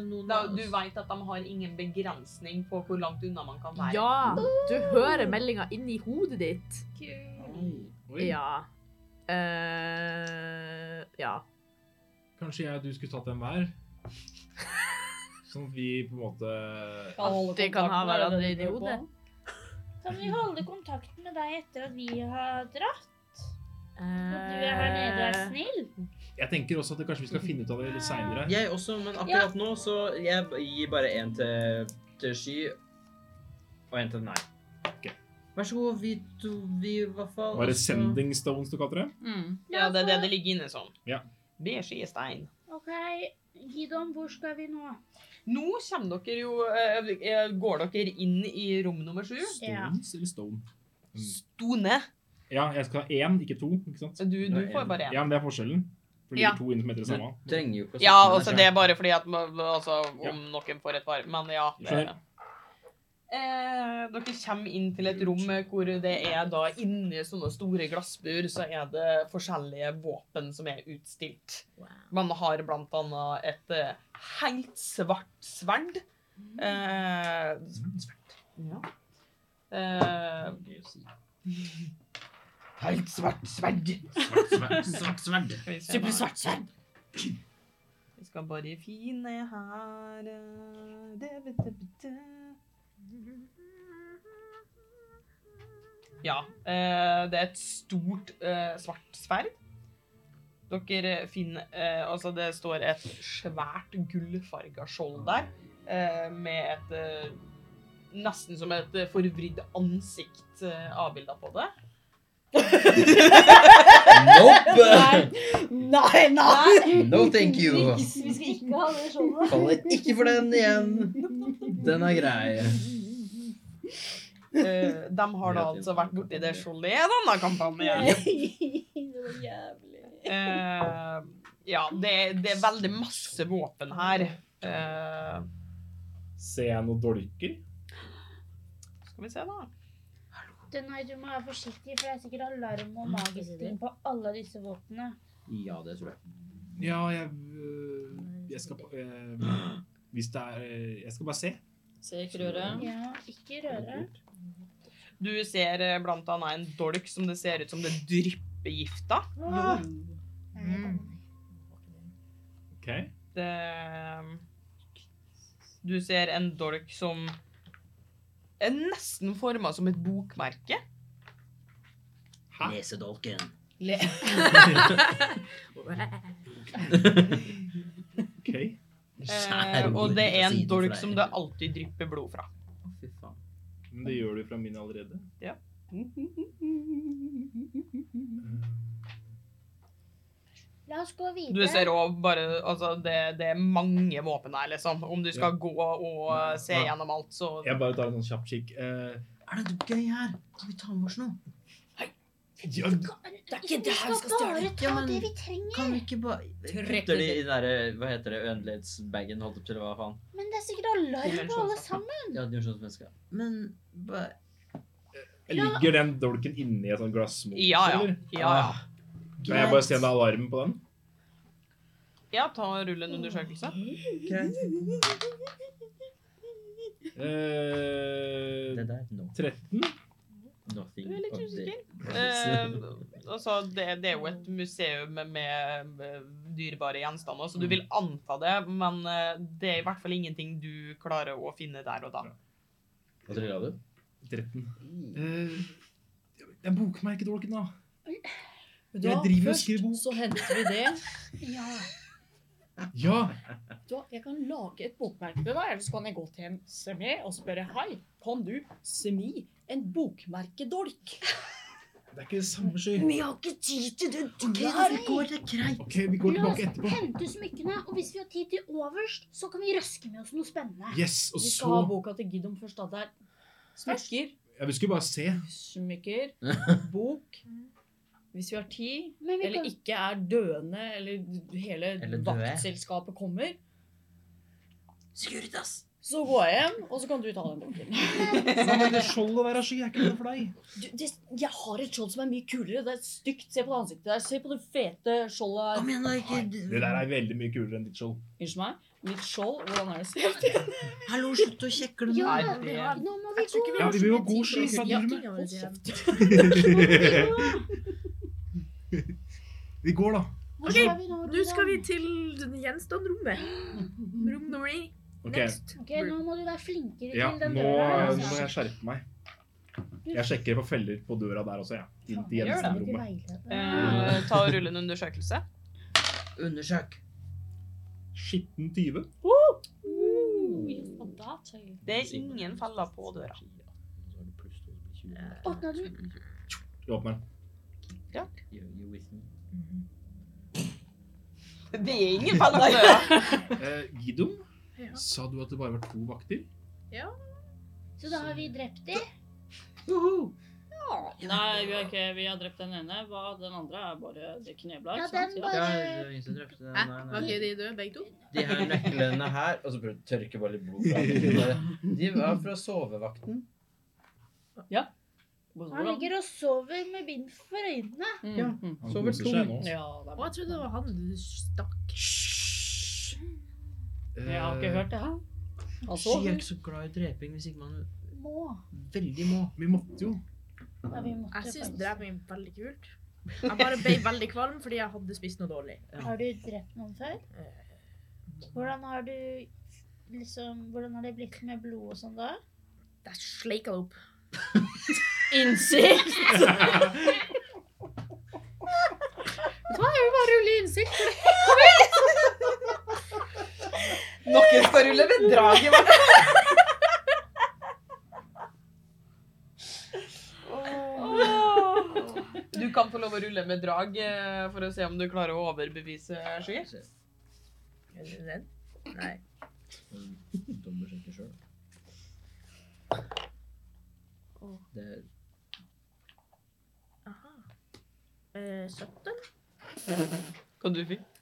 noen Da, du vet at de har ingen begrensning på hvor langt unna man kan være. Ja! Du hører meldinga inni hodet ditt. Oi, Ja. eh ja. Kanskje jeg og du skulle tatt en hver? Sånn at vi på en måte Alltid kan ha hverandre inni hodet. Kan vi holde kontakten med deg etter at vi har dratt? Eh, Eh. At du er her nede og er snill? Jeg tenker også at det, kanskje vi skal finne ut av det litt seinere. Jeg også, men akkurat nå så jeg b- gir bare en til, til Sky og en til nei. Ok. Vær så god, vi to, vi i hvert fall. altså- Var det og så- sending stones du kalte det? Ja, det er det det ligger inne som. Ja. Beige i stein. OK, Gidon, hvor skal vi nå? Nå kommer dere jo eh, eh, Går dere inn i rom nummer sju? Stones eller stone? Mm. Stone. Ja, jeg skal ha én, ikke to. ikke sant? Du, du Nei, får bare én. Ja, men det er forskjellen. For det Ja. ligger to inne som heter det samme. Du trenger jo ikke å Ja, snakke med altså deg det selv. er bare fordi at man- altså, Ja. om noen får et par Men ja. Det, Skjønner. eh, dere kommer inn til et rom hvor det er da inni sånne store glassbur så er det forskjellige våpen som er utstilt. Man har blant annet et eh, helt svart sverd. Eh, sverd. Ja. Eh, helt svart sverd. Svart Skal sverd. vi se Super hva- svart sverd. vi skal bare finne her eh, det, det, det, det. Ja, eh, det er et stort eh, svart sverd. Dere finner eh, Altså, det står et svært gullfarga skjold der, eh, med et eh, Nesten som et eh, forvridd ansikt eh, avbilda på det. Nope! Nei, No thank you. Niks, vi skal ikke ha det sånn, showet. Faller ikke for den igjen. Den er grei. Eh, de har da Ja, det- altså vært borti det skjoldet i en annen kampanje. det var jævlig. Eh, ja, det, det er veldig masse våpen her. Eh, Ser jeg noen dolker? skal vi se, da. Du, nei, du må være forsiktig, for det er sikkert alarm og magisk ting på alle disse våpnene. Ja, det tror jeg. Ja, jeg øh, Jeg skal øh, Hvis det er øh, Jeg skal bare se. Se ikke røret. Ja, ikke røre. Du ser eh, blant annet en dolk som det ser ut som det drypper gift av. Ah. OK. Det- Du ser en dolk som er nesten forma som et bokmerke. Hæ? Lesedolken. ok. Eh, og det er en dolk som det alltid drypper blod fra. Fy faen. Men det gjør du fra min allerede. Øh, La oss gå Du videre. ser òg bare Altså, det, det er mange våpen her, liksom. Om du skal gå og eh, se Nei. gjennom alt, så Jeg bare tar en sånn kjapp kikk. Eh, Er det noe gøy her? Skal vi ta med oss noe? ja, det er ikke det her vi skal stjele. Vi Ja, skal bare ta men- det vi trenger. Kan vi ikke bare Putter de i den derre Hva heter det? Ødelighetsbagen, holdt jeg på å si. Hva faen? Men det er sikkert alarm på alle sammen. Ja, sånn dimensjonsmenneske. Men bare ligger den dolken inni et sånt glassmål? Ja, ja. ja, ja. Kan jeg bare se en alarm på den? Ja, ta og rull en undersøkelse. Greit. Øh, Eh, Det der no, 13? nothing Du er litt of the- Ehm. Eh, altså, det, det er jo et museum med, med dyrebare gjenstander, så du vil anta det, men eh, det er i hvert fall ingenting du klarer å finne der og da. Hva trylla du? 13. Eh, det er bokmerkedolken, da. Da, Jeg driver og først skriver bok. så henter vi det. Ja. Ja! Da, jeg kan lage et bokmerke til deg, eller så kan jeg gå til en smed og spørre hei, kan du smi en bokmerkedolk? Det er ikke det samme sky. har ikke tid til det det greit. OK, vi går La oss tilbake etterpå. hente smykkene, og hvis vi har tid til overst, så kan vi røske med oss noe spennende. Yes, og Vi så skal ha boka til Gidom først, da. Der. Smykker, ja, Vi skulle bare se. smykker, bok. Hvis vi har tid, Men vi eller kan... ikke er døende, eller hele Eller døde. vaktselskapet kommer, Securitas. så går jeg hjem, og så kan du ta den boken. Det skjoldet der av sky er ikke noe for deg. Du, det, jeg har et skjold som er mye kulere. Det er stygt. Se på det ansiktet der. Se på det fete skjoldet. Kom igjen, da. Ikke Det der er veldig mye kulere enn ditt skjold. Unnskyld meg. Mitt skjold, hvordan er det stelt? Hallo, slutt å kjekle nå. Ja, Nei, det- nå må vi gå. Ja, vi vil jo ha god sky. hva driver du med? Hold kjeft. Vi går, da. Hvor Ok, skal vi nå? Nå skal vi Roland? til gjenstandrommet. Rom nummer ni. Ok, Next. Ok, nå må du være flinkere ja, til den Nå døra. eh, altså. må jeg skjerpe meg. Jeg sjekker for feller på døra der også, jeg. Ja. Inn til Gjør det. gjenstandsrommet. Eh, ta og rull en undersøkelse. Undersøk. Skitten 20. Og da tør jeg. Det er ingen feller på døra. Åpna den. Du åpner den. You, you with me? Det er ingen feller på døra. Eh, Gidom, Ja. sa du at det bare var to vakter? Så da har vi drept de. Nei, vi har, ikke, vi har drept den ene. Hva- Den andre er bare det knebla. Ja, ikke sant? den Ja. Ja, bare det var ingen som drepte den. Hæ? Nei, Var nei. ikke de døde, begge to? De her nøklene her Og så prøv å tørke bare litt blod fra dem. De var fra sovevakten. Han ligger og sover med bind for øynene. Mm, Ja. mm. Han Sover koser seg tungt. nå. Ja, Å, det er bra. jeg trodde det var han du stakk. Jeg har ikke Eh, hørt det her. Altså, Han Sky er sover. ikke så glad i dreping hvis ikke man Må. veldig må. Vi måtte jo. Ja, vi måtte Jeg syns faktisk- dreping er veldig kult. Jeg bare ble veldig kvalm fordi jeg hadde spist noe dårlig. Har du drept noen før? Hvordan har du liksom Hvordan har det blitt med blod og sånn da? Jeg sleika det opp. Innsikt! Vet du hva, jeg vil bare rulle innsikt. Noen skal rulle ved draget, i hvert fall. Du kan få lov å rulle med drag eh, for å se om du klarer å overbevise Sky. Er du redd? Nei. Dobbeltsjekke sjøl. Det er Aha. Eh, 17? Hva du fikk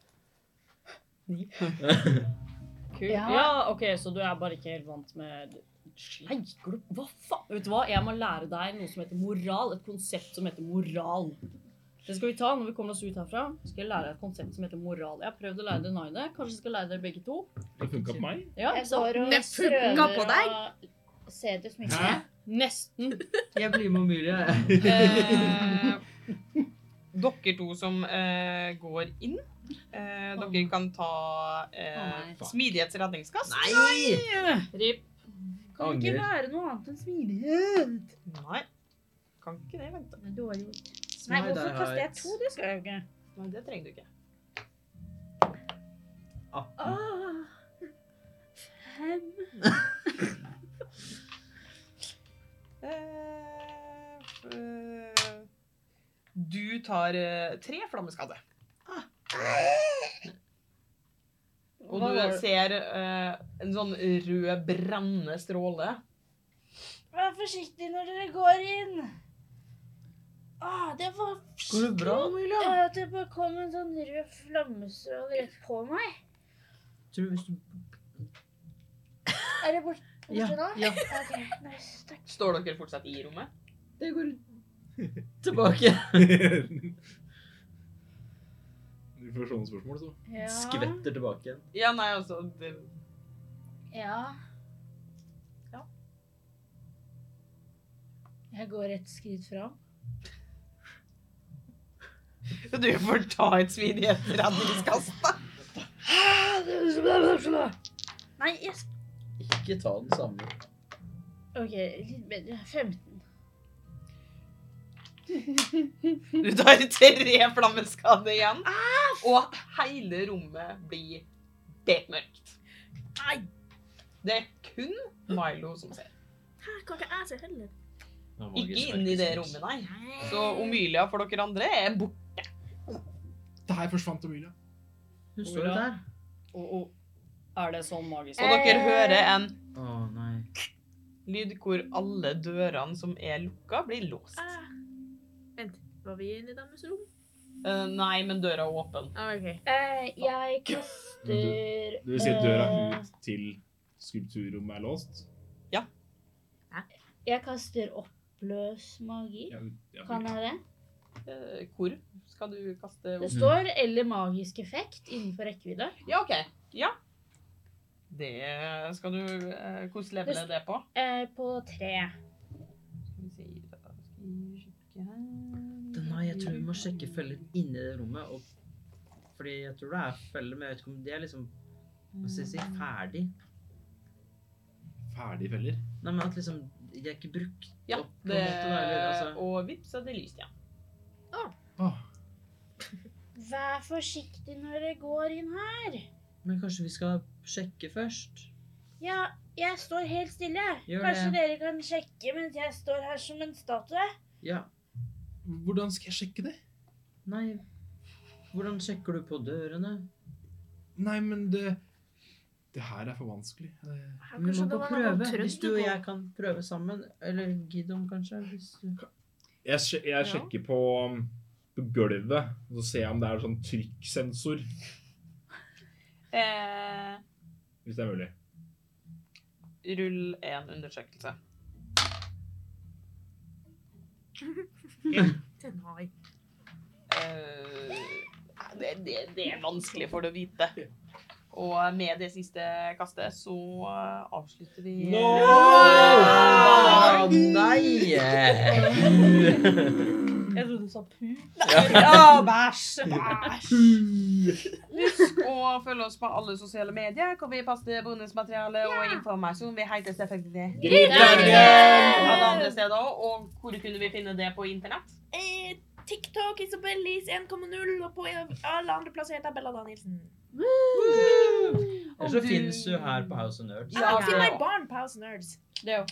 Kult. Ja. OK, så du er bare ikke helt vant med Sleikglupp? Hva faen? Vet du hva, jeg må lære deg noe som heter moral. Et konsept som heter moral. Det skal vi ta når vi kommer oss ut herfra. Skal jeg lære deg et konsept som heter moral. Jeg har prøvd å lære det Naine. Kanskje jeg skal lære det begge to. Det funka på meg. Ja, Jeg så- går og Det funka prøver på å se det Hæ? smykket. Nesten. Jeg blir med Amelia, jeg. Eh, dere to som eh, går inn, eh, dere kan ta eh, Å, nei. smidighets redningskast. Nei! Rip. Kan det Angrer. ikke være noe annet enn smidighet. Nei. Kan ikke det vente. Dårlig gjort. Nei, Nei, hvorfor der har kaster jeg jeg to? Det skal jeg jo ikke. Nei, det trenger du ikke. Ah. 18. Ah. Eh, f- eh, du tar eh, tre flammeskade. Og Hva var du det? ser eh, en sånn rød brennende stråle. Vær forsiktig når dere går inn. Ah, det var Går det bra, Amelia? Ja, det bare kom en sånn rød flammestråle rett på meg. Tror du hvis du Er det bort, borte Ja, nå? ja. Ok, nice, takk. Står dere fortsatt i rommet? Det går tilbake. Du får sånne spørsmål, så. Ja. Skvetter tilbake igjen. Ja, nei, altså det, Ja. Ja. Jeg går et skritt fram. Du får ta et smidighetsredningskast, da. Nei, jeg sk- Ikke ta den samme. OK, litt bedre. 15. Du tar tre flammeskade igjen, og hele rommet blir bekmørkt. Nei. Det er kun Milo som ser. Her kan ikke jeg se heller. Ikke inn i det rommet, nei. Så Omelia for dere andre er borte. Der forsvant Amelia. Hun står jo der. Og, og er det sånn magisk? Og dere hører en Å nei. lyd hvor alle dørene som er lukka, blir låst. Ah. Eh, Vent, var vi inne i deres rom? Eh, nei, men døra er åpen. Ah, ok. Eh, jeg kaster Det vil si at døra eh, ut til skulpturrommet er låst. Jeg kaster oppløs magi. Ja, ut- ja, Kan jeg det? Eh, hvor skal du kaste Mm. Det står 'eller magisk effekt' innenfor rekkevidde. Ja, OK. Ja. Det skal du eh, Hvordan level er det på? Eh, på tre. Skal vi se da skal vi sjekke her. Nei, jeg tror vi må sjekke feller inni det rommet. Og fordi jeg tror det er feller, men jeg vet ikke om de er liksom Mm. hva skal jeg si, ferdig. Ferdig feller. Nei, men at liksom de er ikke brukt Ja, opp. på det, en altså. måte, da, eller, altså. og vips er det lyst igjen. Åh, Vær forsiktig når dere går inn her. Men kanskje vi skal sjekke først? Ja, jeg står helt stille. Gjør Kanskje det. dere kan sjekke mens jeg står her som en statue? Ja. Hvordan skal jeg sjekke det? Nei Hvordan sjekker du på dørene? Nei, men det Det her er for vanskelig. Ja, Eh, Vi må kanskje det bare var noe prøve. Hvis trøst du og på- jeg kan prøve sammen. Eller Gidon, kanskje. Hvis du... Jeg, sje- jeg sjekker på, um, på gulvet, og så ser jeg om det er sånn trykksensor, Eh, hvis det er mulig. rull en undersøkelse. Den har jeg. Eh, det, det, det er vanskelig for det å vite. Og med det siste kastet så eh, avslutter vi Å, nei! Jeg trodde du sa pu. Ja, bæsj, bæsj. Husk å følge oss på alle sosiale medier. Hvor vi poster bonusmateriale og informasjon. Vi heter selvfølgelig Alle andre steder også. Og hvor kunne vi finne det på internett? Eh, TikTok Isabellis 1,0, og på alle andre plasser heter jeg Bella Danielsen. Eller så finnes du her på House of Nerds. Ja, Ah, Finn det meg også. barn på House of Nerds. Det òg.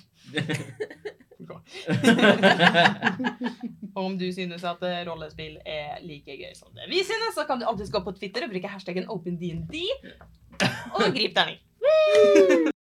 Og om du synes at eh, rollespill er like gøy som det vi synes, så kan du alltid gå på Twitter og bruke hashtaggen OpenDND og grip terning. Woo!